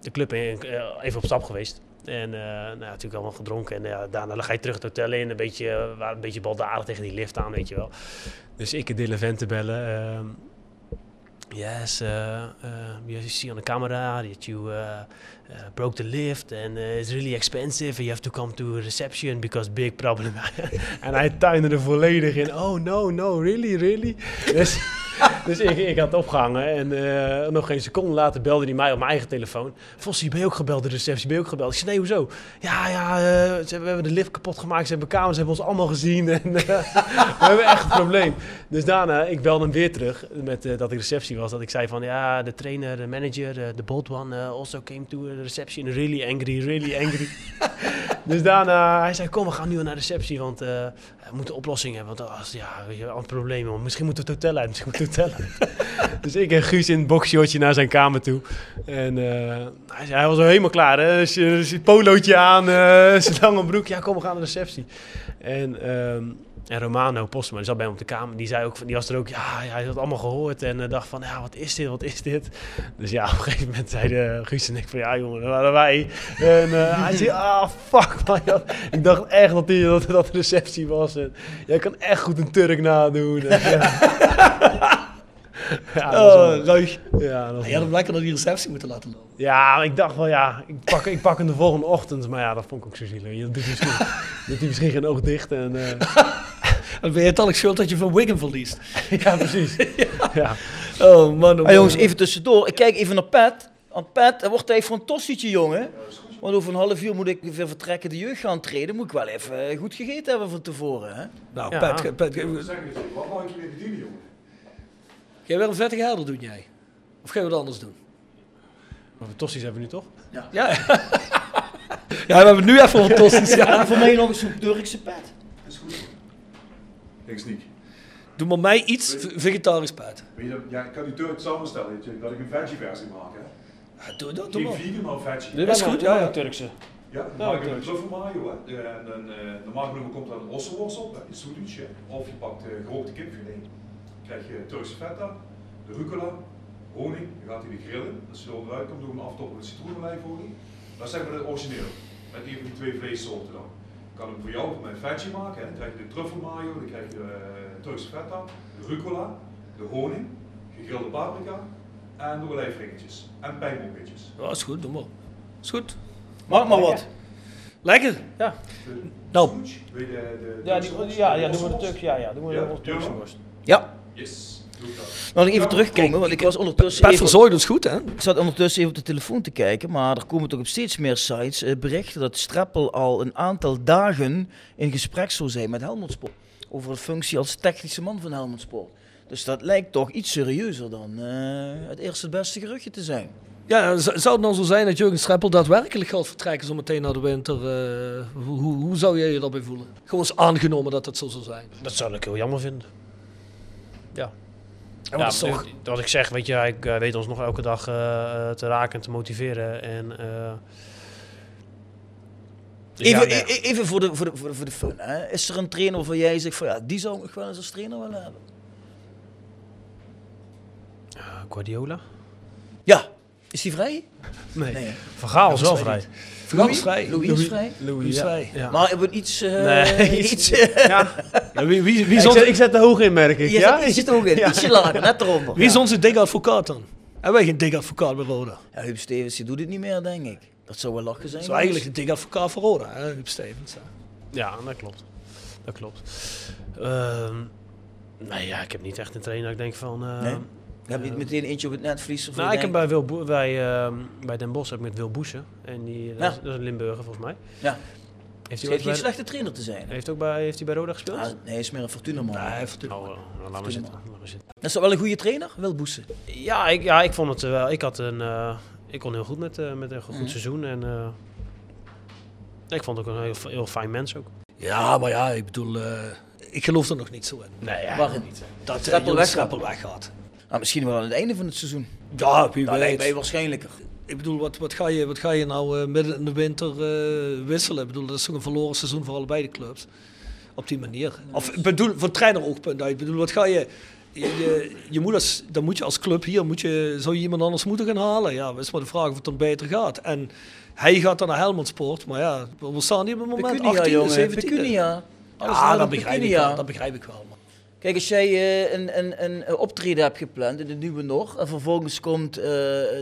Speaker 8: de club in, eh, even op stap geweest. En eh, nou, ja, natuurlijk allemaal gedronken. En ja, daarna ga je terug het hotel in. Een beetje, eh, we waren een beetje baldadig tegen die lift aan, weet je wel. Dus ik en Dylan Vent te bellen. ehm, yes, uh, uh, you see on the camera that you uh, uh, broke the lift and uh, it's really expensive. And you have to come to reception because big problem. en hij tuinde er volledig in. Oh no, no, really, really. Dus Dus ik, ik had opgehangen en eh, nog geen seconde later belde hij mij op mijn eigen telefoon. Vossi, ben je ook gebeld door de receptie? Ben je ook gebeld? Ik zei, nee, hoezo? Ja, ja, eh, ze, hebben- we hebben de lift kapot gemaakt. Ze hebben kamers, ze hebben ons allemaal gezien. En, eh, we hebben echt een probleem. Dus daarna, ik belde hem weer terug met eh, dat ik receptie was. Dat ik zei van, ja, de trainer, de manager, eh, de bot one eh, also came to the reception. Really angry, really angry. dus daarna, hij zei, kom, we gaan nu naar de receptie, want eh, we moeten een oplossing hebben. Want als, ja, we hebben een probleem, man. misschien moeten we het hotel uit, misschien moeten we het hotel uit. dus ik en Guus in een boxshortje naar zijn kamer toe. En eh, hij, zei, hij was al helemaal klaar, hè. Dus Zijn zijn polootje aan, eh zijn lange broek. Ja, kom, we gaan naar de receptie. En... ehm, en Romano Postma, die zat bij hem op de kamer, die, zei ook, van- die was er ook, ja, ja, hij had het allemaal gehoord en eh, dacht van, ja, wat is dit, wat is dit? Dus ja, op een gegeven moment zeiden eh, Guus en ik van, ja jongen, dat waren wij. En eh, hij zei, ah, fuck man. Ja, Ik dacht echt dat die, dat, dat de receptie was. En, jij kan echt goed een Turk nadoen. En, ja. Ja, dat was wel-
Speaker 6: Oh, ruig.
Speaker 8: Ja, dat was
Speaker 6: je had hem lekker naar die receptie moeten laten lopen.
Speaker 8: ja, ik dacht wel, ja, ik pak, ik pak hem de volgende ochtend. Maar ja, dat vond ik ook zo zielig. Dat doet hij misschien, doet hij misschien geen oog dicht. En, eh.
Speaker 6: Dan ben je het al schuld dat je van Wigan verliest.
Speaker 8: ja, precies. ja.
Speaker 6: Oh man, oh,
Speaker 7: Ah, jongens,
Speaker 6: man.
Speaker 7: even tussendoor. Ik kijk even naar Pat. Want Pat, hij wordt tijd voor een tossietje, jongen. Want over een half uur moet ik weer vertrekken de jeugd gaan treden. Moet ik wel even eh, goed gegeten hebben van tevoren, hè?
Speaker 6: Nou,
Speaker 7: Ja.
Speaker 6: Pat, Pat, Jij wil een vettige helder doen, jij? Of gaan we dat anders doen?
Speaker 8: Maar we tossies hebben we nu toch?
Speaker 6: Ja. Ja, we hebben het nu even over tossies.
Speaker 7: Ja, voor mij nog eens een Turkse pet.
Speaker 12: Niks niet.
Speaker 6: Doe maar mij iets v- vegetarisch, Pat.
Speaker 12: Weet je, dat- ja, ik kan die Turk samenstellen, weet je, dat ik een veggie versie maak. Hè.
Speaker 6: doe dat,
Speaker 12: Geen
Speaker 6: doe maar.
Speaker 12: vegan, maar veggie.
Speaker 6: Dit is goed, ja, ja.
Speaker 8: Turkse.
Speaker 12: Ja, dan
Speaker 6: Nou,
Speaker 12: maak ik een
Speaker 6: Turks.
Speaker 12: truffel mayo. Hè. Eh, En dan, eh, normaal genomen komt er een ossenworst op, hè, een soedoetje. Of je pakt eh gerookte kipfilet. Dan krijg je Turkse feta, de rucola, honing. Dan gaat hij die grillen. Als je er onderuit komt, doe hem aftoppen met citroenwijfolie. Dat is zeg maar het origineel. Met een van die twee vleessoorten dan. Ik kan hem voor jou met veggie maken. Hè. Dan krijg je de truffel mayo, dan krijg je eh Turkse feta, de rucola, de honing, gegrilde paprika en de olijfringetjes. En pijnboompitjes.
Speaker 6: Ja, is goed, doe maar. Is goed.
Speaker 7: Maak maar wat.
Speaker 6: Lekker?
Speaker 8: Ja.
Speaker 6: Nou.
Speaker 12: Wil je de, de
Speaker 8: Ja, die-
Speaker 12: Turkse
Speaker 8: ja,
Speaker 12: worst?
Speaker 8: ja, doen we de Turks- ja, ja, doen we de Turkse
Speaker 12: Jurgen?
Speaker 8: worst.
Speaker 7: Ja.
Speaker 12: Yes, doe ik dat.
Speaker 7: Nou, nog even terugkomen, want ik was ondertussen.
Speaker 12: Pat
Speaker 7: even...
Speaker 6: verzorgde ons goed, hè?
Speaker 7: Ik zat ondertussen even op de telefoon te kijken, maar er komen toch op steeds meer sites eh, berichten dat Strappel al een aantal dagen in gesprek zou zijn met Helmond Sport. Over een functie als technische man van Helmond Sport. Dus dat lijkt toch iets serieuzer dan eh, het eerste het beste geruchtje te zijn.
Speaker 6: Ja, z- zou het nou zo zijn dat Jurgen Streppel daadwerkelijk gaat vertrekken zo meteen naar de winter? eh, hoe, hoe, hoe zou jij je daarbij voelen? Gewoon eens aangenomen dat dat zo zou zijn.
Speaker 8: Dat zou ik heel jammer vinden. Ja.
Speaker 6: Ja,
Speaker 8: Ja,
Speaker 6: dat is toch...
Speaker 8: eh, Wat ik zeg, weet je, ik eh, weet ons nog elke dag eh, eh, te raken en te motiveren. En, eh, dus ja,
Speaker 7: Even,
Speaker 8: nee.
Speaker 7: e- even voor, de, voor, de, voor, de, voor de fun. Hè. Is er een trainer waarvan jij zegt van ja, die zou ik nog wel eens als trainer willen hebben?
Speaker 8: Guardiola?
Speaker 7: Ja. Is die vrij?
Speaker 8: Nee.
Speaker 7: hè?
Speaker 8: Van Gaal is
Speaker 7: Dat
Speaker 8: wel
Speaker 7: was
Speaker 8: vrij.
Speaker 7: niet. Van Gaal is vrij. Louis is
Speaker 8: Louis-
Speaker 7: vrij.
Speaker 8: Louis,
Speaker 7: Louis is
Speaker 8: ja.
Speaker 7: vrij.
Speaker 8: Ja.
Speaker 7: Maar hebben we iets... eh,
Speaker 8: Nee,
Speaker 7: iets eh,
Speaker 8: ja.
Speaker 6: wie, wie,
Speaker 10: ik, zet, ik zet er hoog in, merk ik.
Speaker 7: Je
Speaker 10: ja?
Speaker 7: zit- je zit er ook in. Ietsje lager, net eronder.
Speaker 6: Wie is onze dik advocaat dan? Hebben wij geen dik advocaat bij Roda?
Speaker 7: Ja, Huub Stevens, die doet het niet meer, denk ik. Dat zou wel lachen zijn.
Speaker 6: Dat is wel eigenlijk een dik advocaat voor Roda, hè, Huub Stevens. hè.
Speaker 8: Ja, dat klopt. Dat klopt. Ehm nee, ja, ik heb niet echt een trainer. dat Ik denk van. eh,
Speaker 7: Nee? Heb je niet meteen eentje op het net verliezen?
Speaker 8: Nou, ik heb bij, Wil Bo- bij, ehm, bij Den Bosch heb ik met Wil Boesen. En die, eh, dat, is, dat is een Limburger volgens mij.
Speaker 7: Ja.
Speaker 8: Heeft
Speaker 7: Schijnt
Speaker 8: ooit
Speaker 7: geen
Speaker 8: bij-
Speaker 7: slechte trainer te zijn.
Speaker 8: Heeft, ook bij, heeft hij bij Roda gespeeld?
Speaker 7: Ah, nee, is meer een Fortuna man.
Speaker 6: Nee,
Speaker 8: Oh, eh, nou, laat maar zitten. laat maar zitten.
Speaker 7: Is dat wel een goede trainer? Wil Boesen.
Speaker 8: Ja, ik, ja, ik vond het eh, wel. Ik had een. eh, ik kon heel goed met, eh, met een goed
Speaker 7: Mhm.
Speaker 8: seizoen. En eh, ik vond het ook een heel, heel fijn mens ook.
Speaker 6: Ja, maar ja, ik bedoel, eh, ik geloof er nog niet zo in.
Speaker 8: Nee, ja.
Speaker 7: Waarom niet?
Speaker 6: Dat uh,
Speaker 7: Streppel
Speaker 6: Jurgen
Speaker 7: weg-
Speaker 6: Streppel weggaat.
Speaker 7: Ah, misschien wel aan het einde van het seizoen.
Speaker 6: Ja, wie
Speaker 7: Dat lijkt
Speaker 6: weet.
Speaker 7: mij waarschijnlijker.
Speaker 6: Ik bedoel, wat, wat, ga, je, wat ga je nou eh, midden in de winter eh, wisselen? Ik bedoel, dat is toch een verloren seizoen voor allebei de clubs. Op die manier. Of ik bedoel, van traineroogpunt uit. Ik bedoel, wat ga je... Je, je, je moet als, dan moet je als club hier, moet je, zou je iemand anders moeten gaan halen? Ja, is maar de vraag of het dan beter gaat. En hij gaat dan naar Helmond Sport, maar ja, we staan hier op het moment
Speaker 7: Pecunia,
Speaker 6: 18e,
Speaker 7: jongen.
Speaker 6: 17e.
Speaker 7: Pecunia. Alles
Speaker 6: Ja,
Speaker 7: naar
Speaker 6: Ah, dat
Speaker 7: de
Speaker 6: begrijp, ik
Speaker 7: Pecunia.
Speaker 6: wel, dat begrijp ik wel. man.
Speaker 7: Kijk, als jij eh, een, een, een eh, optreden hebt gepland in de Nieuwe Nog en vervolgens komt eh,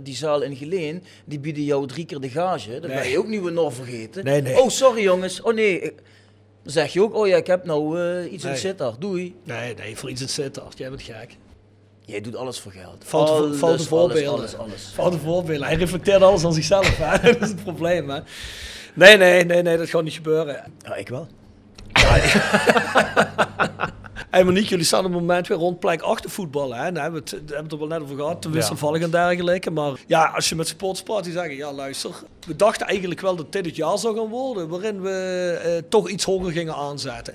Speaker 7: die zaal in Geleen, die bieden jou drie keer de gage, dan ben
Speaker 6: Nee.
Speaker 7: je ook Nieuwe Nog vergeten.
Speaker 6: Nee, nee.
Speaker 7: Oh, sorry jongens. Oh nee. eh, Dan zeg je ook, oh ja, ik heb nou eh, iets in
Speaker 6: Nee.
Speaker 7: Sittard. Doei.
Speaker 6: Nee, nee, voor iets in Sittard. Jij bent gek.
Speaker 7: Jij doet alles voor geld.
Speaker 6: Foute,
Speaker 7: Alles,
Speaker 6: foute
Speaker 7: alles,
Speaker 6: voorbeelden.
Speaker 7: alles, alles.
Speaker 6: Foute voorbeelden. Hij reflecteert alles aan zichzelf. hè. dat is het probleem. Hè. Nee, nee, nee, nee, dat gaat niet gebeuren.
Speaker 7: Ja, ik wel.
Speaker 6: Hey Monique, jullie staan op het moment weer rond plek 8 te voetballen. Hè? Daar hebben we het, daar hebben we het er wel net over gehad, te
Speaker 10: Ja.
Speaker 6: wisselvallig en dergelijke. Maar ja, als je met sportsparty zegt, ja luister, we dachten eigenlijk wel dat dit het jaar zou gaan worden, waarin we eh, toch iets hoger gingen aanzetten.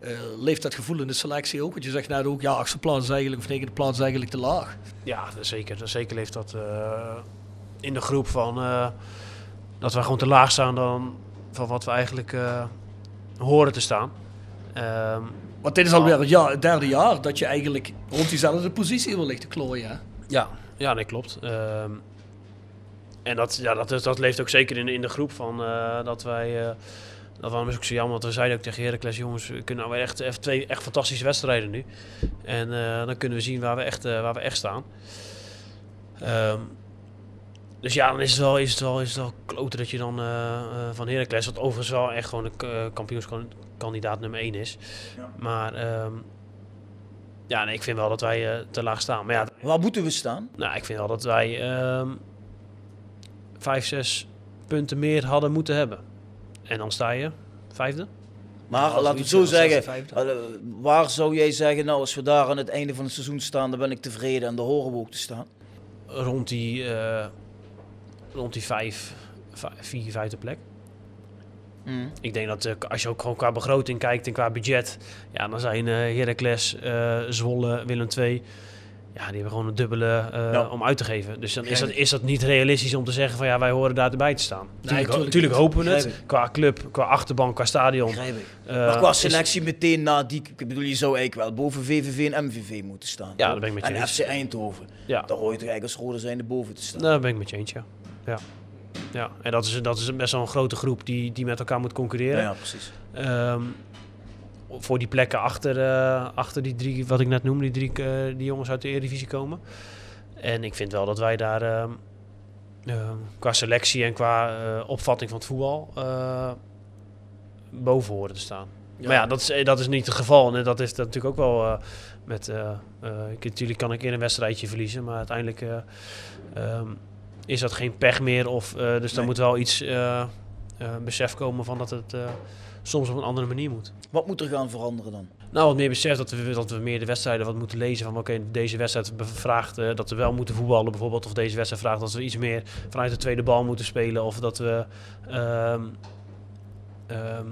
Speaker 6: Eh, leeft dat gevoel in de selectie ook? Want je zegt net ook, ja, achtste plaats is eigenlijk, of negende plaats is eigenlijk te laag.
Speaker 8: Ja, zeker. Zeker leeft dat eh, in de groep van eh, dat wij gewoon te laag staan dan van wat we eigenlijk eh, horen te staan. Ehm,
Speaker 6: Want dit is alweer het, jaar, het derde jaar dat je eigenlijk rond diezelfde positie wil ligt te klooien. Hè?
Speaker 8: Ja, ja nee, klopt. Ehm, en dat, ja, dat, dat leeft ook zeker in, in de groep van eh, dat wij. eh, dat waarom is ook zo jammer, want we zeiden ook tegen Heracles, jongens, we kunnen nou weer echt, echt twee echt fantastische wedstrijden nu. En eh, dan kunnen we zien waar we echt, eh, waar we echt staan. Ehm, dus ja, dan is het wel, is het wel, is het wel kloten dat je dan eh, eh, van Heracles, wat overigens wel echt gewoon een k- eh, kampioenskandidaat nummer 1 is. Maar ehm, ja, nee, ik vind wel dat wij eh, te laag staan. Maar ja,
Speaker 7: Waar moeten we staan?
Speaker 8: nou, ik vind wel dat wij ehm vijf, zes punten meer hadden moeten hebben. En dan sta je vijfde.
Speaker 7: Maar laten we het zo zeggen, eh, waar zou jij zeggen, nou als we daar aan het einde van het seizoen staan, dan ben ik tevreden en dan horen we ook te staan.
Speaker 8: Rond die, eh, rond die vijf, vij- vier, vijfde plek.
Speaker 7: Mm.
Speaker 8: Ik denk dat eh, als je ook gewoon qua begroting kijkt en qua budget, ja, dan zijn eh Heracles, eh, Zwolle, Willem II, ja, die hebben gewoon een dubbele eh,
Speaker 7: Ja.
Speaker 8: om uit te geven. Dus dan is dat,
Speaker 7: Begrijp ik.
Speaker 8: is dat niet realistisch om te zeggen van ja, wij horen daar erbij te staan. Tuurlijk,
Speaker 7: tuurlijk
Speaker 8: tuurlijk
Speaker 7: niet.
Speaker 8: hopen we het,
Speaker 7: Begrijp
Speaker 8: qua club, qua achterban, qua stadion.
Speaker 7: Begrijp ik.
Speaker 8: Eh,
Speaker 7: maar qua
Speaker 8: is-
Speaker 7: selectie meteen na die, ik bedoel je zou eigenlijk wel boven VVV en MVV moeten staan.
Speaker 8: Ja,
Speaker 7: toch?
Speaker 8: dat ben ik met je
Speaker 7: En
Speaker 8: eens.
Speaker 7: FC Eindhoven,
Speaker 8: Ja.
Speaker 7: daar hoor je toch eigenlijk als rode zijn boven te staan.
Speaker 8: Nou, daar ben ik met je eens, ja. ja. Ja, en dat is, dat is best wel een grote groep die, die met elkaar moet concurreren.
Speaker 7: Ja, ja, precies.
Speaker 8: Ehm, voor die plekken achter, eh, achter die drie, wat ik net noemde, die drie eh, die jongens uit de Eredivisie komen. En ik vind wel dat wij daar ehm, ehm, qua selectie en qua eh, opvatting van het voetbal eh, boven horen te staan.
Speaker 6: Ja.
Speaker 8: Maar ja, dat is, eh, dat is niet het geval. En dat is dat natuurlijk ook wel eh, met... eh, eh, ik, natuurlijk kan ik in een wedstrijdje verliezen, maar uiteindelijk eh, ehm, is dat geen pech meer. Of, eh, dus daar
Speaker 7: Nee.
Speaker 8: moet wel iets eh, eh, besef komen van dat het eh, soms op een andere manier moet.
Speaker 7: Wat moet er gaan veranderen dan?
Speaker 8: Nou, wat meer besef dat we, dat we meer de wedstrijden wat moeten lezen. Van oké, deze wedstrijd be- vraagt eh, dat we wel moeten voetballen bijvoorbeeld. Of deze wedstrijd vraagt dat we iets meer vanuit de tweede bal moeten spelen. Of dat we... ehm, ehm,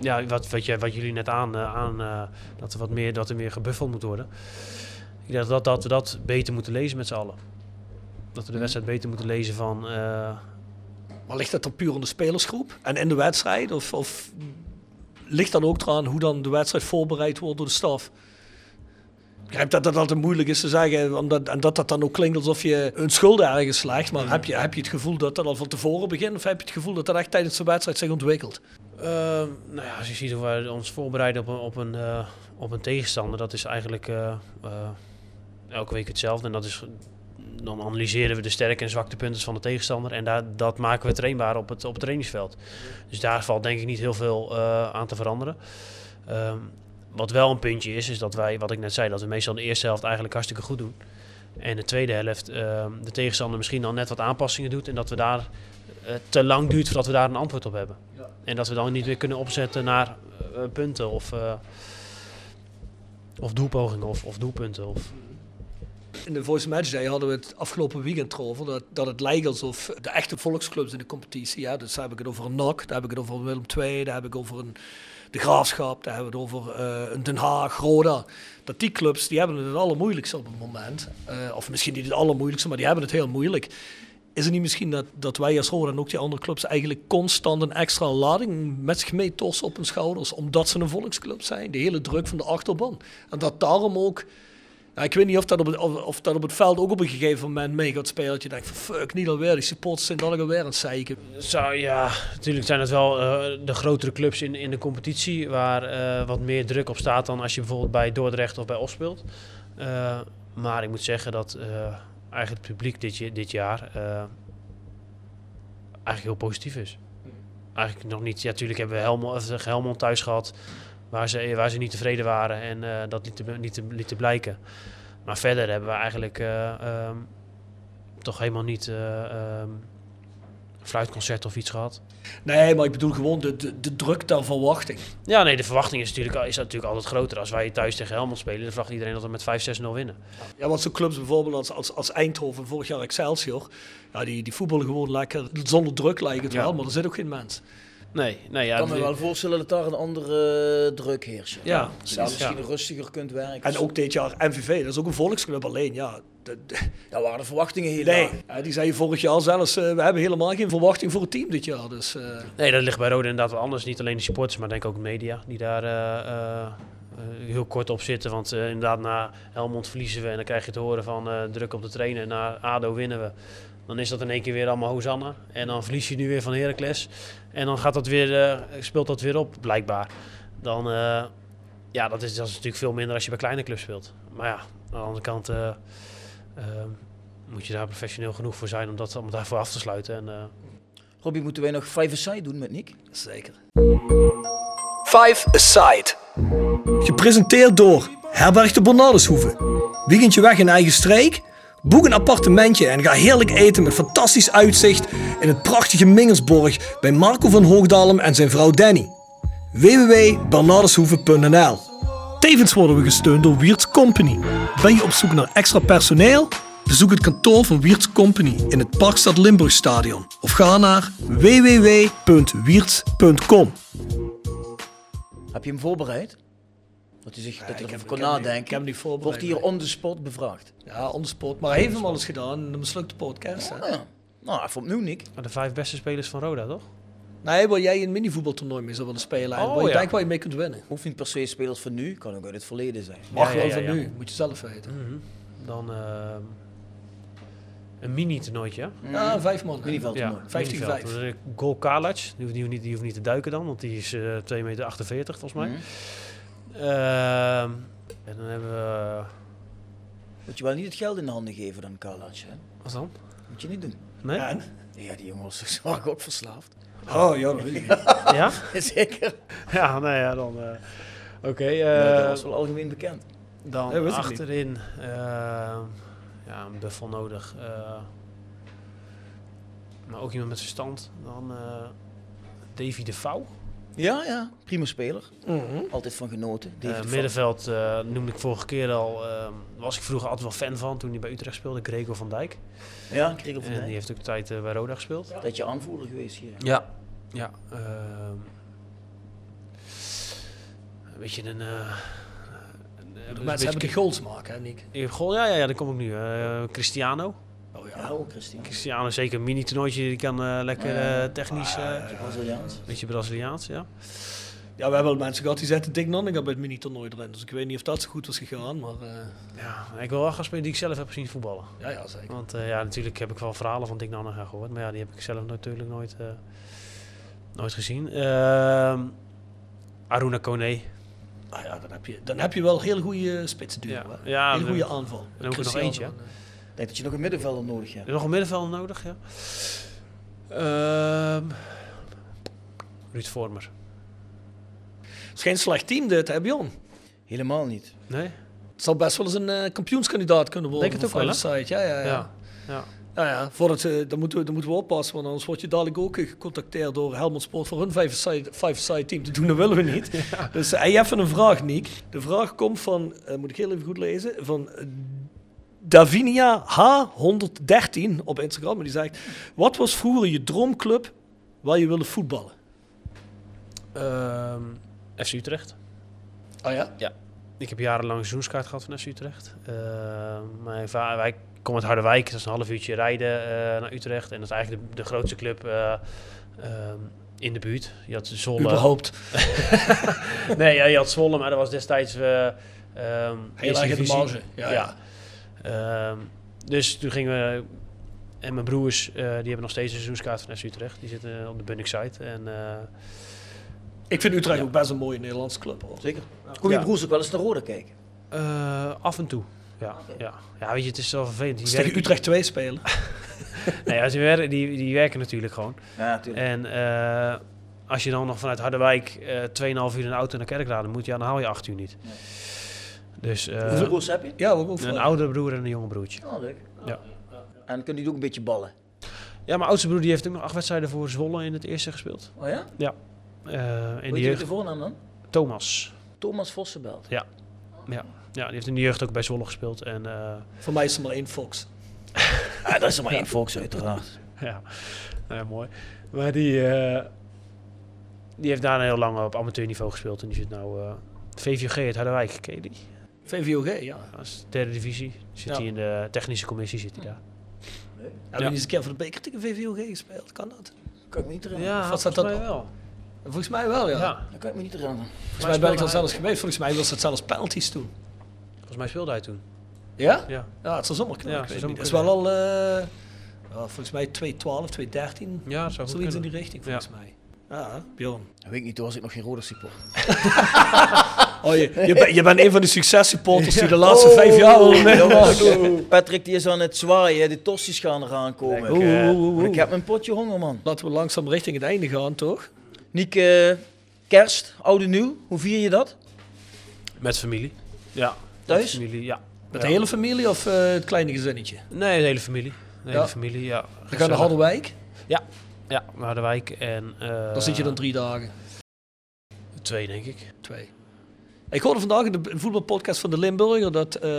Speaker 8: ja, wat, wat, jij- wat jullie net aan... eh, aan eh, dat, er wat meer, dat er meer gebuffeld moet worden. Ik denk dat, dat we dat beter moeten lezen met z'n allen. Dat we de wedstrijd beter moeten lezen van... eh,
Speaker 6: Maar ligt dat dan puur aan de spelersgroep en in de wedstrijd? Of, of ligt dat ook eraan hoe dan de wedstrijd voorbereid wordt door de staf? Ik begrijp dat dat altijd moeilijk is te zeggen, omdat, en dat dat dan ook klinkt alsof je een schuld ergens slaagt. Maar heb je, heb je het gevoel dat dat al van tevoren begint? Of heb je het gevoel dat dat echt tijdens de wedstrijd zich ontwikkelt?
Speaker 8: Ehm, nou ja, als je ziet hoe wij ons voorbereiden op een, op een, eh, op een tegenstander, dat is eigenlijk eh, eh, elke week hetzelfde. En dat is, dan analyseren we de sterke en zwakte punten van de tegenstander en daar, dat maken we trainbaar op het, op het trainingsveld. Dus daar valt denk ik niet heel veel eh, aan te veranderen. Ehm, wat wel een puntje is, is dat wij, wat ik net zei, dat we meestal de eerste helft eigenlijk hartstikke goed doen. En de tweede helft ehm, de tegenstander misschien dan net wat aanpassingen doet en dat we daar eh, te lang duurt voordat we daar een antwoord op hebben. En dat we dan niet meer kunnen opzetten naar eh, punten of, eh, of doelpogingen of, of doelpunten. Of,
Speaker 6: In de Voice Match Day hadden we het afgelopen weekend erover dat, dat het lijkt alsof de echte volksclubs in de competitie, ja, dus daar heb ik het over een NAC, daar heb ik het over Willem II, daar heb ik over een, de Graafschap, daar hebben we het over eh, een Den Haag, Roda. Dat die clubs, die hebben het het allermoeilijkste op het moment. Eh, of misschien niet het allermoeilijkste, maar die hebben het heel moeilijk. Is het niet misschien dat, dat wij als Roda en ook die andere clubs eigenlijk constant een extra lading met zich mee torsen op hun schouders, omdat ze een volksclub zijn? De hele druk van de achterban. En dat daarom ook ja, Nou, ik weet niet of dat, op het, of, of dat op het veld ook op een gegeven moment mee gaat spelen. Dat je denkt van fuck, niet alweer. Die supporters zijn dan alweer aan het zeiken.
Speaker 8: Zou, ja, natuurlijk zijn dat wel eh, de grotere clubs in, in de competitie waar eh, wat meer druk op staat dan als je bijvoorbeeld bij Dordrecht of bij Os speelt. Eh, maar ik moet zeggen dat eh, eigenlijk het publiek dit, je- dit jaar eh, eigenlijk heel positief is. Eigenlijk nog niet. Ja, natuurlijk hebben we Helmond, of zeg, Helmond eh, thuis gehad waar ze, waar ze niet tevreden waren en eh, dat lieten, lieten, lieten blijken. Maar verder hebben we eigenlijk eh, ehm, toch helemaal niet eh, ehm, een fluitconcert of iets gehad.
Speaker 6: Nee, maar ik bedoel gewoon de, de, de druk daar verwachting.
Speaker 8: Ja, nee, de verwachting is natuurlijk, is natuurlijk altijd groter. Als wij thuis tegen Helmond spelen, dan verwacht iedereen dat we met 5-6-0 winnen.
Speaker 6: Ja, want zo'n clubs bijvoorbeeld als, als, als Eindhoven, vorig jaar Excelsior, ja, die, die voetballen gewoon lekker zonder druk lijkt het
Speaker 8: Ja.
Speaker 6: wel, maar er zit ook geen mens.
Speaker 8: Nee, nee ja,
Speaker 7: Ik kan me
Speaker 8: die-
Speaker 7: wel voorstellen dat daar een andere eh, druk heerst.
Speaker 6: Ja,
Speaker 7: dat
Speaker 6: precies,
Speaker 7: je misschien
Speaker 6: ja.
Speaker 7: rustiger kunt werken.
Speaker 6: En ook dit jaar MVV, dat is ook een volksclub alleen, ja. De,
Speaker 7: Daar waren de verwachtingen heel
Speaker 6: nee, ja, die zei vorig jaar zelfs, eh, we hebben helemaal geen verwachting voor het team dit jaar. Dus, eh,
Speaker 8: Nee, dat ligt bij Rode inderdaad wel anders. Niet alleen de supporters, maar denk ook de media die daar eh, eh, eh, heel kort op zitten. Want eh, inderdaad, na Helmond verliezen we en dan krijg je te horen van eh, druk op de trainer. Na ADO winnen we. Dan is dat in één keer weer allemaal Hosanna. En dan verlies je nu weer van Heracles. En dan gaat dat weer, eh, speelt dat weer op, blijkbaar. Dan, eh, ja, dat is, dat is natuurlijk veel minder als je bij kleine clubs speelt. Maar ja, aan de andere kant eh, eh, moet je daar professioneel genoeg voor zijn om, dat, om daarvoor af te sluiten. En, eh,
Speaker 7: Robbie, moeten wij nog five side doen met Nick?
Speaker 6: Zeker.
Speaker 11: Five Aside.
Speaker 6: Gepresenteerd door Herberg de Bernardeshoeve. Weekendje weg in eigen streek? Boek een appartementje en ga heerlijk eten met fantastisch uitzicht in het prachtige Mingelsborg bij Marco van Hoogdalem en zijn vrouw Danny. www.bernardeshoeve.nl Tevens worden we gesteund door Wiert's Company. Ben je op zoek naar extra personeel? Bezoek het kantoor van Wiert's Company in het Parkstad Limburgstadion of ga naar www.wierts.com.
Speaker 7: Heb je hem voorbereid? Dat hij zich dat hij erover kon
Speaker 8: Nou,
Speaker 7: nadenken. Wordt hier on the spot bevraagd?
Speaker 6: Ja, on the spot. Maar hij heeft hem al eens gedaan in een mislukte podcast.
Speaker 8: Oh,
Speaker 6: Hè?
Speaker 7: Nou, even opnieuw, Nick.
Speaker 8: Maar de vijf beste spelers van Roda, toch?
Speaker 6: Nee, waar Nou, jij een minivoetbaltoernooi mee zou willen spelen. en
Speaker 7: Oh,
Speaker 6: waar je
Speaker 7: ja.
Speaker 6: denkt waar je mee kunt winnen.
Speaker 7: Hoeft niet per se spelers van nu, kan ook uit het verleden zijn.
Speaker 6: Mag
Speaker 8: ja,
Speaker 6: wel
Speaker 8: ja,
Speaker 6: van
Speaker 8: ja.
Speaker 6: nu, moet je zelf weten.
Speaker 8: Hmm. Dan ehm, een mini-toernooitje.
Speaker 6: Ah, vijf man. Miniveldtoernooi. 15-5.
Speaker 8: miniveldtoernooi. Goal Kalac, die hoeft, die, hoeft niet, die hoeft niet te duiken dan, want die is eh 2,48 meter volgens mij.
Speaker 7: Mhm.
Speaker 8: Ehm, en dan hebben we...
Speaker 7: Moet je wel niet het geld in de handen geven dan Kalac, hè?
Speaker 8: Wat dan?
Speaker 7: Moet je niet doen.
Speaker 8: Nee?
Speaker 7: Ja, die jongen was zwaar ook verslaafd.
Speaker 6: Oh, ja, dat weet ik niet.
Speaker 7: nou.
Speaker 8: Ja?
Speaker 7: Zeker.
Speaker 8: Ja, nou ja, dan... eh, Oké,
Speaker 7: Nee,
Speaker 8: eh,
Speaker 7: dat was wel algemeen bekend.
Speaker 8: dan
Speaker 6: Nee, wist ik niet.
Speaker 8: achterin... ehm, ja, een buffel nodig. eh, maar ook iemand met zijn stand. Dan eh, Davy de Vouw.
Speaker 7: Ja, ja. Prima speler. Altijd van genoten.
Speaker 8: Mhm. Eh,
Speaker 7: David van-
Speaker 8: middenveld eh, noemde ik vorige keer al. eh, was ik vroeger altijd wel fan van toen hij bij Utrecht speelde, Gregor van Dijk.
Speaker 7: Ja, Gregor van
Speaker 8: En
Speaker 7: Dijk.
Speaker 8: die heeft ook een tijd eh, bij Roda gespeeld.
Speaker 7: Dat je aanvoerder geweest hier.
Speaker 8: Ja, ja. ehm, een beetje een. eh, een- een
Speaker 6: De
Speaker 8: beetje-
Speaker 6: mensen hebben de goals maken, hè, Nick?
Speaker 8: Je hebt goal, ja, ja, ja, daar kom ik nu. Eh, Cristiano.
Speaker 6: Oh
Speaker 7: Ja, ook Christine.
Speaker 8: Cristiano, is zeker een mini-toernooitje. Die kan eh, lekker eh, technisch. eh,
Speaker 7: Beetje Braziliaans.
Speaker 8: beetje Braziliaans, ja.
Speaker 6: Ja, we hebben wel mensen gehad die zetten Dick Nanninga bij het mini-toernooi erin. Dus ik weet niet of dat zo goed was gegaan, maar... eh,
Speaker 8: ja. Ik wil wel gaan spelen die ik zelf heb zien voetballen.
Speaker 6: ja, ja, zeker.
Speaker 8: Want eh, ja, natuurlijk heb ik wel verhalen van Dick Nanninga gehoord. Maar ja, die heb ik zelf natuurlijk nooit, eh, nooit gezien. Ehm, Aruna Kone.
Speaker 6: Ah, ja, dan, heb je, dan heb je wel heel goede spitsen duo,
Speaker 8: Hmm. Ja.
Speaker 6: hè.
Speaker 8: Ja,
Speaker 6: heel
Speaker 8: dan-
Speaker 6: goede aanval.
Speaker 8: dan ook nog
Speaker 6: Cristiano,
Speaker 8: eentje, hè?
Speaker 6: eh,
Speaker 7: Ik denk dat je nog een middenvelder nodig
Speaker 8: Heb
Speaker 7: hebt.
Speaker 8: je nog een middenveld nodig? Ja. Ehm, Ruud Vormer.
Speaker 6: Het is geen slecht team dit, hè, Bjorn?
Speaker 7: Helemaal niet.
Speaker 8: Nee?
Speaker 6: Het zal best wel eens een eh, kampioenskandidaat kunnen worden.
Speaker 8: Denk het
Speaker 6: voor
Speaker 8: ook wel,
Speaker 6: Feyenoord Side. Ja, ja, ja.
Speaker 8: Ja. ja.
Speaker 6: Nou ja, voor het, eh, dan, moeten we, dan moeten we oppassen, want anders word je dadelijk ook eh, gecontacteerd door Helmond Sport voor hun five-side team te doen. Dat willen we niet. Dus eh, hey, even een vraag, Niek. De vraag komt van, eh, moet ik heel even goed lezen, van eh, Davinia H113 op Instagram. En die zegt, wat was vroeger je droomclub waar je wilde voetballen?
Speaker 8: Ehm, FC Utrecht.
Speaker 6: Oh ja?
Speaker 8: Ik heb jarenlang een seizoenskaart gehad van FC Utrecht. Ehm, mijn vader, wij komen uit Harderwijk, dat is een half uurtje rijden eh, naar Utrecht. En dat is eigenlijk de, de grootste club eh, ehm, in de buurt. Je had
Speaker 6: eh,
Speaker 8: Zolle.
Speaker 6: Überhaupt.
Speaker 8: nee, ja, je had Zwolle, maar dat was destijds... eh ehm eerste
Speaker 6: erg in de
Speaker 8: divisie.
Speaker 6: marge, ja,
Speaker 8: Ehm, dus toen gingen we... En mijn broers, eh, die hebben nog steeds een seizoenskaart van FC Utrecht. Die zitten op de Bunnik site. En, eh,
Speaker 6: Ik vind Utrecht ook best een mooie Nederlandse club. Hoor.
Speaker 7: Zeker. Kom je
Speaker 8: Ja.
Speaker 7: broers ook wel eens naar Roda kijken?
Speaker 8: eh, af en toe. Ja, ja. ja, weet je, het is wel vervelend. Die
Speaker 6: Dus tegen
Speaker 8: werken-
Speaker 6: Utrecht 2 spelen.
Speaker 8: Nee, ja, ze werken, die, die werken natuurlijk gewoon.
Speaker 7: Ja, natuurlijk.
Speaker 8: En eh, als je dan nog vanuit Harderwijk eh 2,5 uur in de auto naar Kerkrade moet, ja, dan haal je 8 uur niet. Dus, eh,
Speaker 7: Hoeveel broers heb je?
Speaker 6: Ja, hoeveel
Speaker 8: Een
Speaker 7: broers?
Speaker 8: oudere broer en een jonge broertje.
Speaker 7: Oh, leuk.
Speaker 8: Ja.
Speaker 7: En kunnen die ook een beetje ballen?
Speaker 8: Ja, mijn oudste broer die heeft ook nog acht wedstrijden voor Zwolle in het eerste gespeeld.
Speaker 7: Oh ja?
Speaker 8: Ja. Eh,
Speaker 7: Weet
Speaker 8: in de
Speaker 7: je wat
Speaker 8: jeugd.
Speaker 7: de voornaam dan?
Speaker 8: Thomas.
Speaker 7: Thomas Vossenbelt.
Speaker 8: Ja. ja. Ja, die heeft in de jeugd ook bij Zwolle gespeeld. En, eh,
Speaker 6: Voor mij is er maar één Fox.
Speaker 7: Ah, dat is er maar één Fox, uiteraard.
Speaker 8: ja. Nou ja, mooi. Maar die, eh, die heeft daarna heel lang op amateurniveau gespeeld. En die zit nou eh, VVG uit Harderwijk. Ken je die?
Speaker 6: VVOG, ja.
Speaker 8: Dat is de derde divisie. Zit
Speaker 6: Ja.
Speaker 8: hij in de technische commissie, zit hij daar.
Speaker 6: Hebben jullie eens een keer voor de beker tegen VVOG gespeeld? Kan dat?
Speaker 7: Kan ik me niet
Speaker 8: Ja,
Speaker 6: Of was
Speaker 8: volgens
Speaker 6: dat
Speaker 8: mij
Speaker 6: dan-
Speaker 8: wel.
Speaker 6: Volgens mij wel, ja.
Speaker 8: Ja.
Speaker 7: Dat kan ik me niet herinneren.
Speaker 6: Volgens mij ben ik er zelfs geweest. Volgens mij was dat zelfs penalties toen.
Speaker 8: Volgens mij speelde hij toen.
Speaker 6: Ja?
Speaker 8: Ja.
Speaker 6: Ja, het zou zomaar kunnen. ik
Speaker 8: Ja, het
Speaker 6: weet
Speaker 8: zou
Speaker 6: niet. Het is
Speaker 8: zomaar
Speaker 6: wel al, eh, ja, volgens mij 212, 213.
Speaker 8: Ja, dat zou
Speaker 6: Zoiets
Speaker 8: goed kunnen.
Speaker 6: in die richting, volgens mij. Ja, Bjorn.
Speaker 7: Dat weet ik niet, toen was ik nog geen rode support.
Speaker 6: Oh, je, je, bent- je bent een van de successupporters die de laatste vijf jaar al mee
Speaker 7: Oh, Patrick die is aan het zwaaien, de tossies gaan eraan komen.
Speaker 6: Oeh, oeh, oeh, oeh.
Speaker 7: Ik heb mijn potje honger, man.
Speaker 6: Laten we langzaam richting het einde gaan, toch?
Speaker 7: Niek, eh, kerst, oude nieuw, hoe vier je dat?
Speaker 8: Met familie. Ja.
Speaker 7: Thuis?
Speaker 8: Met familie, ja.
Speaker 6: Met
Speaker 8: Ja.
Speaker 6: de hele familie of eh, het kleine gezinnetje?
Speaker 8: Nee, de hele familie. De hele
Speaker 6: Ja.
Speaker 8: familie, ja.
Speaker 6: We gaan naar Harderwijk.
Speaker 8: Ja. Ja, naar de wijk en... eh,
Speaker 6: Dan zit je dan drie dagen.
Speaker 8: Twee, denk ik.
Speaker 6: Twee. Ik hoorde vandaag in de voetbalpodcast van de Limburger dat eh,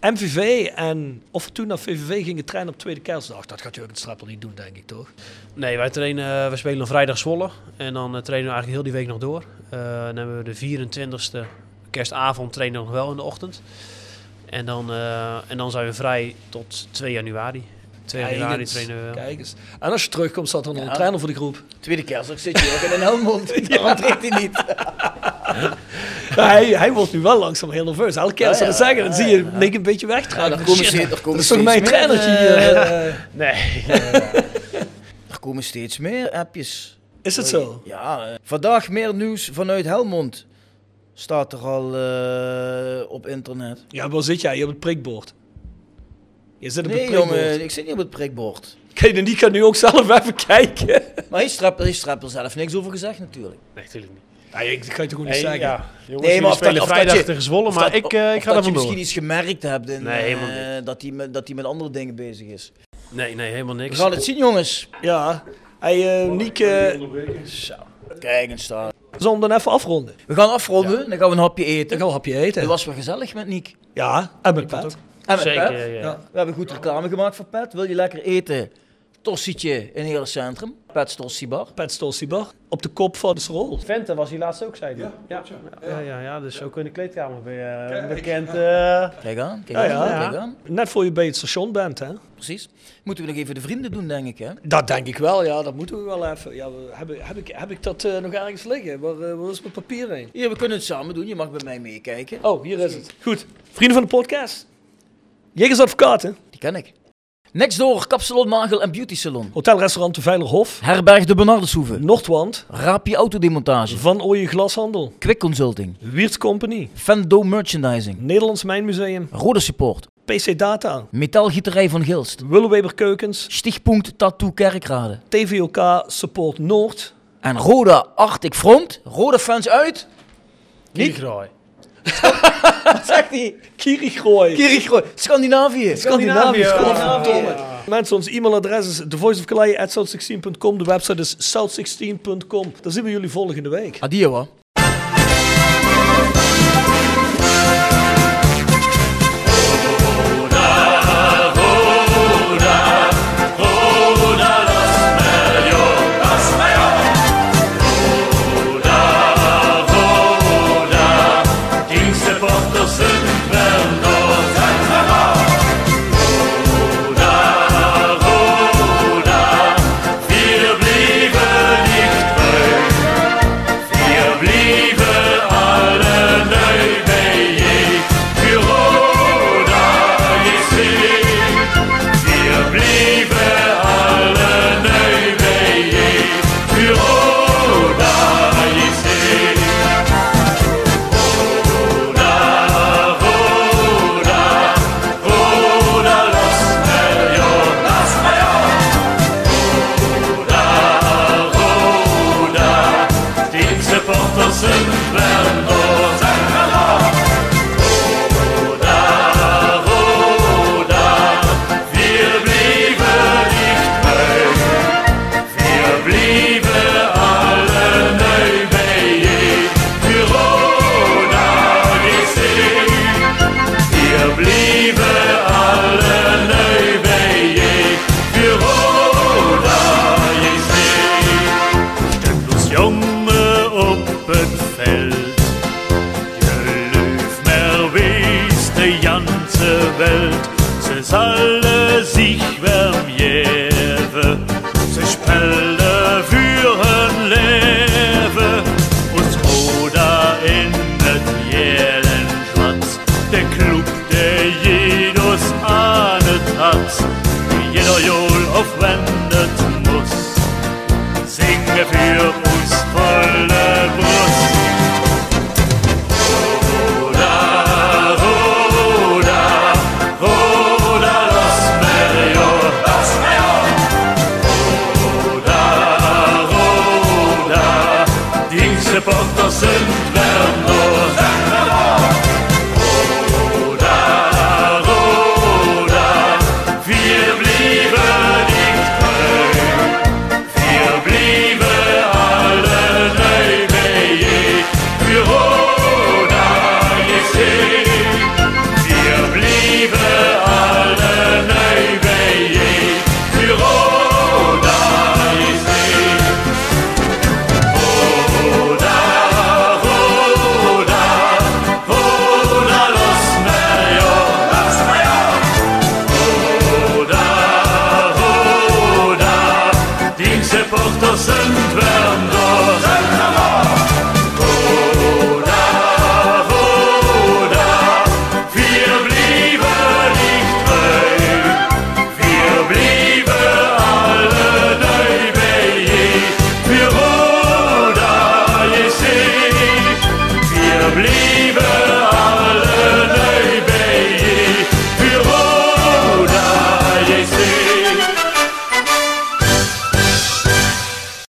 Speaker 6: MVV en of we toen naar VVV gingen trainen op tweede kerstdag. Dat gaat Jurgen Strappel niet doen, denk ik, toch?
Speaker 8: Nee, wij trainen, eh, we spelen op vrijdag Zwolle. En dan eh, trainen we eigenlijk heel die week nog door. Eh, dan hebben we de 24e kerstavond trainen we nog wel in de ochtend. En dan, eh, en dan zijn we vrij tot 2 januari. 2
Speaker 6: Kijk
Speaker 8: januari
Speaker 6: eens,
Speaker 8: trainen we wel.
Speaker 6: Kijk eens. En als je terugkomt, staat er nog
Speaker 7: Ja.
Speaker 6: een trainer voor de groep.
Speaker 7: Tweede kerstdag zit je ook in een helmond, dat trekt hij niet.
Speaker 6: hij, hij wordt nu wel langzaam heel nerveus. Elke keer als ze
Speaker 7: Ja,
Speaker 6: dat
Speaker 7: ja,
Speaker 6: zeggen, dan zie je Nick een beetje wegdraaien.
Speaker 7: Ja, er komen
Speaker 6: Shit,
Speaker 7: steeds- er
Speaker 6: Dat
Speaker 7: komen
Speaker 6: is toch
Speaker 7: steeds
Speaker 6: mijn
Speaker 7: meer,
Speaker 6: trainertje hier.
Speaker 7: eh,
Speaker 6: eh.
Speaker 8: Nee.
Speaker 7: Er komen steeds meer appjes.
Speaker 6: Is het zo?
Speaker 7: Ja. eh, Vandaag meer nieuws vanuit Helmond. Staat er al eh, op internet.
Speaker 6: Ja, waar zit jij? Hier op het prikbord. Je zit op
Speaker 7: nee,
Speaker 6: het prikbord.
Speaker 7: jongen, ik zit niet op het prikbord.
Speaker 6: Kijk, en die kan nu ook zelf even kijken.
Speaker 7: Maar hij strapt hij strapt er zelf niks over gezegd natuurlijk.
Speaker 8: Nee, natuurlijk niet.
Speaker 6: Nee, ik ga het toch ook niet
Speaker 8: Hey,
Speaker 6: zeggen.
Speaker 8: ja. Jongens, jullie spelen
Speaker 7: of
Speaker 8: vrijdag
Speaker 7: je-
Speaker 8: tegen Zwolle,
Speaker 7: of
Speaker 8: maar
Speaker 7: dat-
Speaker 8: ik, eh,
Speaker 7: of
Speaker 8: ik
Speaker 7: dat
Speaker 8: ga
Speaker 7: je
Speaker 8: er vandoor.
Speaker 7: misschien iets gemerkt hebt in,
Speaker 8: Nee, helemaal
Speaker 7: eh, dat, hij met, dat hij met andere dingen bezig is.
Speaker 8: Nee, nee, helemaal niks.
Speaker 7: We gaan het zien, jongens.
Speaker 6: Ja. Hey, eh Niek, eh,
Speaker 7: Kijk eens daar.
Speaker 6: zullen we dan even afronden?
Speaker 7: We gaan afronden, dan gaan we een hapje eten.
Speaker 6: Dan gaan we een hapje eten.
Speaker 7: Het was wel gezellig met Niek.
Speaker 6: Ja, en met Pat.
Speaker 7: En met
Speaker 8: Zeker,
Speaker 7: Pet.
Speaker 8: ja, ja.
Speaker 7: Ja, We hebben goed reclame gemaakt voor Pet. Wil je lekker eten? Tossietje in het hele centrum. Pet's Tossiebar.
Speaker 6: Pat Stolzibar. Op de kop van de rol.
Speaker 8: Venten was hij laatst ook, zei hij.
Speaker 12: Ja,
Speaker 8: ja. Ja. Ja, ja, dus ook in de kleedkamer ben je eh,
Speaker 12: Kijk.
Speaker 8: bekend. eh
Speaker 7: Kijk aan, kijk
Speaker 6: Ja,
Speaker 7: aan,
Speaker 6: ja.
Speaker 7: kijk aan.
Speaker 6: Net voor je bij het station bent, hè?
Speaker 7: Precies. Moeten we nog even de vrienden doen, denk ik, hè?
Speaker 6: Dat denk ik wel, ja. Dat moeten we wel even. Ja, we- heb, ik- heb, ik, heb ik dat eh, nog ergens liggen? Waar, eh, waar is mijn papier heen?
Speaker 7: Ja, we kunnen het samen doen. Je mag bij mij meekijken.
Speaker 6: Oh, hier is het. Goed. Vrienden van de podcast. Jegers Advocaten.
Speaker 7: Die ken ik. Next door, kapsalon, nagel en beauty salon.
Speaker 6: Hotelrestaurant De Veilerhof.
Speaker 7: Herberg de Bernardeshoeve.
Speaker 6: Noordwand.
Speaker 7: Raapje Autodemontage.
Speaker 6: Van Ooyen Glashandel.
Speaker 7: Quick Consulting.
Speaker 6: Wiert Company.
Speaker 7: Fendo Merchandising.
Speaker 6: Nederlands Mijnmuseum.
Speaker 7: Rode Support.
Speaker 6: PC Data.
Speaker 7: Metaalgieterij van Gilst.
Speaker 6: Willeweber Keukens.
Speaker 7: Stichtpunt Tattoo Kerkrade.
Speaker 6: TVOK Support Noord.
Speaker 7: En Roda Arctic Front. Rode fans uit.
Speaker 8: Kierkraai.
Speaker 7: Wat zegt hij?
Speaker 6: Kirigooi.
Speaker 7: Kirichro. Scandinavië.
Speaker 6: Scandinavië,
Speaker 7: Scandinavië.
Speaker 6: godverdomme. Mensen, ons e-mailadres is thevoiceofkalei.south16.com. De website is south16.com. Dan zien we jullie volgende week.
Speaker 7: Adio, hoor.
Speaker 4: Wir blieben nicht treu, wir blieben
Speaker 8: Welt, ze zullen zich vermeven. Ze spelen voor hun leven, ons Roda in het jelen schwarz. De club, der jedes ahnet hat, die jeder Jol aufwendet muss. Singe für uns volle Brust. Supporters sind wir nur. Roda, Roda, wir blieben nicht treu. Wir blieben alle neu bei je. Für Roda jetzt seh. Wir blieben alle neu bei je. Für Roda jetzt seh. Roda, Roda, Roda, los Major, los Major. Roda, Roda, die Supporters sind wir